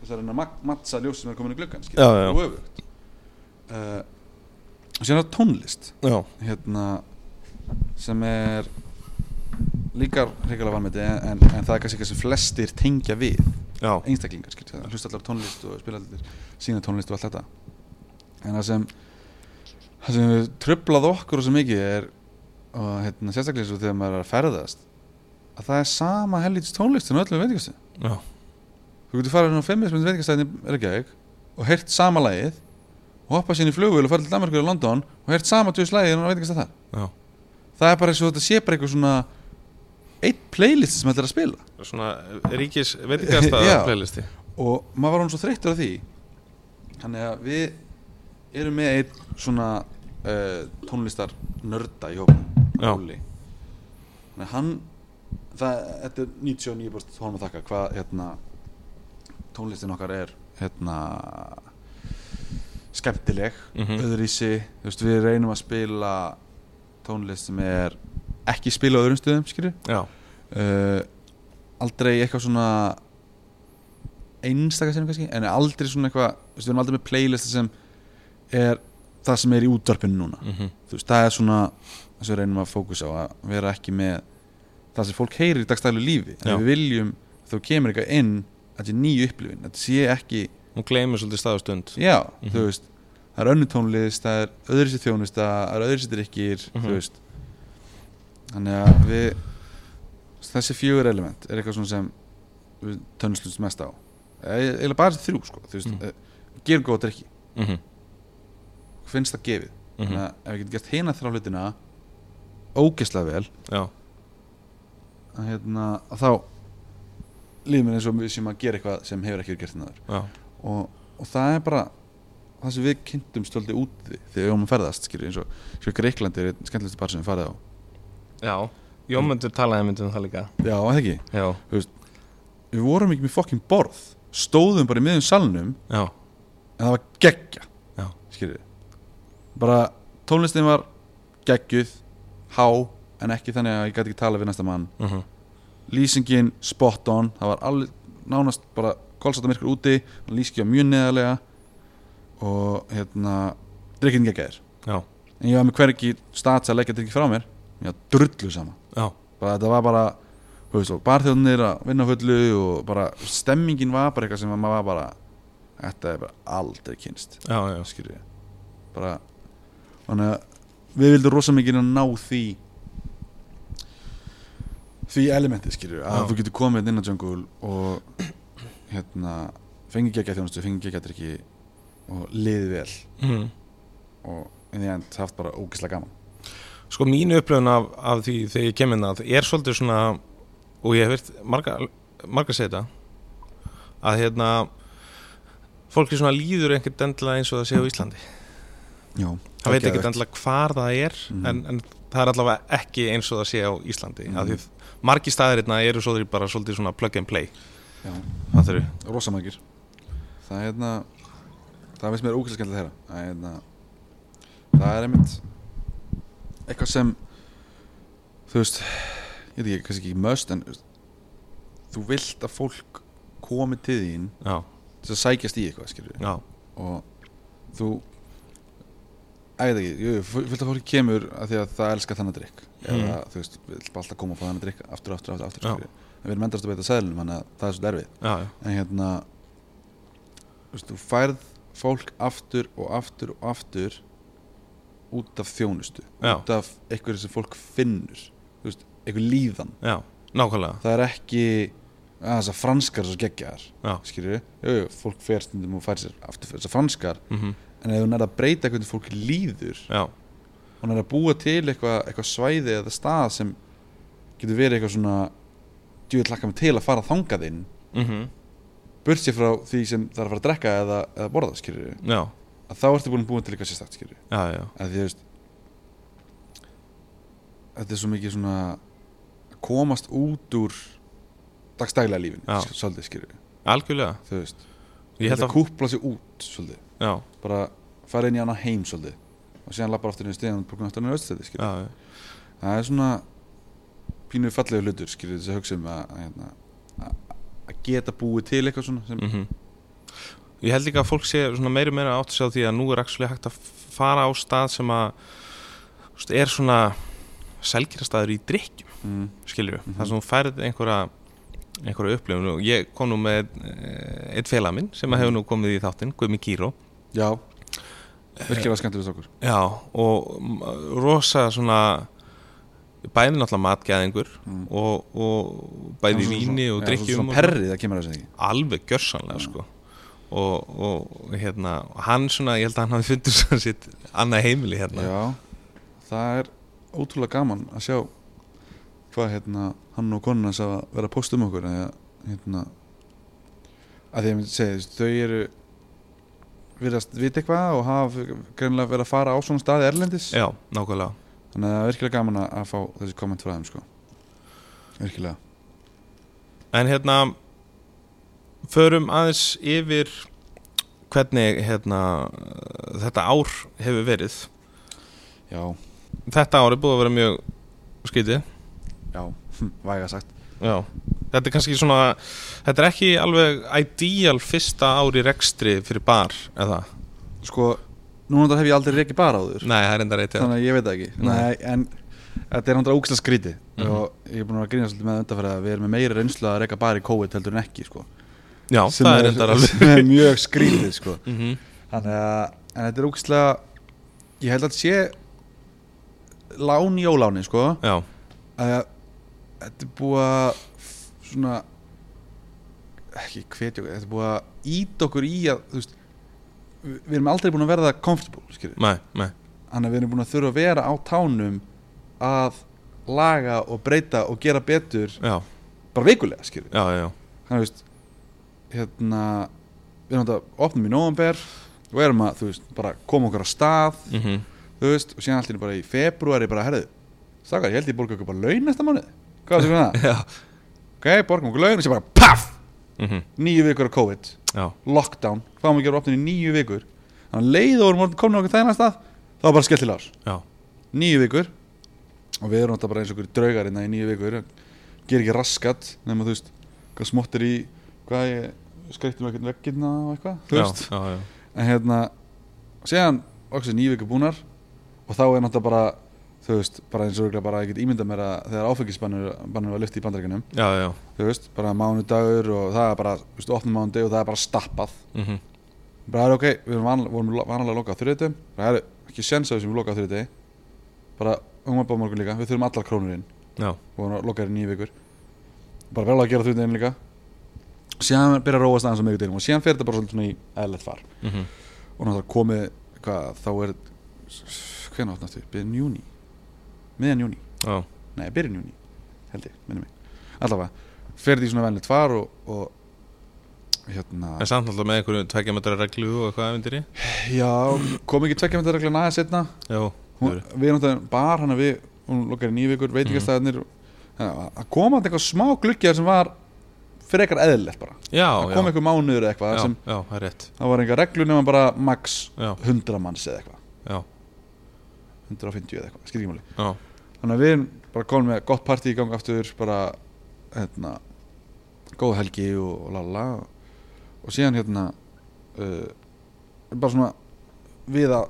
Speaker 2: þess að reyna að mak- matsa ljósin sem er komin í gluggan skilur,
Speaker 3: Já, já, já.
Speaker 2: og öfugt uh, og síðan er tónlist
Speaker 3: Já.
Speaker 2: hérna sem er líka hrikalega vanmeti en, en, en það er kannski eitthvað sem flestir tengja við
Speaker 3: Já.
Speaker 2: einstaklingar skilur, það hlusta allar á tónlist og spila allir sína tónlist og allt þetta en það sem það sem hefur tröflað okkur svo mikið er og hérna, sérstaklega svo þegar maður er að ferðast að það er sama helvítis tónlist en öllum veitingastu
Speaker 3: Já.
Speaker 2: þú getur farið inn á fimmismund veitingastæðin er ekki og heyrt sama lagið og hoppað sinni í flugvél og farið til Danmarkur og London og heyrt sama tjóðis lagið en veitingastæð þar
Speaker 3: Já.
Speaker 2: það er bara eins og þetta sé bara eitthvað svona eitt playlist sem ætlar að spila
Speaker 3: Svona eh, ríkis veitingasta
Speaker 2: Já.
Speaker 3: playlisti.
Speaker 2: og maður var hann svo þreyttur af því þannig að við erum með einn svona uh, tónlistar nörda í
Speaker 3: Já.
Speaker 2: hópa þannig að hann það, þetta er 99% honum að þakka hvað hérna tónlistin okkar er hérna skemmtileg
Speaker 3: Mhm.
Speaker 2: öðruvísi, þú veist við reynum að spila tónlist sem er ekki spila á öðrum stöðum skilju
Speaker 3: Já.
Speaker 2: uh, aldrei eitthvað svona einstaka sem kannski en aldrei svona eitthvað, þú veist, við erum aldrei með playlist sem er það sem er í útvarpinu núna
Speaker 3: Mhm.
Speaker 2: þú veist, það er svona það sem við reynum að fókusa á að vera ekki með það sem fólk heyrir í dagstælu lífi en
Speaker 3: Já.
Speaker 2: við viljum, að þú kemur eitthvað inn þetta er nýju upplifin, þetta sé ekki
Speaker 3: Hún gleymir svolítið stað og stund.
Speaker 2: já,
Speaker 3: Mhm.
Speaker 2: þú veist, það er önnu tónlist það er öðru sér þjónusta, það er öðru sér drikkir
Speaker 3: Mhm.
Speaker 2: þú veist þannig að við þessi fjögur element er eitthvað svona sem við tönnslust mest á Eh, eiginlega bara þessi þrjú, sko, þú veist
Speaker 3: Mhm.
Speaker 2: mm. gerum góða drikki,
Speaker 3: Mhm.
Speaker 2: finnst það gefið
Speaker 3: Mhm.
Speaker 2: þannig að ef við getum gert hina þrjá hlutina ógeðslega vel
Speaker 3: Já.
Speaker 2: að, hérna, að þá líður mér eins og við séum að gera eitthvað sem hefur ekki verið gert hérna. náður
Speaker 3: Já.
Speaker 2: og, og það er bara það sem við kynntum stöldi úti þegar við höfum að ferðast skilur eins og skilur Greiklandi er einn skemmtilegstu bar sem við farið á
Speaker 3: Já. Jómundur talaði einmitt um það líka.
Speaker 2: já, eða ekki,
Speaker 3: Já.
Speaker 2: við vorum ekki með fokkin borð stóðum bara í miðjum salnum
Speaker 3: Já.
Speaker 2: en það var geggja
Speaker 3: Já.
Speaker 2: skilur bara tónlistin var geggjuð há, en ekki þannig að ég gæti ekki tala við næsta mann
Speaker 3: Mhm.
Speaker 2: lýsingin spot on það var alveg nánast bara kolsata myrkur úti, lýskja mjög neðarlega og hérna drikkinn geggjær
Speaker 3: Já.
Speaker 2: en ég var með hvergi stats að leggja drikki frá mér ég var drullu sama
Speaker 3: Já.
Speaker 2: bara, þetta var bara þú veist, og barþjóðnir að vinna á fullu og bara stemmingin var bara eitthvað sem að maður var bara þetta er bara aldrei kynst
Speaker 3: Já. Já.
Speaker 2: skilur ég bara þannig að við vildum rosa mikið að ná því því elementi skilur að
Speaker 3: Já.
Speaker 2: þú getur komið hérna inn á jungle og hérna fengið geggjað þjónustu, fengið geggjað drikki og liðið vel
Speaker 3: Mhm.
Speaker 2: og inn í end haft bara ógeðslega gaman
Speaker 3: Sko mín upplöfun af, af því þegar ég kem inn að er svolítið svona og ég hef virt marga, marga segja þetta að hérna fólki svona líður einhvern dendla eins og það sé á Íslandi
Speaker 2: Já,
Speaker 3: það veit ekkert dendla hvar það er
Speaker 2: Mhm.
Speaker 3: en, en það er allavega ekki eins og það sé á Íslandi
Speaker 2: Mhm.
Speaker 3: mm. að því margi staðirinna eru svo þeir bara svolítið svona plug and play
Speaker 2: Já.
Speaker 3: það þeir
Speaker 2: rosa margir það er hérna það finnst mér ókvæmlega skemmtilega þeirra það er hérna það er einmitt eitthvað sem þú veist ég veit ekki, kannski ekki möst en þú veist, þú vilt að fólk komi til þín
Speaker 3: já,
Speaker 2: til að sækjast í eitthvað skilur
Speaker 3: já,
Speaker 2: og þú Æ, ég veit ekki, jú, fullt að fólki kemur að því að það elska þannig að drikk eða þú veist, við viljum alltaf koma og fá þannig að drikk aftur, aftur, aftur, aftur
Speaker 3: Mm. Já.
Speaker 2: skilurðu. en við erum endast að beita seðlunum, þannig að það er svo derfið
Speaker 3: já, já,
Speaker 2: en hérna þú veist, þú færð fólk aftur og aftur og aftur út af þjónustu
Speaker 3: Já.
Speaker 2: út af einhverju sem fólk finnur þú veist, einhver líðan
Speaker 3: já, nákvæmlega
Speaker 2: það er ekki að þessar franskar eru svo geggjaðar
Speaker 3: Já.
Speaker 2: skilur við, jú, jú, fólk fer stundum og fær sér aftur þessar franskar
Speaker 3: mm
Speaker 2: en ef hún er að breyta hvernig fólk líður
Speaker 3: já,
Speaker 2: hún er að búa til eitthvað eitthva svæði eða stað sem getur verið eitthvað svona djúið lakka mig til að fara þangað inn
Speaker 3: mm
Speaker 2: burt sér frá því sem það er að fara að drekka eða, eða borða skilur við,
Speaker 3: já,
Speaker 2: að þá ertu búin að búa til eitthvað sérstakt skilur við,
Speaker 3: já, já
Speaker 2: að því þú veist þetta er svo mikið svona að komast út úr dagstæglega lífinu,
Speaker 3: Já.
Speaker 2: s- svolítið skilur við
Speaker 3: algjörlega,
Speaker 2: þú veist
Speaker 3: ég held
Speaker 2: þetta
Speaker 3: að
Speaker 2: kúpla sig út svolítið
Speaker 3: já,
Speaker 2: bara fara inn í hana heim svolítið og síðan lappa aftur niður stíðan og brúkna aftur niður öllstæði
Speaker 3: já, já,
Speaker 2: það er svona pínu fallegu hlutur skilur þess að hugsa um að, að, hérna, að, að geta búið til eitthvað svona sem,
Speaker 3: mm ég held líka að fólk sé svona meiri meira átt sér á því að nú er actually hægt að fara á stað sem að þú veist, er svona selgjarastaður í drikkjum
Speaker 2: mm,
Speaker 3: skilur við, þar sem hún færð einhverja einhverja upplifun og ég kom nú með eh, einn félag minn sem að hefur
Speaker 2: Mhm.
Speaker 3: nú komið í þáttinn, Guðmi Kíró
Speaker 2: já virkilega skemmtilegt okkur
Speaker 3: já, og m- rosa svona bæði náttúrulega matgæðingur
Speaker 2: Mhm.
Speaker 3: og, og bæði í víni og drikkjum
Speaker 2: svona
Speaker 3: og-
Speaker 2: perrið að kemur að segja
Speaker 3: alveg gjörsanlega sko og, og hérna hann svona, ég held að hann hafi fundið svona sitt annað heimili hérna
Speaker 2: já, það er ótrúlega gaman að sjá hvað hérna hann og konuna sá að vera að posta um okkur eða hérna að því að ég segi þess, þau eru virðast vita eitthvað og hafa greinlega verið að fara á svona staði erlendis
Speaker 3: Já, nákvæmlega
Speaker 2: þannig að það er virkilega gaman að- að fá þessi komment frá þeim sko virkilega
Speaker 3: en hérna förum aðeins yfir hvernig hérna þetta ár hefur verið
Speaker 2: já,
Speaker 3: þetta ár er búið að vera mjög skytið
Speaker 2: já, hm, væga sagt
Speaker 3: Já, þetta er kannski svona þetta er ekki alveg ideal fyrsta ár í rekstri fyrir bar eða,
Speaker 2: sko, núna þetta hef ég aldrei reikið bara áður
Speaker 3: nei, það er enda reytið
Speaker 2: þannig að ég veit það ekki
Speaker 3: Nei.
Speaker 2: Nei, en þetta er náttúrulega úkslega skríti
Speaker 3: Mhm.
Speaker 2: og ég er búin að vera að grína svolítið með undanfæra að við erum með meira reynslu að reyka bara í COVID heldur en ekki sko.
Speaker 3: Já,
Speaker 2: Sem
Speaker 3: það er enda alveg
Speaker 2: sem er mjög skrítið sko.
Speaker 3: mm
Speaker 2: Þannig að en þetta er úkslega ég held að þetta sé lán í óláni sko.
Speaker 3: Já,
Speaker 2: að þetta er búið að f- svona ekki hvetja okkur, þetta er búið að ít okkur í að þú veist, við við erum aldrei búin að verða comfortable skilur
Speaker 3: nei, nei
Speaker 2: þannig að við erum búin að þurfa að vera á tánum að laga og breyta og gera betur
Speaker 3: Já,
Speaker 2: bara veikulega skilur
Speaker 3: já, já,
Speaker 2: þannig að þú veist hérna við erum þetta opnum í november og erum að þú veist bara koma okkur á stað
Speaker 3: mm -hmm.
Speaker 2: þú veist og síðan allt er bara í februari bara herðu stakar ég held ég borga okkur bara laun næsta mánuð hvað er það?
Speaker 3: já.
Speaker 2: ok, borgum okkur laun og sér bara paff
Speaker 3: Mm
Speaker 2: nýju vikur af COVID
Speaker 3: já,
Speaker 2: lockdown fáum ekki að vera opnum í nýju vikur þannig að um leið og vorum komin okkur þennan stað þá var bara skellt til ás
Speaker 3: já,
Speaker 2: nýju vikur og við erum þetta bara eins og ykkur draugar hérna í nýju vikur ger ekki raskat nema þú veist hvað smátt er í hvað ég skreittum ekkert veggirna og eitthvað þú
Speaker 3: já,
Speaker 2: veist
Speaker 3: já, já,
Speaker 2: en hérna séðan okkur nýju vikur búnar og þá er náttúrulega bara þú veist bara eins og ykkur bara ég get ímyndað mér að þegar áfengisbannur bannur var lyfti í bandaríkunum
Speaker 3: já, já,
Speaker 2: þú veist bara mánudagur og það er bara þú veist opnum mánudag og það er bara stappað
Speaker 3: mm -hmm.
Speaker 2: bara það er ok, við erum vanlega, vorum lo- vanalega að loka á þriðutum það er ekki sens að við sem við loka á þriðutum bara um umvapað morgun líka, við þurfum allar krónur inn
Speaker 3: já,
Speaker 2: og vorum að loka þér í nýju vikur bara verðum að gera þriðutum líka síðan byrja að róast aðeins á miðgudeginum og síðan fer þetta bara svolítið svona í eðlert far
Speaker 3: mm -hmm.
Speaker 2: og náttúrulega komið, hvað, þá er hvernig átnastu, byrjun júni miðjan júni,
Speaker 3: já,
Speaker 2: nei byrjun júni held ég, minnum mig allavega, fer þetta í svona velnett far og, og hérna
Speaker 3: en samt alltaf með einhverju tveggjametra reglu og eitthvað efindir í
Speaker 2: já, kom ekki tvekja mynda regla næða setna
Speaker 3: Já,
Speaker 2: hún, við erum þetta bar hann að við hún lukkar í nýju vikur, veitingastæðanir mm. að koma þetta eitthvað smá gluggjað sem var frekar eðlilegt bara
Speaker 3: já,
Speaker 2: það
Speaker 3: já,
Speaker 2: kom eitthvað mánuður eða eitthvað
Speaker 3: já,
Speaker 2: sem
Speaker 3: já, það er rétt
Speaker 2: það var enga reglu nema bara max
Speaker 3: Já,
Speaker 2: 100 manns eða eitthvað
Speaker 3: já,
Speaker 2: 150 eða eitthvað, skil ekki máli
Speaker 3: já,
Speaker 2: þannig að við erum bara komin með gott partí í gang aftur bara hérna góð helgi og, og lala og og síðan hérna uh, bara svona við að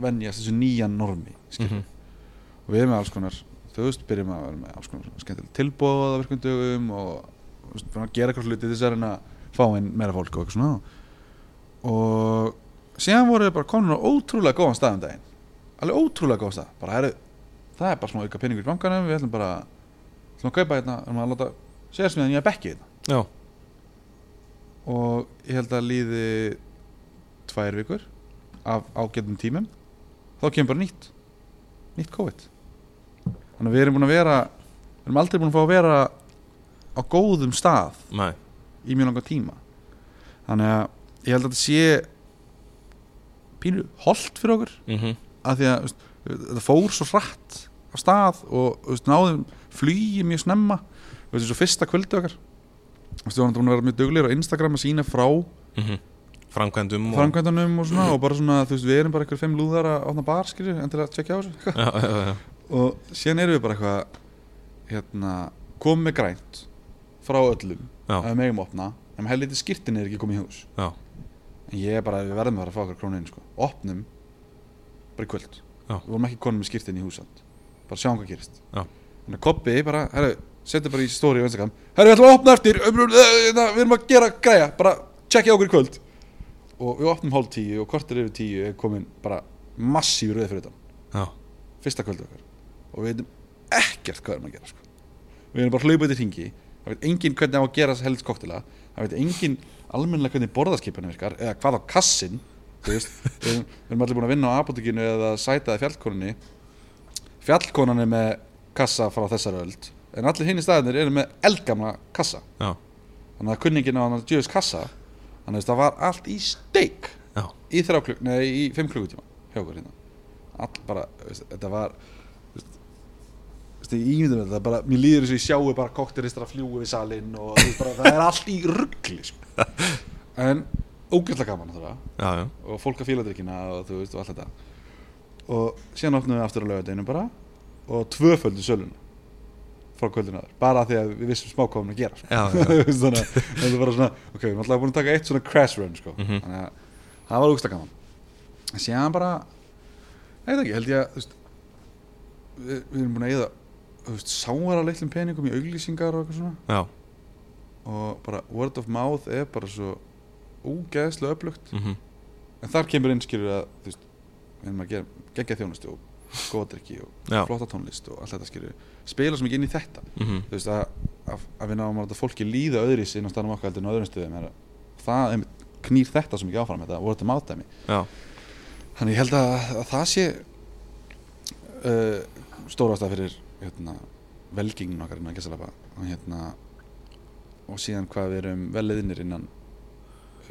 Speaker 2: venjast þessu nýja normi mm
Speaker 3: Mhm.
Speaker 2: og við erum með alls konar þú veist, byrjum að vera með alls konar svona skemmtileg tilbóð á virkum dögum og þú veist, bara gera eitthvað hluti til þess að reyna að fá inn meira fólk og eitthvað svona og síðan voru við bara komin á ótrúlega góðan stað um daginn alveg ótrúlega góðan stað bara, heru, það er bara svona auka peningur í bankanum við ætlum bara ætlum að kaupa hérna erum að láta sér sem nýja bekki hérna
Speaker 3: Já,
Speaker 2: og ég held að líði tvær vikur af ágætum tímum þá kemur bara nýtt nýtt COVID þannig að við erum búin að vera við erum aldrei búin að fá að vera á góðum stað
Speaker 3: næ,
Speaker 2: í mjög langa tíma þannig að ég held að þetta sé pínu holt fyrir okkur
Speaker 3: mhm,
Speaker 2: af því að þú veist, þetta fór svo hratt á stað og þú veist, náðum flugi mjög snemma þú veist, svo fyrsta kvöldi okkar þú veist, við varum búin að vera mjög duglir á Instagram að sína frá
Speaker 3: mhm Framkvæmdum og-
Speaker 2: framkvæmdanum og svona og bara svona, þú veist, við erum bara ykkur fimm lúðar að opna bar, skilju, en til að tjekka á þessu eitthvað.
Speaker 3: Já, já, já, já,
Speaker 2: og síðan erum við bara eitthvað hérna, komið með grænt frá öllum,
Speaker 3: Já.
Speaker 2: að við megum opna en helviti skýrtin er ekki komið í hús
Speaker 3: já,
Speaker 2: en ég er bara, við verðum að fara að fá okkur krónu inn, sko opnum, bara í kvöld
Speaker 3: Já.
Speaker 2: við vorum ekki konum með skýrtin í húsand bara sjáum hvað gerist
Speaker 3: Já.
Speaker 2: þannig að Kobbi bara, herru, setja bara í stóri og einstakam, herru, við ætlum að opna eftir um, uh, hérna, við erum að gera græja, bara tjekkja okkur í kvöld og við opnum hálf tíu og kortir yfir tíu er komin bara massífur við fyrir utan
Speaker 3: já,
Speaker 2: fyrsta kvöldu okkar og við veitum ekkert hvað við erum að gera sko. við erum bara hlaupið til hringi það veit enginn hvernig á að gera helst koktila það veit enginn almennilega hvernig borðaskipunum virkar eða hvað á kassin þú veist, við, erum, við erum allir búin að vinna á apotekinu eða sætaði fjallkonunni fjallkonan er með kassa frá þessari öld en allir hinn í staðinir eru með eldgamla kassa
Speaker 3: já,
Speaker 2: þannig að kunningin á hann að djöðis kassa þannig að það var allt í steik
Speaker 3: já,
Speaker 2: í þrjá klukk, nei, í fimm klukkutíma hjá okkur hérna all bara, veist, þetta var þú veist, þú veist, ég ímyndum þetta bara, mér líður þess að ég sjáu bara kokteristar að fljúi við salinn og þú veist, bara, það er allt í ruggli sko. en ógætla gaman náttúrulega
Speaker 3: já, já,
Speaker 2: og fólk að fíla drikkina og þú veist og allt þetta og síðan opnum við aftur á laugardeginu bara og tvöföldu söluna frá kvöldinu aður, bara af því að við vissum smá hvað hún að gera sko.
Speaker 3: Já, já.
Speaker 2: Þú veist, þannig að þetta var svona, ok, við erum alltaf búin að taka eitt svona crash run sko.
Speaker 3: Mhm.
Speaker 2: þannig að það var úksta gaman en síðan bara, ég veit ekki, held ég að þú veist, við, við erum búin að eða sáara litlum peningum í auglýsingar og eitthvað svona
Speaker 3: já,
Speaker 2: og bara word of mouth er bara svo ógeðslega öflugt
Speaker 3: mhm,
Speaker 2: en þar kemur einskýrur að þú veist, við erum að gera geggja þjónustu og góðadrykki og
Speaker 3: já,
Speaker 2: flotta tónlist og allt þetta skýrur spila sem ekki inn í þetta
Speaker 3: mhm,
Speaker 2: þú veist að, að, að við náum að láta fólki líða öðris inn á staðnum okkar heldur en á öðrum stöðum er, að það einmitt knýr þetta sem ekki áfram þetta voru þetta mátæmi
Speaker 3: já,
Speaker 2: þannig ég held að, að það sé uh, stórast að fyrir hérna, velgingin okkar innan gæstalapa og hérna og síðan hvað við erum velleðinir innan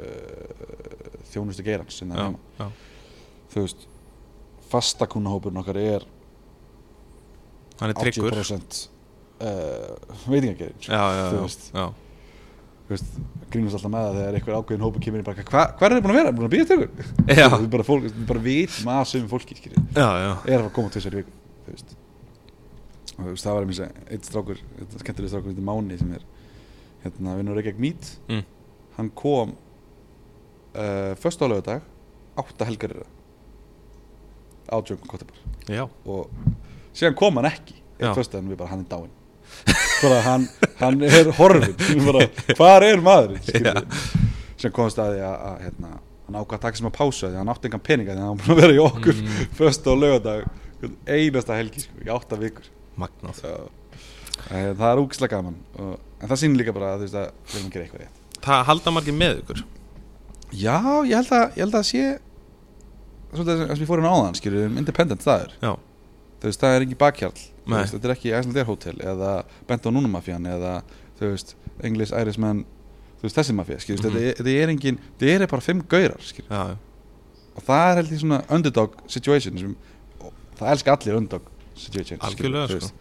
Speaker 2: uh, þjónustu geirans innan
Speaker 3: já,
Speaker 2: heima
Speaker 3: já,
Speaker 2: þú veist fastakunnahópurinn okkar er
Speaker 3: hann er tryggur
Speaker 2: 80% uh, veitingagerinn sko.
Speaker 3: Já, já,
Speaker 2: Þú
Speaker 3: já,
Speaker 2: veist.
Speaker 3: já,
Speaker 2: Þú veist, grínast alltaf með það þegar einhver ákveðin hópur kemur inn bara hva, hvað er þið búin að vera, búin að býja til ykkur
Speaker 3: Já.
Speaker 2: Þú veist, bara, fólk, við bara vitum að sömu fólki skýri.
Speaker 3: já, já,
Speaker 2: er að fara að koma tvisar í viku þú veist. og þú veist, það var einhvers veginn eitt strákur, eitt skemmtileg strákur þetta Máni sem er hérna, vinnur Reykjavík Meat
Speaker 3: Mm.
Speaker 2: hann kom uh, först á lögadag átta helgar er það átjöngum kottibar
Speaker 3: já,
Speaker 2: og síðan kom hann ekki
Speaker 3: Já.
Speaker 2: eitt fyrst en við bara hann er dáinn bara hann, hann er horfinn Við bara, hvar er maður síðan komst að því að, að hérna, hann ákvað að taka sem að pása því að hann átti engan peninga því að hann var búin að vera í okkur mm. fyrst og lögadag einasta helgi sko, í átta vikur
Speaker 3: magnað
Speaker 2: það, það er úkislega gaman og, en það sýnir líka bara að, þú veist, að við erum að gera eitthvað rétt
Speaker 3: Það halda margir með ykkur
Speaker 2: já, ég held að, ég held að sé svolítið það sem ég fór inn á áðan skilur, um independent staður
Speaker 3: Já,
Speaker 2: þú veist, það er ekki bakhjarl þú
Speaker 3: Nei.
Speaker 2: veist, þetta er ekki Icelandair Hotel eða Bento Núna Mafian eða þú veist, English Irishman þú veist, þessi mafía, skilur, mm
Speaker 3: Mhm.
Speaker 2: -hmm. þetta, er- þetta er engin þetta eru bara fimm gaurar, skilur
Speaker 3: já, já,
Speaker 2: og það er heldur svona underdog situation sem, og það elska allir underdog situation, þú
Speaker 3: Algjörlega, sko.
Speaker 2: veist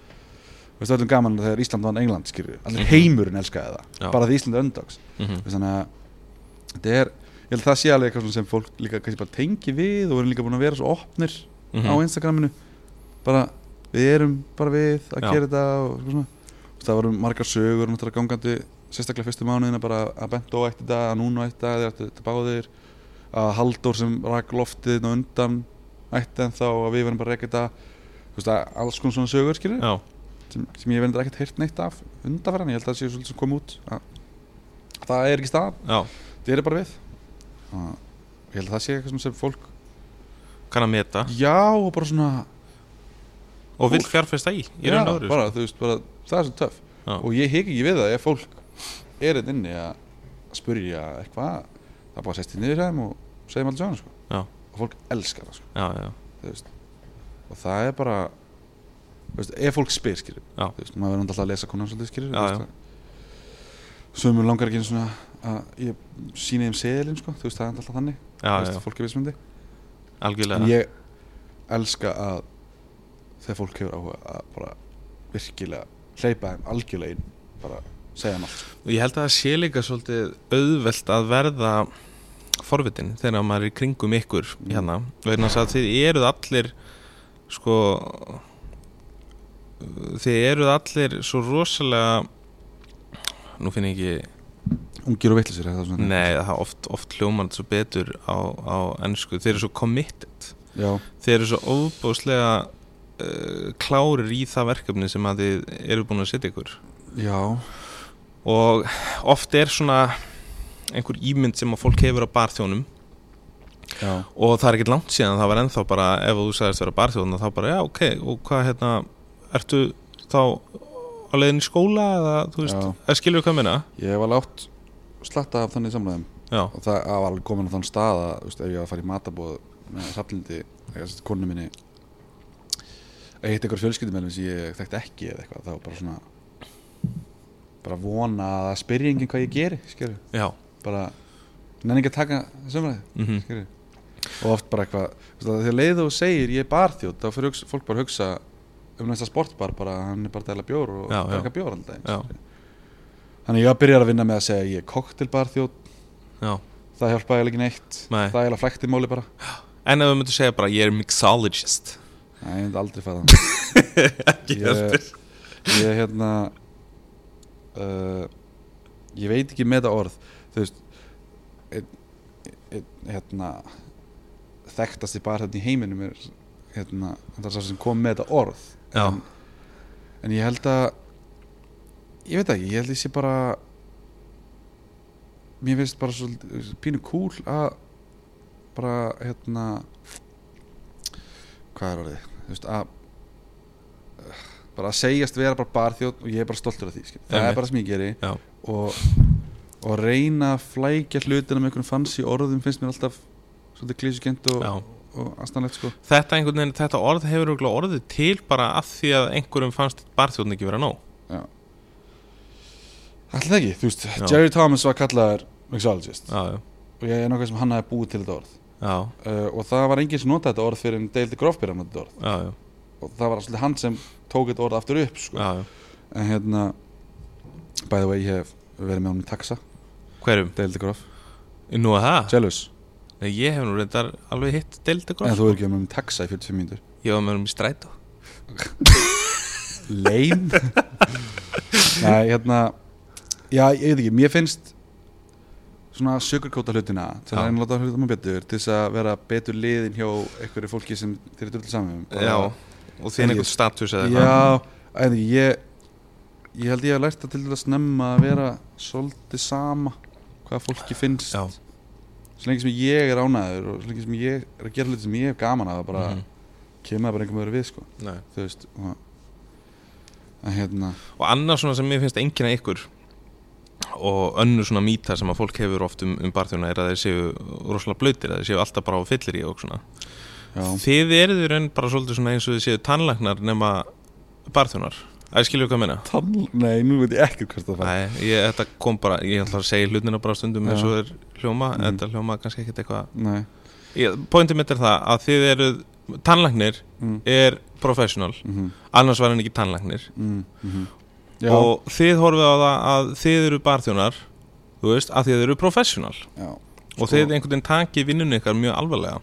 Speaker 2: Þú veist, öllum gaman þegar Ísland vann England, skilur allir heimurinn elskaði það,
Speaker 3: Mhm. Já.
Speaker 2: bara því Ísland er underdogs
Speaker 3: mhm,
Speaker 2: Þú veist, þannig að þetta er, ég held að það sé alveg eitthvað svona sem fólk líka kannski bara tengi við og erum líka búin að vera svo opnir á
Speaker 3: mhm,
Speaker 2: Instagraminu bara við erum bara við að
Speaker 3: Já.
Speaker 2: gera þetta og eitthvað svona Og það voru margar sögur náttúrulega gangandi sérstaklega fyrstu mánuðina bara að Bento ætti þetta, að Nuno ætti þetta, þeir ætti þetta báðir að Halldór sem rak loftið þarna á undan ætti en þá að við verðum bara að reka þetta þú veist að alls konar svona sögur skilur
Speaker 3: já,
Speaker 2: sem, sem ég verðum ekkert heyrt neitt af undanferðan, ég held að það sé svolítið sem kom út að það er ekki stað,
Speaker 3: já
Speaker 2: það er bara við að, ég held að það sé eitthvað sem- sem fólk
Speaker 3: kann að meta
Speaker 2: já og bara svona
Speaker 3: og vill fjárfesta í, í raun og öðru
Speaker 2: bara, þú veist, bara, það er svo töff
Speaker 3: Já.
Speaker 2: og ég hik ekki við það ef fólk er einn inni að spurja eitthvað það bara sest í niður hjá þeim og segjum allir sjónu sko.
Speaker 3: Já.
Speaker 2: og fólk elskar það sko,
Speaker 3: já, já,
Speaker 2: þú veist. og það er bara þú veist, ef fólk spyr skilur
Speaker 3: Já.
Speaker 2: þú veist, maður verður alltaf að lesa konan svolítið skilur
Speaker 3: Já, já.
Speaker 2: sömur langar ekki einu svona að ég síni þeim seðilinn sko, þú veist, það er alltaf þannig
Speaker 3: já,
Speaker 2: þú
Speaker 3: já,
Speaker 2: veist, fólk er vissmyndi en
Speaker 3: algjörlega
Speaker 2: ég elska að þegar fólk hefur áhuga að bara virkilega hleypa þeim algjörlega inn bara segja þeim allt sko.
Speaker 3: Og ég held að það sé líka svolítið auðvelt að verða forvitin þegar maður er í kringum ykkur hérna, vegna þess að þið eruð allir sko þið eruð allir svo rosalega nú finn ég ekki
Speaker 2: ungir og vitlisir er það svona
Speaker 3: nei, það er oft, oft hljómand svo betur á, á ennsku, þið eru svo committed
Speaker 2: já,
Speaker 3: þið eru svo óbúslega uh, klárir í það verkefni sem að þið eru búin að setja ykkur
Speaker 2: já,
Speaker 3: og oft er svona einhver ímynd sem að fólk hefur á barþjónum
Speaker 2: já,
Speaker 3: og það er ekkert langt síðan það var ennþá bara ef þú sagðist vera barþjóðna þá bara já ok og hvað hérna ertu þá á leiðin í skóla eða þú veist,
Speaker 2: Já.
Speaker 3: eða skilur hvað ég meina
Speaker 2: ég hef alveg átt slatta af þannig samræðum
Speaker 3: já,
Speaker 2: og það það var alveg komin á þann stað að þú veist, ef ég var að fara í matabóð með saflindi, konu minni að ég hitt einhver fjölskyldumælum sem ég þekkt ekki eða eitthvað þá bara svona bara vona að það spyrja enginn hvað ég geri skilur
Speaker 3: já,
Speaker 2: bara nenni ekki að taka sömræði
Speaker 3: mhm,
Speaker 2: skilur og oft bara eitthvað þú veist, að þegar leið þú segir ég er barþjótt þá fyrir hugsa, fólk bara að hugsa um næsta sportbar bara hann er bara að dæla bjór og
Speaker 3: Já, já.
Speaker 2: dæla bjór alltaf
Speaker 3: já,
Speaker 2: þannig ég byrjar að vinna með að segja ég er koktelbarþjótt
Speaker 3: já
Speaker 2: það hjálpaði eiginlega ekki neitt
Speaker 3: Nei.
Speaker 2: það er eiginlega flæktið máli bara
Speaker 3: en ef við myndum segja bara ég er mixologist
Speaker 2: Nei, ég myndi aldrei fara þannig
Speaker 3: ekki
Speaker 2: ég, ég hérna uh, ég veit ekki með það orð þú veist ein, ein, hérna þekktast í bara í heiminum er hérna, það er sá sem kom með þetta orð
Speaker 3: Já.
Speaker 2: en, en ég held að ég veit það ekki, ég held að ég sé bara mér finnst bara svolítið pínu kúl að bara hérna hvað er orðið þú veist að bara að segjast vera bara barþjóð og ég er bara stoltur af því skil. það
Speaker 3: Einmitt.
Speaker 2: er bara sem ég geri
Speaker 3: Já.
Speaker 2: og, og reyna að flækja hlutina með einhvern fancy orðum finnst mér alltaf svolítið klísugent og,
Speaker 3: já
Speaker 2: og astanlegt sko
Speaker 3: Þetta, einhvern veginn, þetta orð hefur örugglega orðið til bara af því að einhverjum fannst barþjóðn ekki vera nóg
Speaker 2: Alltaf ekki, þú veist,
Speaker 3: Já.
Speaker 2: Jerry Thomas var kallaður mixologist
Speaker 3: Já, já,
Speaker 2: og ég er nokkað sem hann hafi búið til þetta orð
Speaker 3: já,
Speaker 2: uh, og það var enginn sem notaði þetta orð fyrir en deildi grófbyrja notaði þetta orð
Speaker 3: já, já,
Speaker 2: og það var alltaf hann sem tók þetta orð aftur upp sko.
Speaker 3: já, já.
Speaker 2: en hérna by the way, ég hef verið með honum í taxa
Speaker 3: Hverjum?
Speaker 2: deildi gróf,
Speaker 3: Nú að það?
Speaker 2: jealous
Speaker 3: Nei, ég hef nú reyndar alveg hitt
Speaker 2: en
Speaker 3: deildagróf
Speaker 2: þú er ekki með honum í taxa í 45 mínútur
Speaker 3: Ég var með um í strætó
Speaker 2: lame Nei, hérna Já, ég veit ekki, mér finnst svona sökurkóta hlutina til
Speaker 3: Já.
Speaker 2: að reyna að láta hlutum að betur til þess að vera betur liðin hjá einhverju fólki sem þeir eru drull saman um Bara-
Speaker 3: Já, og þín
Speaker 2: En ég-
Speaker 3: einhvern status eða
Speaker 2: Já, ég veit ekki, ég ég held ég að lært það til að snemma að vera svolítið sama hvað fólki finnst
Speaker 3: Já,
Speaker 2: svo lengi sem ég er ánæður og svo lengi sem ég er að gera hluti sem ég hef gaman að bara
Speaker 3: Mhm.
Speaker 2: kemur það bara einhverjum öðru við sko,
Speaker 3: nei.
Speaker 2: þú veist og, að hérna
Speaker 3: Og annað svona sem mér finnst enginn að ykkur og önnur svona mýta sem að fólk hefur oft um, um barþjóna er að þeir séu rosalega blöytir, að þeir séu alltaf bara á fyllir í og svona.
Speaker 2: já.
Speaker 3: Þið eruð í raun bara svolítið svona eins og þið séu tannlagnar nema barþjónar. Æ, skilju hvað ég meina?
Speaker 2: Tann... Nei, nú veit ég ekki hvert það fara
Speaker 3: Nei, ég, þetta kom bara, ég ætla að segja hlutina bara stundum eins
Speaker 2: Já.
Speaker 3: og er hljóma,
Speaker 2: Mhm.
Speaker 3: þetta hljóma kannski ekkert eitthvað
Speaker 2: Nei,
Speaker 3: Pointið mitt er það að þið eruð tannlagnir
Speaker 2: Mm.
Speaker 3: er professional
Speaker 2: mhm,
Speaker 3: annars var hann ekki tannlagnir
Speaker 2: mhm, mhm Já,
Speaker 3: og þið horfið á það að þið eru barþjónar þú veist, að þið eru professional
Speaker 2: já
Speaker 3: og þið einhvern veginn takið vinnunni ykkar mjög alvarlega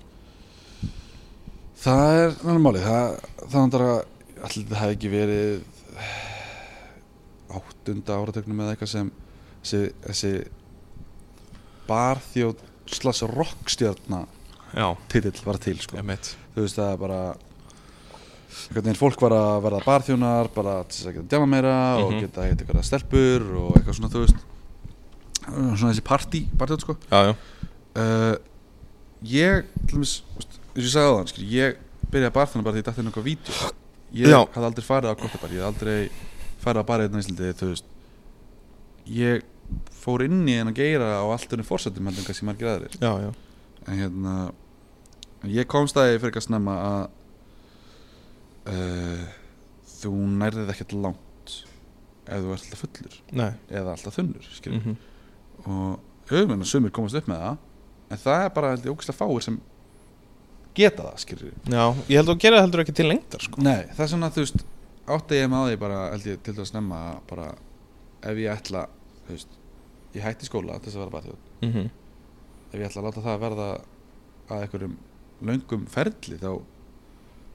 Speaker 2: Það er náttúrulega málið Það, það er að allir það hefði ekki verið áttunda áratögnum eða eitthvað sem þessi, þessi barþjóð slags rockstjörna
Speaker 3: já,
Speaker 2: titill var til sko.
Speaker 3: emitt
Speaker 2: þú veist það er bara einhvern veginn fólk var að verða barþjónar bara til þess að geta djama meira og
Speaker 3: Mhm.
Speaker 2: geta hitt eitthvað stelpur og eitthvað svona þú veist svona þessi partí barþjóð sko
Speaker 3: já, já,
Speaker 2: uh, ég til dæmis, þú veist, eins og ég sagði á þann skil, ég byrjaði að barþjóna bara því ég dætti inn eitthvað vídeo ég
Speaker 3: Já.
Speaker 2: hafði aldrei farið á kottibar ég hafði aldrei farið á barið hérna í Íslandi þú veist ég fór inn í henn að geira á allt unni fórsetum heldur en kannski margir aðrir
Speaker 3: já, já.
Speaker 2: en hérna ég komst að ég fyrir eitthvað snemma að uh, þú nærðið ekkert langt ef þú ert alltaf fullur
Speaker 3: Nei,
Speaker 2: eða alltaf þunnur skilur
Speaker 3: mm -hmm.
Speaker 2: og höfum en að sumir komast upp með það en það er bara held ég ógæslega fáir sem geta það skilur
Speaker 3: já, ég held að gera það heldur ekki til lengdar sko.
Speaker 2: Nei, það er svona þú veist átti ég með því bara held ég til þess að snemma að bara ef ég ætla þú veist, ég hætti skóla til þess að vera bara þjóð
Speaker 3: mm -hmm.
Speaker 2: ef ég ætla að láta það verða að einhverjum löngum ferli þá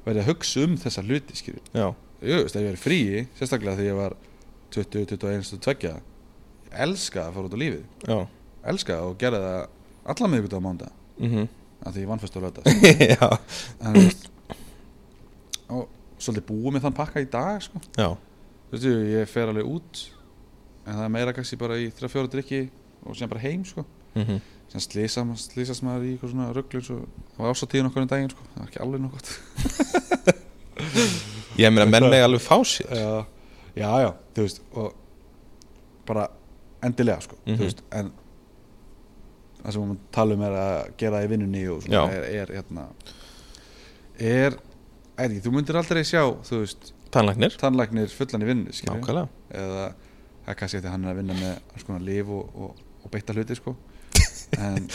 Speaker 2: verði að hugsa um þessa hluti skilur
Speaker 3: Já,
Speaker 2: Jú, veist, ef ég er í fríi, sérstaklega þegar ég var 20, 21, 22 ég elska að fara út á lífið
Speaker 3: já
Speaker 2: elska og gera það alla miðvikudag á mánda
Speaker 3: mm -hmm.
Speaker 2: að því ég vann fyrst á löta
Speaker 3: Já,
Speaker 2: og svolítið búið með þann pakka í dag sko.
Speaker 3: já,
Speaker 2: Þú veistu, ég fer alveg út en það er meira kannski bara í 3-4 drikki og síðan bara heim sko.
Speaker 3: mm -hmm.
Speaker 2: síðan slýsa, slýsast maður í eitthvað svona rugglur svo, það var ásatíðin okkur en daginn sko. það var ekki alveg nokkuð
Speaker 3: ég meina menn megi alveg fá sér
Speaker 2: já, já, já, þú veist og bara endilega sko,
Speaker 3: Mhm.
Speaker 2: þú veist, en það sem maður tala um er að gera það í vinnunni og
Speaker 3: Já.
Speaker 2: svona er, er hérna er, er ekki, þú myndir aldrei sjá þú veist,
Speaker 3: Tannlæknir,
Speaker 2: tannlæknir fullan í vinnunni skilurðu?
Speaker 3: nákvæmlega
Speaker 2: eða það er kannski eftir að hann er að vinna með alls konar lif og, og, og beitta hluti sko. en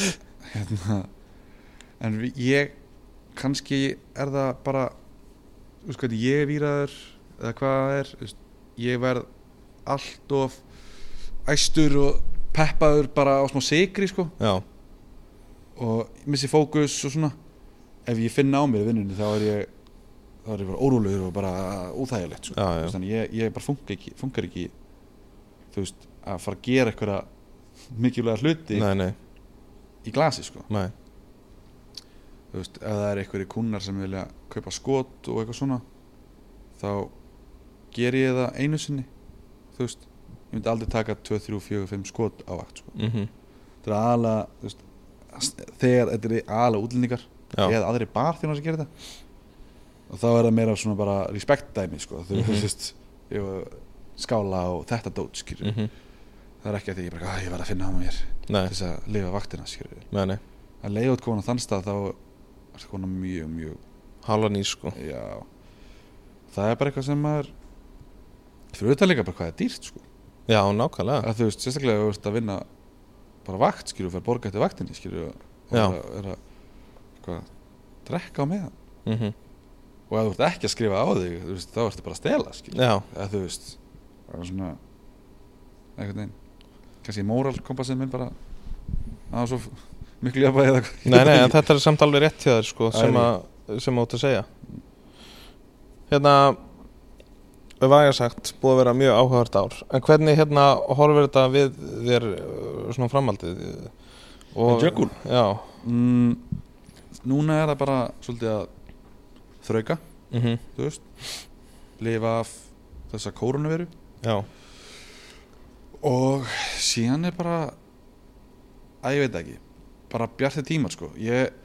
Speaker 2: hérna en við- ég kannski er það bara þú veist hvað, ég er víraður eða hvað það er, þú veist, ég verð allt of æstur og peppaður bara á smá sigri sko
Speaker 3: Já,
Speaker 2: og missi fókus og svona ef ég finna á mér í vinnunni þá er ég þá er ég bara órólegur og bara óþægilegt sko.
Speaker 3: Já, já.
Speaker 2: Þú veist, þannig ég, ég bara funkar ekki, funkar ekki þú veist, að fara að gera eitthvað mikilvæga hluti
Speaker 3: nei, nei,
Speaker 2: í glasi sko.
Speaker 3: nei
Speaker 2: þú veist, ef það er einhverjir kunnar sem vilja kaupa skot og eitthvað svona þá ger ég það einu sinni þú veist, ég myndi aldrei taka 2, 3, 4, 5 skot á vakt sko.
Speaker 3: mm
Speaker 2: þetta er aðalega, þú veist, þegar þetta er aðalega útlendingar
Speaker 3: Já,
Speaker 2: eða aðri barþjónar sem gerir þetta og þá er það meira svona bara respect dæmi sko, þú
Speaker 3: Mhm.
Speaker 2: veist ég var skála og þetta dót skýrur
Speaker 3: mm -hmm.
Speaker 2: það er ekki að því ég bara, "Ah, ég verð að finna á mér til
Speaker 3: nei,
Speaker 2: þess að lifa vaktina skýrur
Speaker 3: nei, nei
Speaker 2: að leiða út komin á þann stað þá er það komin mjög, mjög
Speaker 3: Hálfa ný sko
Speaker 2: já, það er bara eitthvað sem maður fyrir auðvitað líka bara hvað það er dýrt sko,
Speaker 3: Já, nákvæmlega
Speaker 2: að þú veist, sérstaklega ef þú veist að vinna bara vakt skýrur, fyrir borga eftir vaktinni skýrur og
Speaker 3: Já.
Speaker 2: er að, er að hvað, drekka á meðan
Speaker 3: mm -hmm.
Speaker 2: og ef þú ert ekki að skrifa á þig þú veist, þá ertu bara að stela skil.
Speaker 3: Já,
Speaker 2: eða þú veist það er svona einhvern veginn kannski móralkompassin minn bara að svo f- miklu jafnvægi eða hvað
Speaker 3: nei, nei, en þetta er samt alveg rétt hjá þér sko
Speaker 2: Það er
Speaker 3: sem, að, sem átt að segja Hérna við væga sagt, búið að vera mjög áhugavert ár en hvernig hérna horfir þetta við þér uh, svona framhaldið uh, og,
Speaker 2: Með Jökul?
Speaker 3: Já,
Speaker 2: mm, núna er það bara svolítið að þrauka
Speaker 3: mm
Speaker 2: þú veist lifa af þessa kórunaveru
Speaker 3: já,
Speaker 2: og síðan er bara að ég veit það ekki bara bjartir tímar sko ég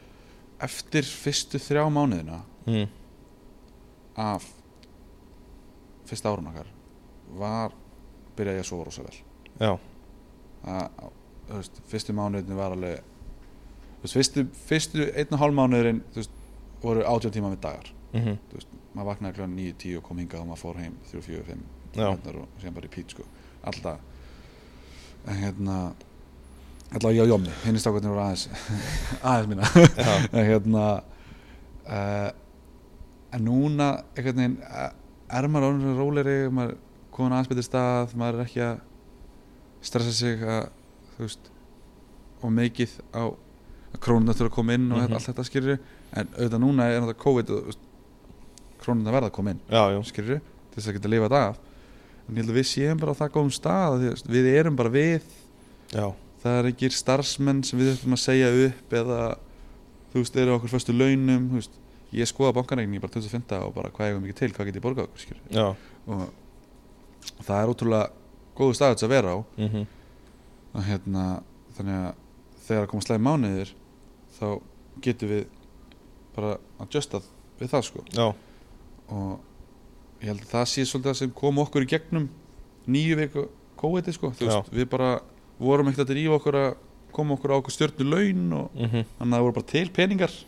Speaker 2: eftir fyrstu þrjá mánuðina
Speaker 3: mm.
Speaker 2: af fyrsta árun okkar var byrjaði ég að sofa rosa vel
Speaker 3: já
Speaker 2: það, þú veist, fyrstu mánuðinu var alveg þú veist, fyrstu, fyrstu einn og hálf mánuðurinn þú veist, voru átjón tíma með dagar
Speaker 3: mm
Speaker 2: þú veist, maður vaknaði kl. 9-10 og kom hingað og maður fór heim 3-4-5
Speaker 3: já,
Speaker 2: hérna, og síðan bara í pít sko alltaf en hérna alltaf ég á jómni, hinn er stákvæðin voru aðeins aðeins minna
Speaker 3: já,
Speaker 2: en hérna uh, en núna einhvern veginn eh, er maður orðin róleri maður er komin aðeins betur stað maður er ekki að stressa sig að þú veist og mikið á að krónuna þurfa að koma inn og mm
Speaker 3: Mhm.
Speaker 2: allt þetta skýrir en auðvitað núna er náttúrulega COVID og þú veist, krónuna verða að koma inn
Speaker 3: já, já
Speaker 2: skýrir til þess að geta lifað það af en ég held að við séum bara á það góðum stað því að við erum bara við
Speaker 3: já,
Speaker 2: það er ekki starfsmenn sem við þurfum að segja upp eða þú veist, eru á okkur föstu launum þú veist, ég skoða bankarækningi bara 2005 og bara hvað eigum ekki til, hvað get ég borgað okkur skilur.
Speaker 3: já
Speaker 2: og það er ótrúlega góðu staður til að vera á
Speaker 3: mm -hmm.
Speaker 2: að hérna, þannig að þegar að koma slæði mánuðir þá getum við bara adjustað við það sko
Speaker 3: já,
Speaker 2: og ég held að það sé svolítið það sem kom okkur í gegnum nýju viku kóiði sko Þú veist, við bara vorum ekkert að drífa okkur að koma okkur á okkur stjörnu laun og
Speaker 3: mm
Speaker 2: þannig að það voru bara til peningar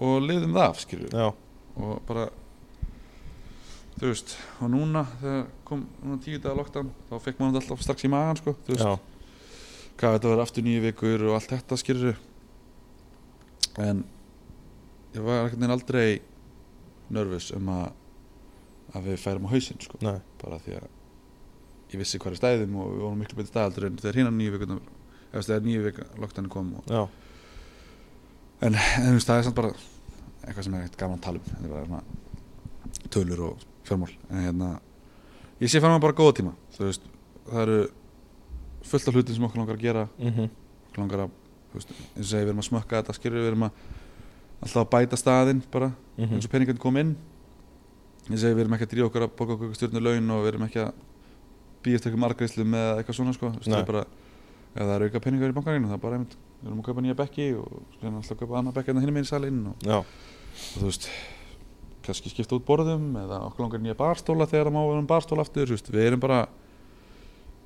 Speaker 2: og liðum það af skilju
Speaker 3: já,
Speaker 2: og bara þú veist, og núna þegar kom núna tíu dagar lockdown þá fekk maður þetta alltaf strax í magan sko, þú veist,
Speaker 3: já,
Speaker 2: hvað þetta var aftur nýju vikur og allt þetta skýrur en ég var ekkert neina aldrei nervus um að að við færum á hausinn sko,
Speaker 3: nei,
Speaker 2: bara því að ég vissi hverju stæðum og við vorum miklu betri staðaldur en þegar hérna nýju vikurnar eða þegar nýju vikur lockdown kom og,
Speaker 3: já,
Speaker 2: en, en þú veist, það er samt bara eitthvað sem er ekkert gaman að tala um þetta er bara svona tölur og fjármál en hérna, ég sé fram að bara góða tíma þú veist, það eru fullt af hlutum sem okkur langar að gera
Speaker 3: mm
Speaker 2: okkur langar að, þú veist, eins og segja við erum að smökka þetta skilur, við erum að alltaf að bæta staðinn bara,
Speaker 3: Mhm.
Speaker 2: eins og peningandi kom inn eins og segja við erum ekki að dríja okkur að boka okkur stjórnu laun og við erum ekki að býjast eitthvað margriðslum eða eitthvað svona sko, þú veist, það
Speaker 3: Nei.
Speaker 2: er bara ef það eru auka peningar í bankarinu, það er bara einmitt við erum að kaupa nýja bekki og við erum alltaf að kaupa annað bekki en það hinum einn salinn og
Speaker 3: já,
Speaker 2: og þú veist kannski skipta út borðum eða okkur langar í nýja barstóla þegar það má vera um barstóla aftur þú veist, við erum bara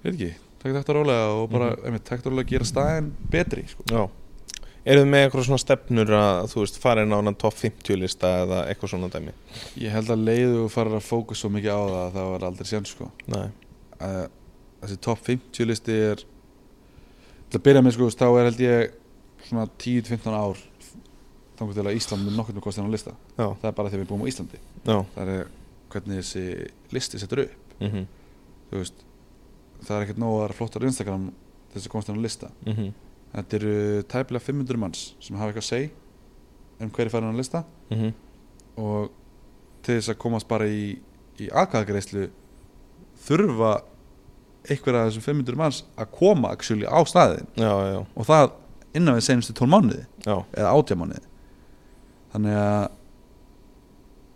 Speaker 2: veit ekki, takk þetta rólega og bara mm
Speaker 3: Mhm.
Speaker 2: -hmm. einmitt, takk þetta rólega að gera staðin betri sko.
Speaker 3: já Eru þið með eitthvað svona stefnur að þú veist farin á hann top 50 lista eða eitthvað svona dæmi?
Speaker 2: ég held að leiðu og fara að fókus svo mikið á það það var aldrei sér sko.
Speaker 3: Nei,
Speaker 2: að, þessi top 50 listi er til að byrja með sko, þá er held ég svona 10-15 ár þangur til að Ísland mun nokkurn með kostin á lista
Speaker 3: já,
Speaker 2: það er bara þegar við búum á Íslandi
Speaker 3: já,
Speaker 2: það er hvernig þessi listi setur upp
Speaker 3: mm -hmm.
Speaker 2: þú veist það er ekkert nóg að það er flottar Instagram til þess að komast inn á lista
Speaker 3: Mhm.
Speaker 2: þetta eru tæpilega 500 manns sem hafa eitthvað að segja um hverju færi hann á lista
Speaker 3: Mhm.
Speaker 2: og til þess að komast bara í, í aðkvæðagreislu þurfa einhverja af þessum 500 manns að koma actually á staðin
Speaker 3: já, já,
Speaker 2: og það innan við senustu 12 mánuði
Speaker 3: já,
Speaker 2: eða 18 mánuði þannig að þú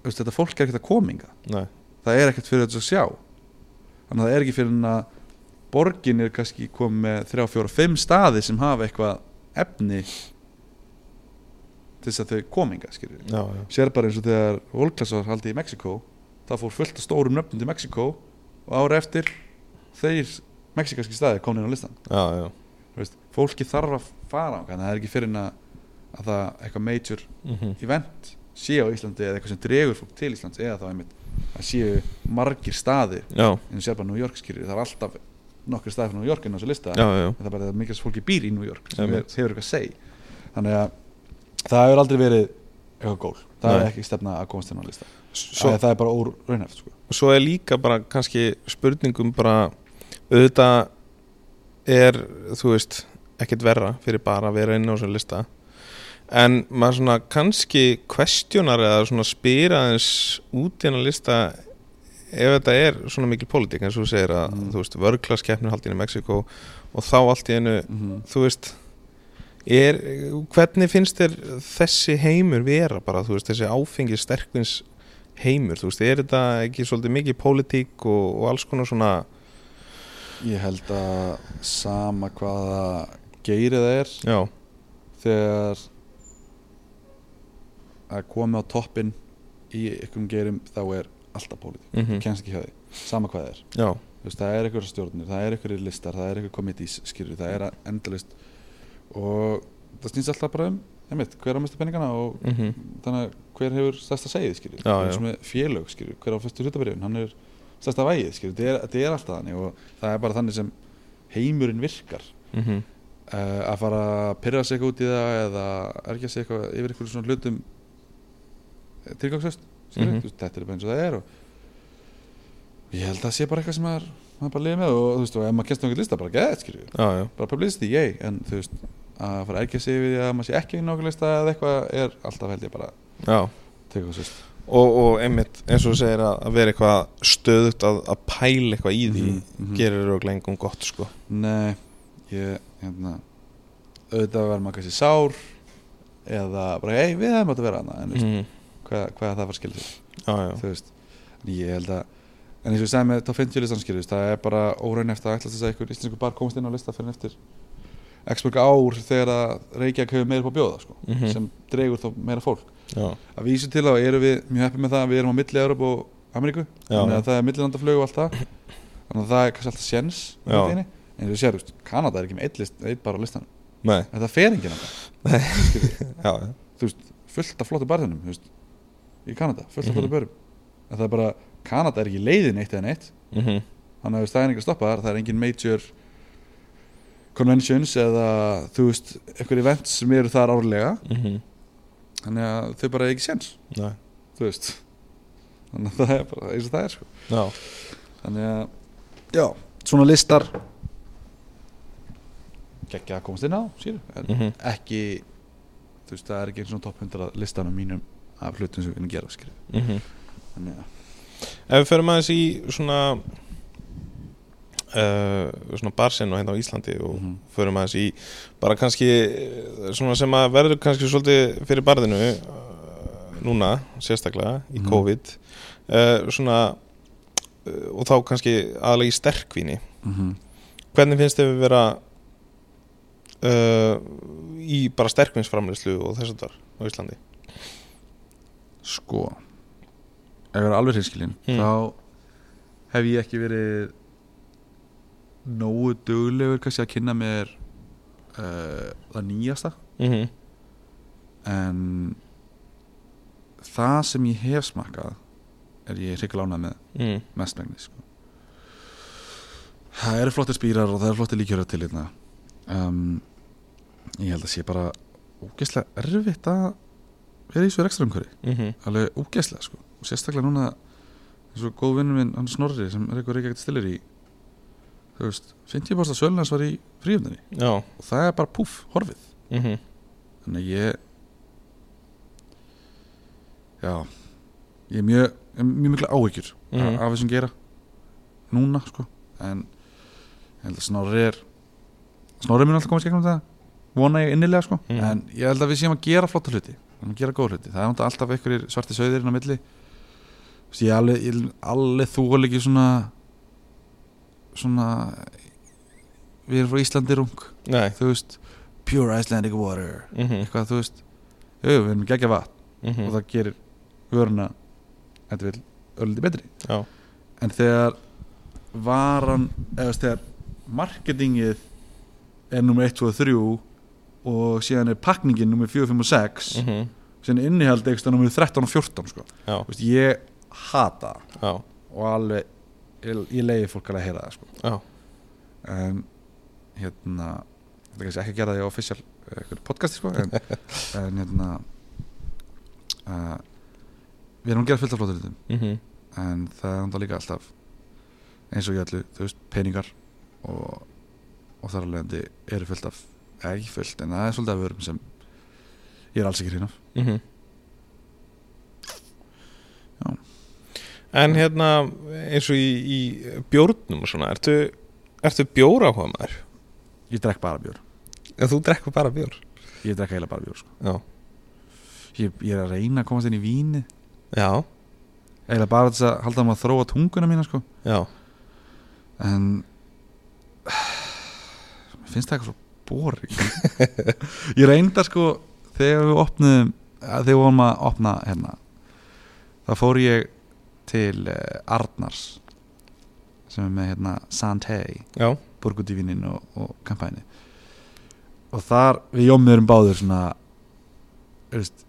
Speaker 2: veist, þetta fólk er ekkert að kominga
Speaker 3: nei,
Speaker 2: það er ekkert fyrir þetta að sjá þannig að það er ekki fyrir en að borgin er kannski komið með 3, 4, 5 staði sem hafa eitthvað efni til þess að þau kominga skilur.
Speaker 3: já, já,
Speaker 2: sér bara eins og þegar Volklass var haldið í Mexiko það fór fullt af stórum nöfnum til Mexiko og ára eftir þeir mexikanski staði komin inn á listan
Speaker 3: já, já,
Speaker 2: Þú veist, fólki þarf að fara á það er ekki fyrir en að, að það eitthvað major
Speaker 3: mm
Speaker 2: event sé á Íslandi eða eitthvað sem dregur fólk til Íslands eða þá einmitt að séu margir staðir
Speaker 3: já,
Speaker 2: eins og sér bara New York skýrir, það er alltaf nokkri staðir frá New York inn á þessu lista
Speaker 3: já, já,
Speaker 2: en það er bara mikið sem fólki býr í New York sem er,
Speaker 3: Einmitt.
Speaker 2: hefur eitthvað að segja þannig að það hefur aldrei verið eitthvað gól, það
Speaker 3: Nei.
Speaker 2: er ekki stefna að komast inn á lista,
Speaker 3: svo,
Speaker 2: svo, það er bara ór raunhæft sko.
Speaker 3: og svo er líka bara kannski spurningum bara auðvitað er þú veist ekkert verra fyrir bara að vera inn á þessum lista en maður svona kannski kvestjónar eða svona spyra aðeins út í hennar lista ef þetta er svona mikil pólitík eins og þú segir að
Speaker 2: Mm.
Speaker 3: þú veist vörglaskeppnir haldin í Mexiko og þá allt í einu
Speaker 2: mm -hmm.
Speaker 3: þú veist er, hvernig finnst þér þessi heimur vera bara, þú veist, þessi áfengi sterkvins heimur, þú veist, er þetta ekki svolítið mikið pólitík og, og alls konar svona,
Speaker 2: ég held að sama hvaða geiri það er
Speaker 3: já,
Speaker 2: þegar að koma á toppin í ykkur geirum þá er alltaf pólitík,
Speaker 3: mm
Speaker 2: mm. kennst ekki hjá því sama hvað það er
Speaker 3: já,
Speaker 2: Þú veist, það er einhverjar stjórnir, það er einhverjar listar það er einhverjar komitís, skilur, það er endalist og það snýst alltaf bara um einmitt, hver á mestu peningana og
Speaker 3: mm
Speaker 2: þannig að hver hefur stærsta segið, skilur,
Speaker 3: Já, já.
Speaker 2: eins og með félög skilur, hver á fyrstu hlutabriðun, hann er stærsta vægið, skilur, þetta er, þetta er alltaf þannig og það er bara þannig sem heimurinn virkar
Speaker 3: mhm,
Speaker 2: uh, að fara að pyrra sig eitthvað út í það eða ergja sig eitthvað yfir eitthvað svona hlutum eh, tilgangsöst mm
Speaker 3: Mhm.
Speaker 2: -hmm. þetta er bara eins og það er og ég held að það sé bara eitthvað sem maður, maður bara liði með og þú veist og ef maður kennst nákvæmlega lista bara gett skilju
Speaker 3: já, já,
Speaker 2: bara publicity, yay en þú veist að fara að ergja sig við að maður sé ekki nákvæmlega lista eða eitthvað er alltaf held ég bara
Speaker 3: já,
Speaker 2: tilgangsöst
Speaker 3: og, og einmitt eins og þú segir að, að vera eitthvað stöðugt að, að pæla eitthvað í því
Speaker 2: Mhm, mhm.
Speaker 3: gerir og lengum gott sko
Speaker 2: Nei, ég, hérna auðvitað verður maður kannski sár eða bara, ei, við hefum átt að vera hana en mm.
Speaker 3: mm.
Speaker 2: hvað, hvað það var skil sér,
Speaker 3: já, já.
Speaker 2: þú veist en ég held að, en eins og ég sagði með top 50 listan skil, það er bara óraun eftir að ætla þess að einhver íslensku bar komast inn á lista fyrir en eftir x mörg ár þegar að Reykjavík hefur meira upp á bjóða, sko,
Speaker 3: Mhm.
Speaker 2: sem dregur þá meira fólk
Speaker 3: já,
Speaker 2: að vísu til þá erum við mjög heppið með það að við erum á milli Európa og Ameríku þannig að það er millilandaflög og allt það þannig að það er kannski alltaf séns með
Speaker 3: Já.
Speaker 2: þetta inni. en þú sér, þú veist, Kanada er ekki með eitt, list, eitt bar á listan
Speaker 3: nei,
Speaker 2: þetta fer enginn þangað.
Speaker 3: já, já.
Speaker 2: fullt af flottu barðunum veist, í Kanada, fullt af
Speaker 3: Mhm.
Speaker 2: flottu börum en það er bara, Kanada er ekki leiðin eitt eða neitt
Speaker 3: Mm
Speaker 2: þannig að þú veist, það er enginn að stoppa þar það er engin major conventions eða þú veist, einhver events sem eru þar árlega þannig að þau bara eiga ekki séns
Speaker 3: Mhm. nei,
Speaker 2: þú veist þannig að það er bara eins og það er sko
Speaker 3: já
Speaker 2: þannig að já, svona listar geggja að komast inn á síru, en
Speaker 3: Mhm.
Speaker 2: ekki þú veist, það er ekki eins og top 100 listanum mínum af hlutum sem við erum að gera skilur.
Speaker 3: Mhm.
Speaker 2: þannig að
Speaker 3: Ef við förum aðeins í svona uh, svona barsinn og hérna á Íslandi og
Speaker 2: Mhm.
Speaker 3: förum aðeins í bara kannski eh, svona sem að verður kannski svolítið fyrir barðinu uh, núna sérstaklega í
Speaker 2: Mhm.
Speaker 3: COVID uh, svona uh, og þá kannski aðlega í sterkvíni
Speaker 2: mm -hmm.
Speaker 3: hvernig finnst þið við vera uh, í bara sterkvinsframleyslu og þess að þar á Íslandi
Speaker 2: sko ef ég er alveg hinskilin
Speaker 3: Mm.
Speaker 2: þá hef ég ekki verið nógu duglegur kannski að kynna mér uh, það nýjasta
Speaker 3: mm
Speaker 2: Mhm.
Speaker 3: -hmm.
Speaker 2: en það sem ég hef smakkað er ég hrygg lánað með
Speaker 3: mm.
Speaker 2: mestmengni sko. það eru flottir spýrar og það eru flottir líkjörður til hérna um, ég held að sé bara ógeðslega erfitt að vera í þessu rekstrarumhverfi
Speaker 3: Mm -hmm.
Speaker 2: alveg ógeðslega sko og sérstaklega núna eins og góð vinnum minn hann Snorri sem er eitthvað reykjagt stilir í þú veist 50% sölunars var í fríöfninni
Speaker 3: já
Speaker 2: og það er bara púff horfið
Speaker 3: mm -hmm.
Speaker 2: þannig að ég já ég er mjög, ég er mjög mikla áhyggjur
Speaker 3: Mhm.
Speaker 2: af þessum gera núna sko en ég held að snorri er snorri mun alltaf komast gegnum það vona ég innilega sko
Speaker 3: Mhm.
Speaker 2: en ég held að við séum að gera flotta hluti við erum að gera góð hluti, það er náttúrulega alltaf einhverjir svarti söðir inn á milli Þú veist, ég alveg, ég alveg þúal ekki svona svona við erum frá Íslandi rung
Speaker 3: nei
Speaker 2: þú veist, pure Icelandic water
Speaker 3: mm -hmm.
Speaker 2: eitthvað þú veist jú, jú, við erum geggja vatn
Speaker 3: Mm
Speaker 2: og það gerir vöruna þetta vil ölliti betri
Speaker 3: Já.
Speaker 2: en þegar varan eða þú veist, þegar marketingið er nummer 1, 2 og 3 og síðan er pakningin nummer 4, 5 og 6 mm.
Speaker 3: -hmm.
Speaker 2: síðan er innihald eitthvað nummer 13 og 14 sko.
Speaker 3: Já,
Speaker 2: Þú veist, ég hata það
Speaker 3: já,
Speaker 2: og alveg ég, ég leiði fólk alveg að heyra það sko.
Speaker 3: já
Speaker 2: en hérna þetta er kannski ekki að gera það í official eitthvað podcasti sko en, en hérna uh, við erum að gera fullt af flottur hlutum
Speaker 3: mhm,
Speaker 2: en það er enda líka alltaf eins og ég ætlu, þú veist, peningar og, og þar alvegandi eru fullt af, eða ekki fullt en það er svolítið af vörum sem ég er alls ekki hrýn af
Speaker 3: mhm
Speaker 2: Já.
Speaker 3: En hérna eins og í, í bjórnum og svona, ertu, ertu bjóra á maður?
Speaker 2: ég drekk bara bjór,
Speaker 3: En þú drekkur bara bjór
Speaker 2: ég drekk eiginlega bara bjór sko.
Speaker 3: Já,
Speaker 2: ég, ég er að reyna að komast inn í víni
Speaker 3: já,
Speaker 2: eiginlega bara til þess að halda maður að þróa tunguna mína sko
Speaker 3: já,
Speaker 2: en mér finnst það eitthvað svo boring ég reynda sko þegar við opnum þegar við vorum að opna hérna þá fór ég til eh, Arnars sem er með hérna Santei
Speaker 3: já
Speaker 2: Burgundivinin og, og kampæni og þar við jómmiðurum báður svona þú veist,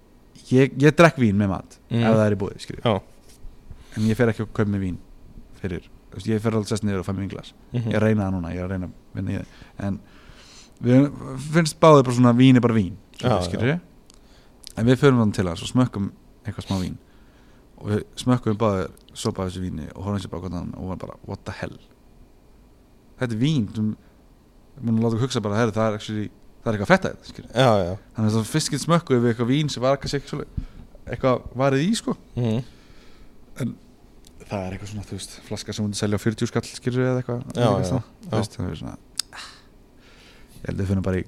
Speaker 2: ég, ég drekk vín með mat
Speaker 3: Mm.
Speaker 2: ef það er í búið skilju
Speaker 3: Já.
Speaker 2: en ég fer ekki að kaupa með vín fyrir, þú veist, ég fer alveg sest niður og fæ mér vinglas
Speaker 3: mhm,
Speaker 2: ég reyna það núna, ég er að reyna að vinna í það en við finnst báðir bara svona vín er bara vín
Speaker 3: Já,
Speaker 2: skilurðu? en við förum þannig til hans og smökkum eitthvað smá vín og við smökkum báðir sopa af þessu víni og horfum sér bara gott annan og varum bara what the hell þetta er vín sem múnum láta okkur hugsa bara herri, það, er actually, það er eitthvað fett að þetta skilurðu?"
Speaker 3: Já, já,
Speaker 2: þannig að það fyrst getur smökkuð við eitthvað vín sem var kannski ekki svolítið eitthvað varðið í sko
Speaker 3: Mhm.
Speaker 2: það er eitthvað svona, þú veist, flaska sem hún selja á 40 skall skilur eða eitthvað
Speaker 3: Já,
Speaker 2: eitthvað
Speaker 3: já,
Speaker 2: svona,
Speaker 3: já.
Speaker 2: þú veist, það er svona ég held að við finnum bara í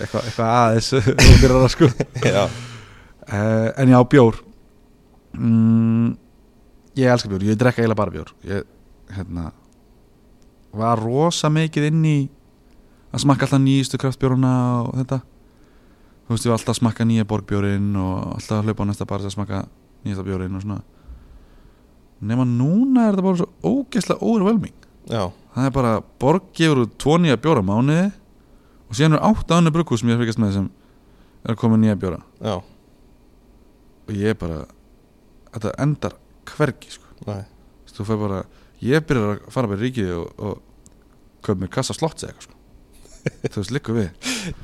Speaker 2: eitthvað, eitthvað aðeins ódýrara, sko.
Speaker 3: Já,
Speaker 2: uh, en já, bjór mm, ég elska bjór, ég drekka eiginlega bara bjór ég, hérna var rosa mikið inn í að smakka alltaf nýjustu kraftbjóruna og þetta þú veist, ég var alltaf að smakka nýja borgbjórinn og alltaf að hlaupa á næsta bar til að smakka nýjasta bjórinn og svona nema núna er þetta bara svo ógeðslega overwhelming
Speaker 3: já,
Speaker 2: það er bara borg gefur út tvo nýja bjóra á mánuði og síðan er átta annar brugghús sem ég er að fyrkast með sem er að koma með nýja bjóra
Speaker 3: já,
Speaker 2: og ég bara þetta endar hvergi sko.
Speaker 3: nei,
Speaker 2: Þú veist, þú fær bara, ég byrjar að fara með ríkið og, og köp mér kassa slott eða eitthvað sko. þú veist, liggur við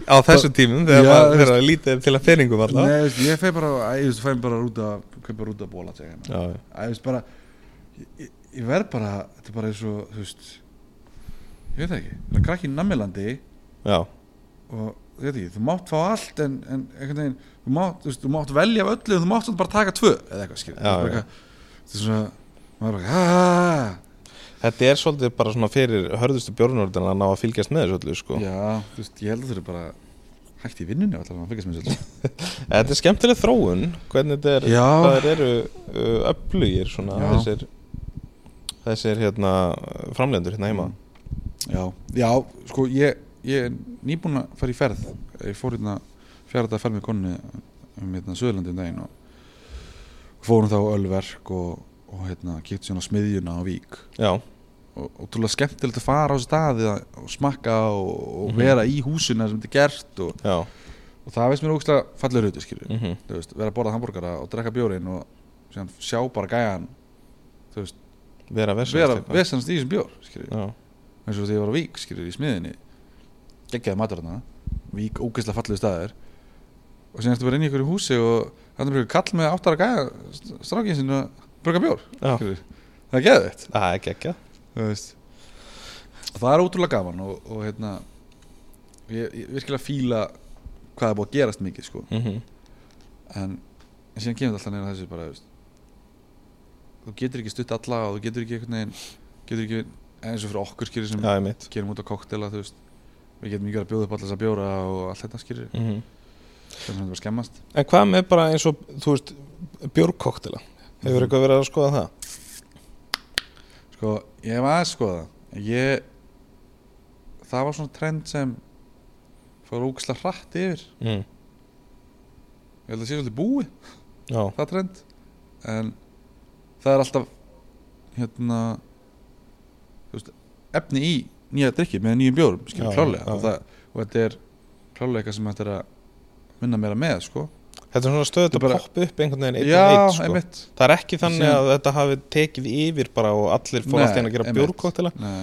Speaker 3: Á þessum tímum þegar
Speaker 2: Já,
Speaker 3: maður
Speaker 2: þú
Speaker 3: þegar það lítið er til að peningum
Speaker 2: Nei,
Speaker 3: allavega
Speaker 2: þú veist, ég fær bara, æ, þú veist, fær bara rúta köp bara rúta bóla segja hérna.
Speaker 3: Já, já,
Speaker 2: Æ, þú veist, bara ég- ég, ég verð bara, þetta er bara eins og þú veist, ég veit það ekki það er krakki í Namilandi
Speaker 3: já,
Speaker 2: og þú veit ekki, þú mátt fá allt en, en einhvern veginn, þú mátt, þú, veist, þú mátt velja af öllu en þú mátt samt bara taka tvö eða eitthvað skilur
Speaker 3: Já, já.
Speaker 2: þetta er svona, maður er bara aaaah
Speaker 3: þetta er svolítið bara svona fyrir hörðustu björnordin að ná að fylgjast með þessu öllu sko.
Speaker 2: Já, þú veist, ég held að þau eru bara hægt í vinnunni alltaf, hann fyrkast með þessu
Speaker 3: Eh, Þetta er skemmtileg þróun hvernig þetta er,
Speaker 2: Já.
Speaker 3: hvað þeir eru uh, öflugir svona
Speaker 2: Já.
Speaker 3: þessir, þessir hérna framlendur
Speaker 2: Mm.
Speaker 3: hérna heima
Speaker 2: Já, já, sko, ég, ég er nýbúin að fara í ferð ég fór hérna fjara þetta ferð með konni um hérna Suðurlandi um daginn og fórum þá á Ölverk og, og hérna, kíkti svona á smiðjuna á Vík
Speaker 3: Já,
Speaker 2: og útrúlega skemmtilegt að fara á staði og smakka og, og
Speaker 3: Mhm.
Speaker 2: vera í húsinu þar sem þetta er gert og,
Speaker 3: já,
Speaker 2: og það veist mér ógustlega fallur hluti, skilju
Speaker 3: mhm
Speaker 2: þú veist, vera að borða hambúrgara og drekka bjórin og síðan sjá bara gæjan þú veist,
Speaker 3: vera versum
Speaker 2: vera vesennast í þessum bjór skilur,
Speaker 3: Já,
Speaker 2: eins og því ég var á Vík skilur, í smiðinni geggjaði matur hana Vík ógeðslega fallið staðir og síðan ertu bara inn í einhverju húsi og þannig brugur kall með áttara gæja strákinn sinni að bruga bjór
Speaker 3: já,
Speaker 2: skilur. það er geðveitt
Speaker 3: það er gekkja
Speaker 2: þú veist og það er ótrúlega gaman og, og hérna ég, ég virkilega fíla hvað er búið að gerast mikið sko
Speaker 3: mm
Speaker 2: en, en síðan kemur þetta alltaf neina þessu bara þú veist, þú getur ekki stutt alla og þú getur ekki einhvern veginn getur ekki eins og fyrir okkur skýrir sem
Speaker 3: Já, ég mitt
Speaker 2: gerum út á koktela þú veist við getum ekki verið að bjóða upp alla þessa bjóra og allt þetta skýrir
Speaker 3: mm
Speaker 2: þannig að þetta var skemmast
Speaker 3: En hvað með bara eins og, þú veist, björgkoktela Hefur
Speaker 2: Mhm.
Speaker 3: eitthvað verið að skoða það?
Speaker 2: sko ég hef aðeins skoða ég það var svona trend sem fór ógislega hratt yfir
Speaker 3: Mm.
Speaker 2: ég held að sé svolítið búi
Speaker 3: Já,
Speaker 2: það trend en það er alltaf hérna þú veist, efni í nýja drikki með nýjum bjórum, skilur
Speaker 3: Já,
Speaker 2: klálega
Speaker 3: já.
Speaker 2: og, það, og þetta er klálega eitthvað sem þetta er að minna meira með, sko
Speaker 3: þetta er svona stöðut
Speaker 2: Þetta
Speaker 3: að
Speaker 2: er bara-
Speaker 3: poppa upp einhvern veginn einn
Speaker 2: Já,
Speaker 3: og einn sko.
Speaker 2: einmitt
Speaker 3: Það er ekki þannig
Speaker 2: Síðan-
Speaker 3: að þetta hafi tekið yfir bara og allir fór
Speaker 2: Nei,
Speaker 3: allt í einu að gera
Speaker 2: einmitt.
Speaker 3: björgkoktela
Speaker 2: Nei.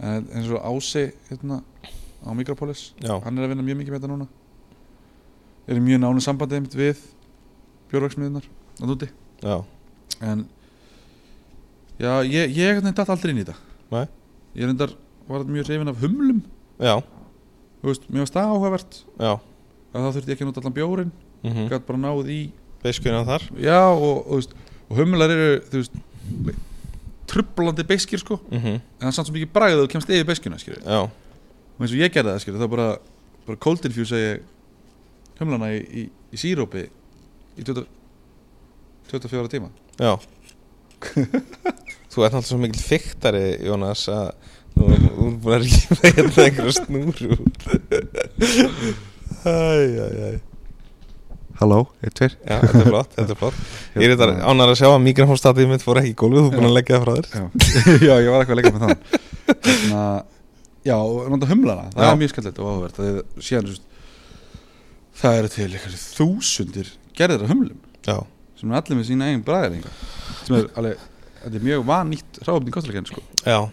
Speaker 2: en eins og Ási hérna á Mikropolis
Speaker 3: Já,
Speaker 2: hann er að vinna mjög mikið með þetta núna er í mjög nánu sambandi einmitt við bjórverksmiðunar að úti
Speaker 3: já,
Speaker 2: en já, ég, ég einhvern veginn datt aldrei inn í þetta
Speaker 3: Nei.
Speaker 2: ég reyndar var mjög reyfin af humlum
Speaker 3: já,
Speaker 2: þú veist, mér varst það áhugavert
Speaker 3: já
Speaker 2: að þá þurfti ég ekki að nota allan bjórin
Speaker 3: mm
Speaker 2: mm.
Speaker 3: -hmm.
Speaker 2: gætt bara náð í
Speaker 3: Beiskunum þar
Speaker 2: já, og, og, þú veist, og humlar eru þú veist le- trublandi beskir sko
Speaker 3: mm
Speaker 2: en það er samt svo mikið bragð að þú kemst yfir beskina skilur
Speaker 3: Já,
Speaker 2: og eins og ég gerði það skilur þá bara, bara cold infuse ég humlana í, í, í sírópi í 20, 24 tíma
Speaker 3: já Þú ert náttúrulega svo mikil fyrktari, Jónas að nú nú erum búin að rífa hérna einhverja snúr út Æ, æ, æ
Speaker 2: Halló, eitt, tveir
Speaker 3: Já, þetta er flott, þetta er flott Ég er þetta ánar að sjá að mikrofónstatið mitt fór ekki í gólfið, þú er búin að leggja það frá þér
Speaker 2: já, já, ég var eitthvað að leika með þann Þannig að Já, og náttúrulega humlana, það
Speaker 3: Já.
Speaker 2: er mjög skemmtilegt og áhverð Það er síðan, þú veist Það eru til eitthvað þúsundir gerðir af humlum
Speaker 3: Já,
Speaker 2: sem er allir með sína eigin bræðiringa sem er alveg, þetta er mjög vannýtt ráfum í kostleikinn, sko
Speaker 3: já,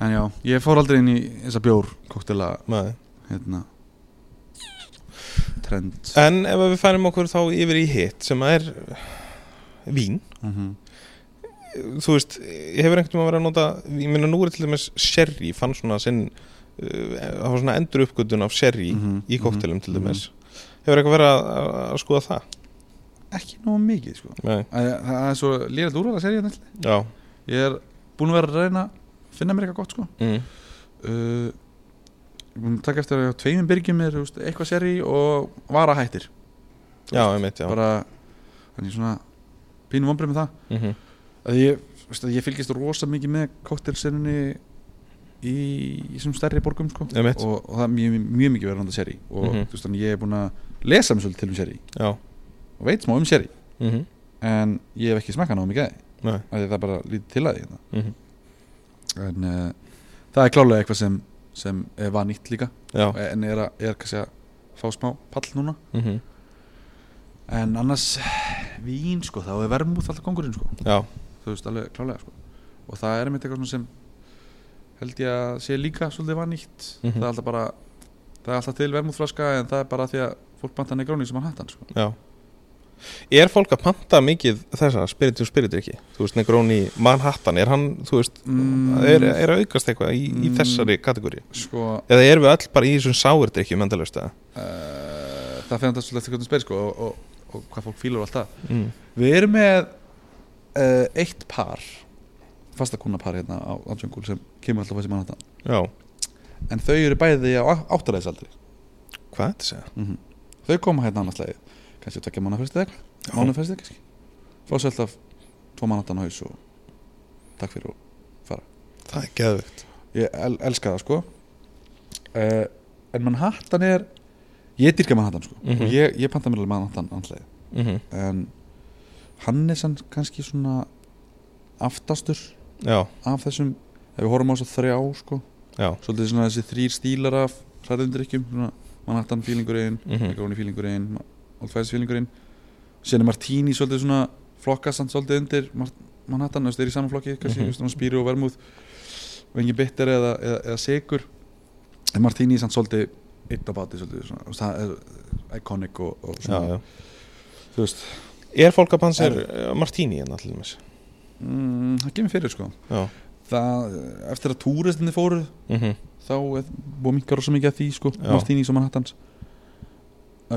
Speaker 2: En já, ég fór aldrei inn í þessa bjór koktela,
Speaker 3: maður
Speaker 2: hérna trend
Speaker 3: En ef við færum okkur þá yfir í hitt sem er vín
Speaker 2: mm
Speaker 3: Þú veist, ég hefur einhvern veginn að vera að nota Ég meina nú er til dæmis sherry fann svona sinn uh, Það var svona endur uppgötun af sherry
Speaker 2: Mhm,
Speaker 3: í koktelum til
Speaker 2: mhm,
Speaker 3: dæmis hefur eitthvað verið að, að, að skoða það
Speaker 2: Mhm. ekki nóg mikið sko
Speaker 3: Nei.
Speaker 2: Æ, það er svo lýrætt úrvala serið nættilega
Speaker 3: já
Speaker 2: ég er búin að vera að reyna að finna mér eitthvað gott sko
Speaker 3: mm.
Speaker 2: uh, ég er búinn að taka eftir að tveimum byrgjum er þú veist, eitthvað seri og vara hættir
Speaker 3: já, einmitt, já
Speaker 2: bara þannig svona pínum vombrið með það
Speaker 3: Mhm.
Speaker 2: að ég, þú veist, að ég fylgist rosa mikið með kóttelsenninni í þessum stærri borgum sko.
Speaker 3: Einmitt.
Speaker 2: og, og það er mjög, mjög mikið verið að seri og mm
Speaker 3: Mhm.
Speaker 2: -hmm. þannig ég er búinn að lesa mér svolítið til um seri
Speaker 3: já
Speaker 2: og veit smá um seri
Speaker 3: mm -hmm.
Speaker 2: en ég hef ekki smakkað náðum í gæði
Speaker 3: Nei.
Speaker 2: af því það er bara lítið til að því hérna.
Speaker 3: Mhm.
Speaker 2: en uh, það er klálega eitthvað sem, sem eh, var nýtt líka
Speaker 3: já
Speaker 2: en er, að, er kannski að fá smá pall núna
Speaker 3: mm
Speaker 2: en annars vín sko þá er vermúð alltaf kongurinn sko
Speaker 3: já
Speaker 2: þú veist alveg klálega sko og það er einmitt eitthvað svona sem held ég að sé líka svolítið vanýtt
Speaker 3: Mhm.
Speaker 2: það er alltaf bara það er alltaf til vermúðflaska en það er bara því að fólk banta negróni sem hann hatt hann sko
Speaker 3: Já Er fólk að panta mikið þessa spirit to spirit ekki? Þú veist, Negroni Manhattan er hann, þú veist
Speaker 2: Mm.
Speaker 3: er, er að aukast eitthvað í, í
Speaker 2: Mm.
Speaker 3: þessari kategóri
Speaker 2: sko
Speaker 3: Eða erum við öll bara í þessum sáurdrykki endalaust eða?
Speaker 2: uh, það fyrir þetta svolítið eftir hvernig spyr sko og, og, og hvað fólk fílar og allt það
Speaker 3: Mm.
Speaker 2: við erum með uh, eitt par fastakunapar hérna á, á Jungle sem kemur alltaf á þessi mann
Speaker 3: Já,
Speaker 2: en þau eru bæði á áttaræðisaldri
Speaker 3: hvað er þetta að segja?
Speaker 2: -hmm. Þau koma hérna annars leið kannski tvekja mannafrestið eitthvað mannafrestið kannski fá sér alltaf tvo mannatan á haus og takk fyrir og
Speaker 3: Það er geðvikt
Speaker 2: ég el elska það sko uh, en mannhattan er ég dyrka mannhattan sko
Speaker 3: Mhm.
Speaker 2: og ég, ég panta mér alveg mannhattan annars leið
Speaker 3: mm
Speaker 2: en hann er sann kannski svona aftastur
Speaker 3: Já,
Speaker 2: af þessum ef við horfum á þess að þrjá sko
Speaker 3: já
Speaker 2: svolítið svona þessi þrýr stílar af hræðundrykkjum svona mannhattan fílingurinn
Speaker 3: Mhm.
Speaker 2: Negroni fílingurinn, Old Fashioned fílingurinn síðan er Martini svolítið svona flokkast hann svolítið undir Mar- Manhattan, þú veist, þeir í saman flokki, kannski,
Speaker 3: Mhm.
Speaker 2: mm -hmm. spýri og vermúð og engin bitter eða, eða, eða segur en Martini er samt svolítið eitt á báti svolítið, svona, þú veist, það er iconic og, og
Speaker 3: Já,
Speaker 2: svona,
Speaker 3: já.
Speaker 2: þú veist
Speaker 3: Er fólk að panta sér eh, Martini en allir með
Speaker 2: mm, það kemur fyrir, sko
Speaker 3: Já,
Speaker 2: það, eftir að túristinni fóru
Speaker 3: mm
Speaker 2: þá er búið minkar rosa mikið að því, sko
Speaker 3: Já.
Speaker 2: Martini og Manhattans uh,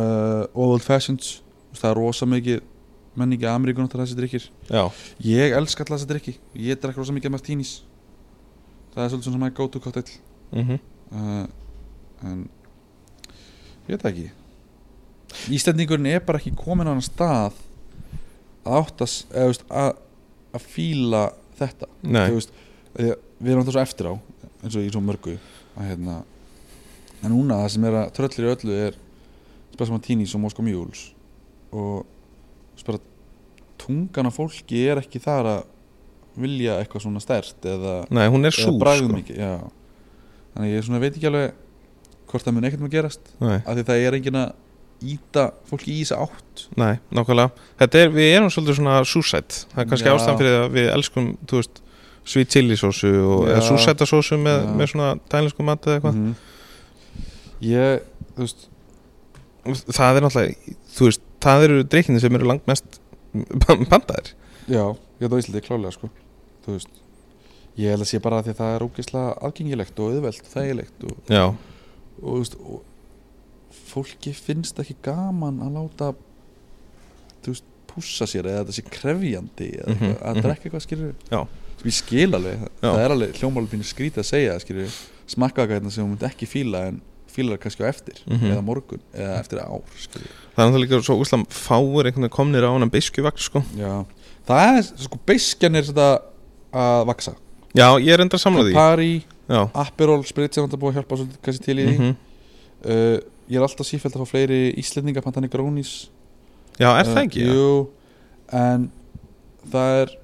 Speaker 2: og Old Fashions þú veist, það er rosa mikið menningi Ameríkun áttar þessi drikkir
Speaker 3: já,
Speaker 2: Ég elska alltaf þessa drikki Ég drekk rosa mikið martínis Það er svolítið svona my go-to cocktail
Speaker 3: mm
Speaker 2: uh, En Ég veit það ekki Íslendingurinn er bara ekki komin á hann stað að áttast eða, þú veist, að, að fíla þetta
Speaker 3: Nei,
Speaker 2: Þú veist, því að Við erum alltaf svo eftir á eins og í svo mörgu að, hérna, En núna það sem er að tröllir í öllu er Spesma Tínis og Moskva Mjúls og þú veist, bara tungan af fólki er ekki þar að vilja eitthvað svona stert eða,
Speaker 3: Nei hún er
Speaker 2: eða
Speaker 3: súr
Speaker 2: bragðum
Speaker 3: sko.
Speaker 2: ekki já. þannig ég svona veit ekki alveg hvort það mun ekkert maður gerast
Speaker 3: Nei,
Speaker 2: af því það er engin að íta fólki í þessa átt
Speaker 3: nei, nákvæmlega Þetta er, við erum svolítið svona súsætt Það er kannski
Speaker 2: Já.
Speaker 3: ástæðan fyrir að við elskum, þú veist sweet chili sósu og
Speaker 2: Já.
Speaker 3: eða súsæta sósu með,
Speaker 2: Já.
Speaker 3: með svona tælinsku mat eða eitthvað
Speaker 2: -hmm.
Speaker 3: Mhm.
Speaker 2: ég, þú veist
Speaker 3: það er náttúrulega, þú veist, það eru drikkinni sem eru langmest pantaðir
Speaker 2: já, ég er það á Íslandi klálega sko þú veist ég held að sé bara af því að það er ógeðslega aðgengilegt og auðvelt, þægilegt og,
Speaker 3: já,
Speaker 2: og, þú veist, og fólki finnst ekki gaman að láta þú veist, pússa sér eða þetta sé krefjandi eða
Speaker 3: Mhm,
Speaker 2: eitthvað, að
Speaker 3: mhm.
Speaker 2: drekka eitthvað skilur
Speaker 3: Já.
Speaker 2: ég skil alveg,
Speaker 3: Já.
Speaker 2: það er alveg hljómáli pínu skrítið að segja skilur smakka eitthvað hérna sem þú mynd ekki fíla en fílar kannski á eftir
Speaker 3: Mhm.
Speaker 2: eða morgun eða eftir ár skilur
Speaker 3: það er náttúrulega líka svo úslam fáur einhvern veginn komnir á hann biskjuvakt sko.
Speaker 2: Já. það er sko beiskjan er þetta að vaksa
Speaker 3: já, ég er enda að samla því
Speaker 2: Campari,
Speaker 3: já,
Speaker 2: Aperol, Sprit sem þetta búið að hjálpa svolítið kannski til í því
Speaker 3: Mhm.
Speaker 2: uh, ég er alltaf sífælt að fá fleiri Íslendinga pantani grónis
Speaker 3: já er það ekki?
Speaker 2: Uh,
Speaker 3: já?
Speaker 2: jú, en það er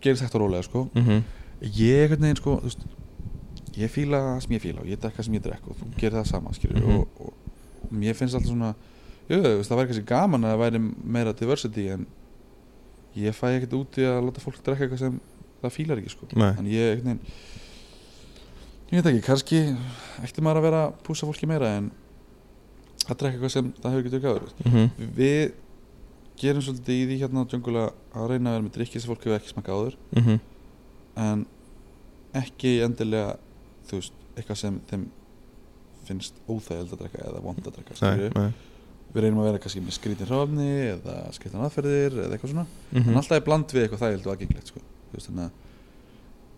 Speaker 2: gerist hægt og rólega sko
Speaker 3: Mhm.
Speaker 2: ég einhvern veginn sko þú veist, ég fíla það sem ég fíla og ég drekka það sem ég drekka og þú gerir það sama skilur
Speaker 3: Mhm.
Speaker 2: og, og, og mér finnst alltaf svona jú, þú veist, það væri kannski gaman að það væri meira diversity en ég fæ ekkert út í að láta fólk drekka eitthvað sem það fílar ekki sko
Speaker 3: Nei.
Speaker 2: en ég einhvern veginn ég veit ekki, kannski ætti maður að vera að púsa fólki meira en að drekka eitthvað sem það hefur ekki dökkaður
Speaker 3: Mhm.
Speaker 2: við gerum svolítið í því hérna á djungula að reyna að vera með drikki sem fólk hefur ekki smakað áður
Speaker 3: Mhm.
Speaker 2: en ekki endilega þú veist, eitthvað sem þeim finnst óþægild að drekka eða vond að drekka
Speaker 3: Nei,
Speaker 2: skilurðu.
Speaker 3: nei.
Speaker 2: við reynum að vera kannski með skrítin hrófni eða skrítan aðferðir eða eitthvað svona en
Speaker 3: Mhm.
Speaker 2: alltaf er bland við eitthvað þægild og aðgengilegt sko. Þú veist, þannig að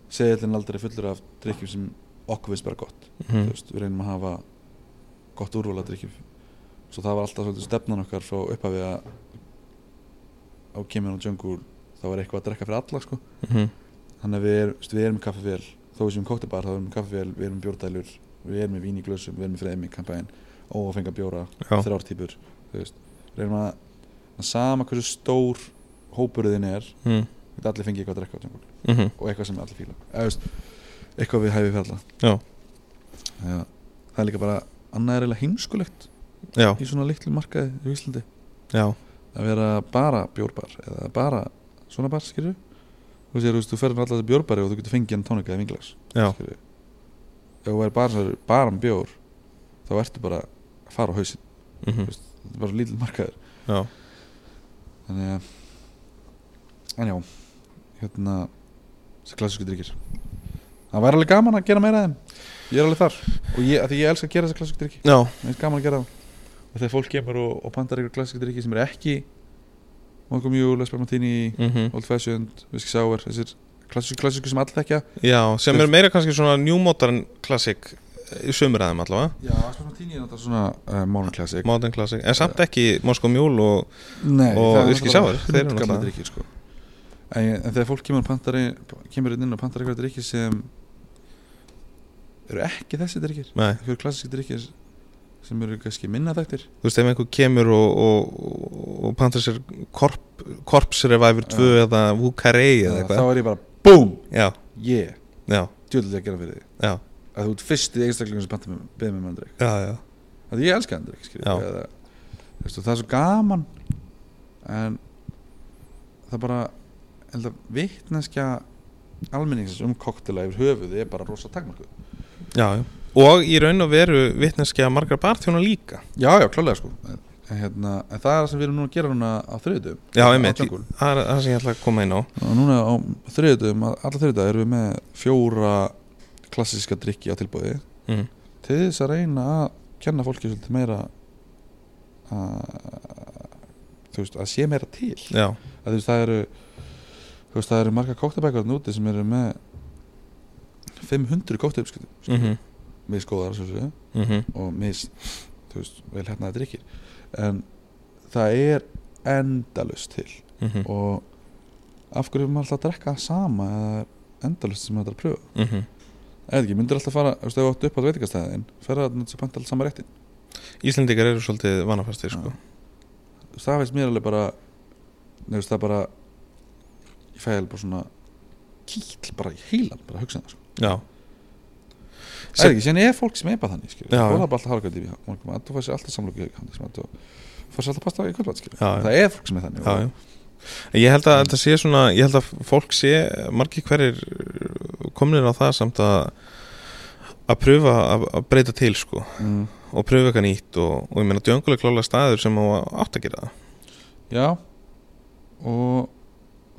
Speaker 2: segillin aldrei fullur af drikkjum sem okkur finnst bara gott
Speaker 3: Mhm.
Speaker 2: Þú veist, við reynum að hafa gott úrval að drikkjum svo það var alltaf svolítið stefnan okkar frá upphafi að á kemur og jungur þá var eitthvað að drekka fyrir alla sko.
Speaker 3: Mhm.
Speaker 2: þannig að við, er, við erum með kaffevél þó við séum kóktabar þá erum við með kaffevél, við erum með bjórdælur við erum með vín í glössum, við erum með freymi kampæn og fengar bjóra,
Speaker 3: Já.
Speaker 2: þrjártýpur þú veist, reynum að, að sama hversu stór hópurðin er
Speaker 3: Mhm.
Speaker 2: geta allir fengið eitthvað að drekka á tjóngul
Speaker 3: Mhm.
Speaker 2: og eitthvað sem allir fíla Eða, þú veist, eitthvað við hæfið fyrir alla
Speaker 3: Já.
Speaker 2: Já. það er líka bara annað er eiginlega heimskulegt
Speaker 3: Já,
Speaker 2: í svona litlu markaði í Íslandi
Speaker 3: já,
Speaker 2: að vera bara bjórbar eða bara svona bar skilur þú sér, þú veist, þú ferð með alla þessi bjórbari og þú getur fengið hann tónika eða vinglags
Speaker 3: já,
Speaker 2: skilur ef þú er bara, svona- bara um bjór þá ertu bara að fara á hausinn
Speaker 3: mhm,
Speaker 2: þetta er bara svo lítill markaður
Speaker 3: já,
Speaker 2: þannig að en já, hérna þessi klassísku drikkir það væri alveg gaman að gera meira af þeim ég er alveg þar og ég, að því ég elska að gera þessi klassísku drikki
Speaker 3: já,
Speaker 2: mér er gaman að gera það og þegar fólk kemur og, og pantar ykkur klassísku drikki sem er ekki Malcolm Mule, Lesbar Martini
Speaker 3: mhm,
Speaker 2: Old Fashioned, Whiskey Sour þessir klassísku, klassísku sem allir þekkja
Speaker 3: já, sem er meira kannski svona New Modern Classic í sömur aðeim allavega,
Speaker 2: já, Lesbar Martini er náttúrulega svona uh, modern classic
Speaker 3: Modern Classic, en samt ekki Moskó Mjól og,
Speaker 2: Nei,
Speaker 3: og
Speaker 2: það er
Speaker 3: Whisky
Speaker 2: náttúrulega
Speaker 3: Sour, þeir eru
Speaker 2: hundgamla
Speaker 3: náttúrulega-
Speaker 2: drykkir sko. en, ég- en þegar fólk kemur, og pantar, ein- kemur inn og pantar eitthvað drikkir sem eru ekki þessi drikkir
Speaker 3: nei,
Speaker 2: eitthvað klassíski drikkir sem eru kannski minna þekktir
Speaker 3: þú veist, ef einhver kemur og, og, og pantar sér korp, Corpse Reviver 2 eða Wukarei
Speaker 2: þá
Speaker 3: eða eitthvað,
Speaker 2: er ég bara BOOM
Speaker 3: já,
Speaker 2: yeah,
Speaker 3: já,
Speaker 2: djúlega að gera fyrir því
Speaker 3: já,
Speaker 2: að þú ert fyrsti einstaklingur sem pantar með beðið með mann drikk
Speaker 3: já, já,
Speaker 2: að ég elska hann drikk skilur
Speaker 3: Já.
Speaker 2: við, eða- þú veist, og það er svo gaman en það bara ég held að vitneskja almenningsins um koktela yfir höfuði er bara rosa takmarkuð
Speaker 3: já, já. Og í raun og veru vitneskja margar barþjóna líka
Speaker 2: Já, já, klálega sko en, en hérna, en það er það sem við erum núna að gera núna á þriðutum
Speaker 3: Já, einmitt,
Speaker 2: á
Speaker 3: það
Speaker 2: Jungle.
Speaker 3: er það sem ég ætla að koma inn á
Speaker 2: Og Núna á þriðutum, alla þriðutum erum við með fjóra klassíska drikki á tilbúði
Speaker 3: mm.
Speaker 2: til þess að reyna að kenna fólki svolítið meira að þú veist, að sé meira til
Speaker 3: Já,
Speaker 2: að þú veist, það eru þú veist, það eru marga kóktabækarn úti sem eru með 500 kóktabækarn
Speaker 3: mhm,
Speaker 2: miskóðar, svo svo
Speaker 3: mhm,
Speaker 2: og mis þú veist, vel hérna að drikkir en það er endalust til
Speaker 3: mhm,
Speaker 2: og af hverju er maður alltaf að drekka það sama eða það er endalust sem maður er að pröfa
Speaker 3: mhm
Speaker 2: eða ekki, myndir alltaf fara, þú veist, ef þú átt upp á veitingastæðin ferða þarna til að panta alltaf sama réttin
Speaker 3: Íslendingar eru svolítið vanafastir sko
Speaker 2: Þú veist, það veist mér alveg bara þú veist, það bara ég fæði alveg bara svona kýll bara í heilan, bara að hugsa það sko.
Speaker 3: Já
Speaker 2: eða ekki, síðan er fólk sem er bara þannig skilur,
Speaker 3: Já,
Speaker 2: þú
Speaker 3: já.
Speaker 2: er bara alltaf harkandi í morgum þú fæsir alltaf samlöku í hann þú fæsir alltaf pasta í kvöldvætt skilur
Speaker 3: Já, já.
Speaker 2: það er fólk sem er þannig
Speaker 3: já, já. Ég held að þetta sé svona ég held að fólk sé, margir hverjir komnir á það samt að að pröfa að, að breyta til sko
Speaker 2: Mm.
Speaker 3: og pröfa eitthvað nýtt og, og ég meina djönguleg klála staður sem á átt að gera það
Speaker 2: Já og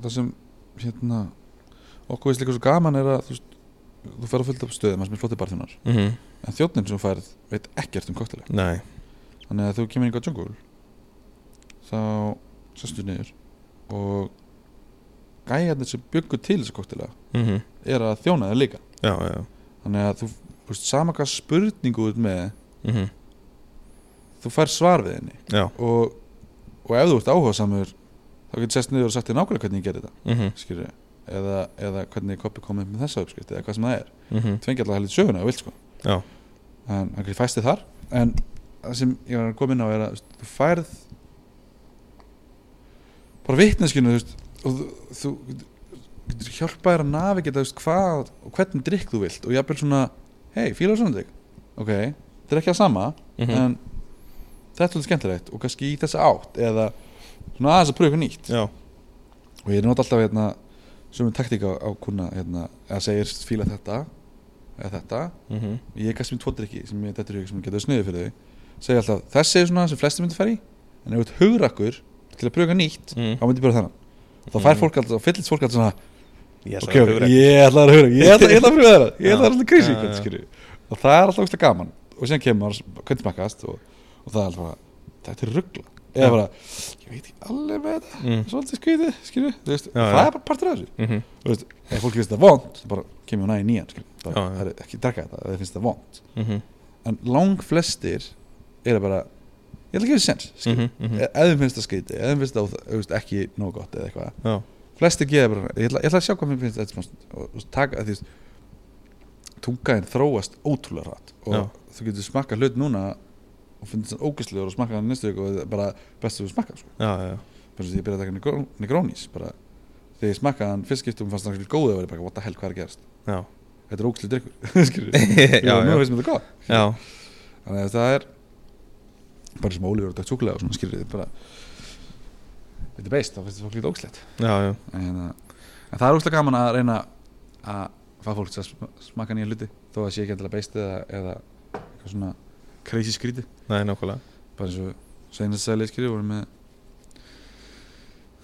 Speaker 2: það sem hérna okkur veist líka svo gaman er að þú, veist, þú fer að fylgta upp stöðum þar sem er flottir barþjónar
Speaker 3: mm -hmm.
Speaker 2: en þjónnin sem þú færð veit ekkert um koktelega
Speaker 3: Nei,
Speaker 2: þannig að þú kemur einhver djungul þá sestu niður og gæjarnir sem byggu til þessu koktelega
Speaker 3: mm
Speaker 2: er að þjóna þeir líka
Speaker 3: já, já, já
Speaker 2: þannig að þú, þú veist, sama hvað spurningu þú ert með
Speaker 3: mm
Speaker 2: þú fær svar við henni
Speaker 3: Já,
Speaker 2: og, og ef þú ert áhuga samur þá getur sest niður og sagt þér nákvæmlega hvernig ég gerði þetta
Speaker 3: mm -hmm.
Speaker 2: skilur eða, eða hvernig koppi kom upp með þessa uppskrift eða hvað sem það er
Speaker 3: Mm -hmm.
Speaker 2: tvengi alltaf heldur söguna og vilt sko
Speaker 3: Já.
Speaker 2: en það er fæsti þar en það sem ég var að koma inn á er að þú veist, þú færð bara vitneskinu þú veist, og þú, þú getur hjálpað þér að nafi geta veist, hvað og hvernig drikk þú vilt og jafnvel svona hei, fílar svona drikk ok, þetta er ekki að sama
Speaker 3: Mhm.
Speaker 2: en þetta er svolítið skemmtilegt og kannski í þessa átt eða svona aðeins að pröfa eitthvað nýtt
Speaker 3: Já,
Speaker 2: og ég nota alltaf hérna sömu taktík á, á kuna hérna, að segir fíla þetta eða þetta,
Speaker 3: mm -hmm.
Speaker 2: ég er kannski með tvo drikki sem ég dettur í hug sem getur sniðið fyrir þau segja alltaf, þessi er svona sem flesti myndi fara í en ef þú ert hugrakkur til að pröfa eitthvað nýtt
Speaker 3: mhm.
Speaker 2: þá myndi ég bara þannig þá fær
Speaker 3: Mm.
Speaker 2: fólk alltaf, fyllist fólk alltaf svona
Speaker 3: Yes,
Speaker 2: ok, ok, ég ætla að hugra ég ætla, ég ætla að pröfa þeirra, ég
Speaker 3: Já.
Speaker 2: ætla að alltaf
Speaker 3: Já,
Speaker 2: crazy
Speaker 3: já, já.
Speaker 2: ja, og það er alltaf ógeðslega gaman og síðan kemur maður, hvernig smakkast og, og það er alltaf bara, þetta er ruggla eða bara, ég veit ekki alveg með þetta
Speaker 3: Mm.
Speaker 2: svolítið skrítið, skilju veist,
Speaker 3: Já,
Speaker 2: það
Speaker 3: já.
Speaker 2: er bara partur af þessu
Speaker 3: mm -hmm.
Speaker 2: Þú veist, ef fólk finnst þetta vond, þá bara kemur hún aðeins nýjan skilju, bara,
Speaker 3: Já, já.
Speaker 2: það er ekki drekka þetta, ef þið finnst þetta vond en lang flestir eru bara ég ætla ekki að gefa sens, skilju
Speaker 3: Mhm.
Speaker 2: ef þið finnst það skrítið, ef þið finnst það óþ- þú veist, ekki nóg gott eða eitthvað
Speaker 3: Já.
Speaker 2: flestir geða bara, ég ætla, ég ætla að sjá hvað mér finnst þetta smá stund og, og taka, því veist, tungaðin þróast ótrúlega rætt og
Speaker 3: Já.
Speaker 2: þú getur smakkað hlut núna og finnst það ógæslegur og smakkað hann næstu viku og það er bara bestu við smakkað sko.
Speaker 3: já, já,
Speaker 2: fyrir því ég byrjaði að taka Negrón- Negronis bara, þegar ég smakkaði hann fyrst skiptum fannst það góð og var ég bara, what the hell, hvað er að gerast
Speaker 3: já
Speaker 2: þetta er ógæslegur drikkur, skilur
Speaker 3: já,
Speaker 2: og nú
Speaker 3: já,
Speaker 2: finnst mér það gott
Speaker 3: já,
Speaker 2: þannig að það er bara sem ólífur og dætt súkulega og svona skilur bara þetta er beist, þá finnst það fólk lítið ógæslegt
Speaker 3: já, já,
Speaker 2: en, hérna, en það er úrslega gaman að reyna að fá fólk til að sm- smakka nýja hluti þó að sé ekki endilega beist eða, eða eitthvað svona crazy skríti
Speaker 3: næ, nákvæmlega
Speaker 2: bara eins og seinast sæli skríti voru með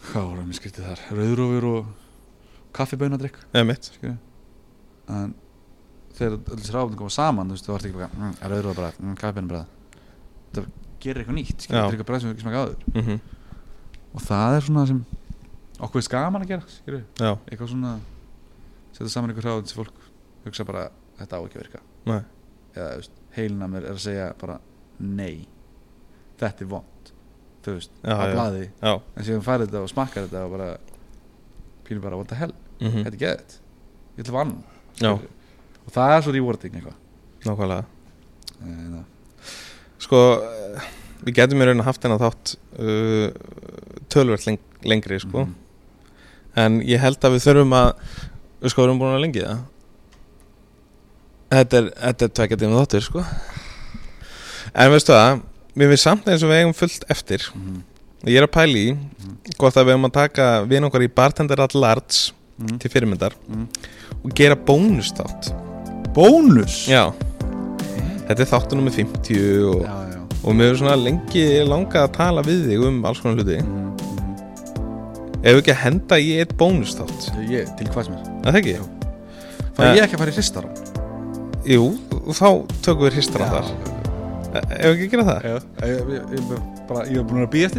Speaker 2: hvað voru með skrítið þar rauðrófur og kaffibönadrykk
Speaker 3: eða mitt,
Speaker 2: skríti Sko, en þegar öll þessi ráfnir koma saman þú veist þú vart ekki bara mm, rauðrófur bara mm, kaffibönum bara það gerir eitthvað nýtt skríti
Speaker 3: Já.
Speaker 2: það er eitthvað bara sem við ekki smakka áður
Speaker 3: mm -hmm.
Speaker 2: og það er svona sem okkur er skaman að gera skríti
Speaker 3: já,
Speaker 2: eitthvað svona setja saman einhver hráðin sem fólk hugsa bara þetta á ekki að virka
Speaker 3: Nei.
Speaker 2: eða þú veist, heilin að mér er að segja bara nei, þetta er vond þú veist,
Speaker 3: Já,
Speaker 2: að
Speaker 3: já.
Speaker 2: blaði
Speaker 3: já
Speaker 2: en síðan færið þetta og smakkar þetta og bara pínur bara, what the hell,
Speaker 3: mm
Speaker 2: þetta er geðið ég ætla vann
Speaker 3: já,
Speaker 2: og það er svo rewarding eitthvað
Speaker 3: nákvæmlega
Speaker 2: Eh,
Speaker 3: Sko, eh, við getum í raun að haft hennar þátt uh, tölvert leng lengri, sko
Speaker 2: mhm.
Speaker 3: en ég held að við þurfum að við sko erum búin að lengi það þetta er, þetta er tvekja tíma þáttur sko en veistu það mér finnst samt eins og við eigum fullt eftir
Speaker 2: Mhm.
Speaker 3: ég er að pæli í hvort að við eigum að taka vin okkar í bartender at large
Speaker 2: Mhm.
Speaker 3: til fyrirmyndar
Speaker 2: Mhm.
Speaker 3: og gera bónus þátt
Speaker 2: bónus
Speaker 3: já þetta er þáttu nummer 50 og,
Speaker 2: Mhm. já, já.
Speaker 3: og mér er svona lengi langað að tala við þig um alls konar hluti
Speaker 2: Mhm, mhm.
Speaker 3: ef við ekki að henda í eitt bónus þátt
Speaker 2: Ég, til hvað sem er
Speaker 3: það ekki?
Speaker 2: Jú. fæ
Speaker 3: Eh.
Speaker 2: ég ekki að fara í hristar
Speaker 3: Jú, og þá tökum E, við hristar á þar Ef við ekki gera það?
Speaker 2: Eh, ég, ég, ég, bara- ég er búin að býja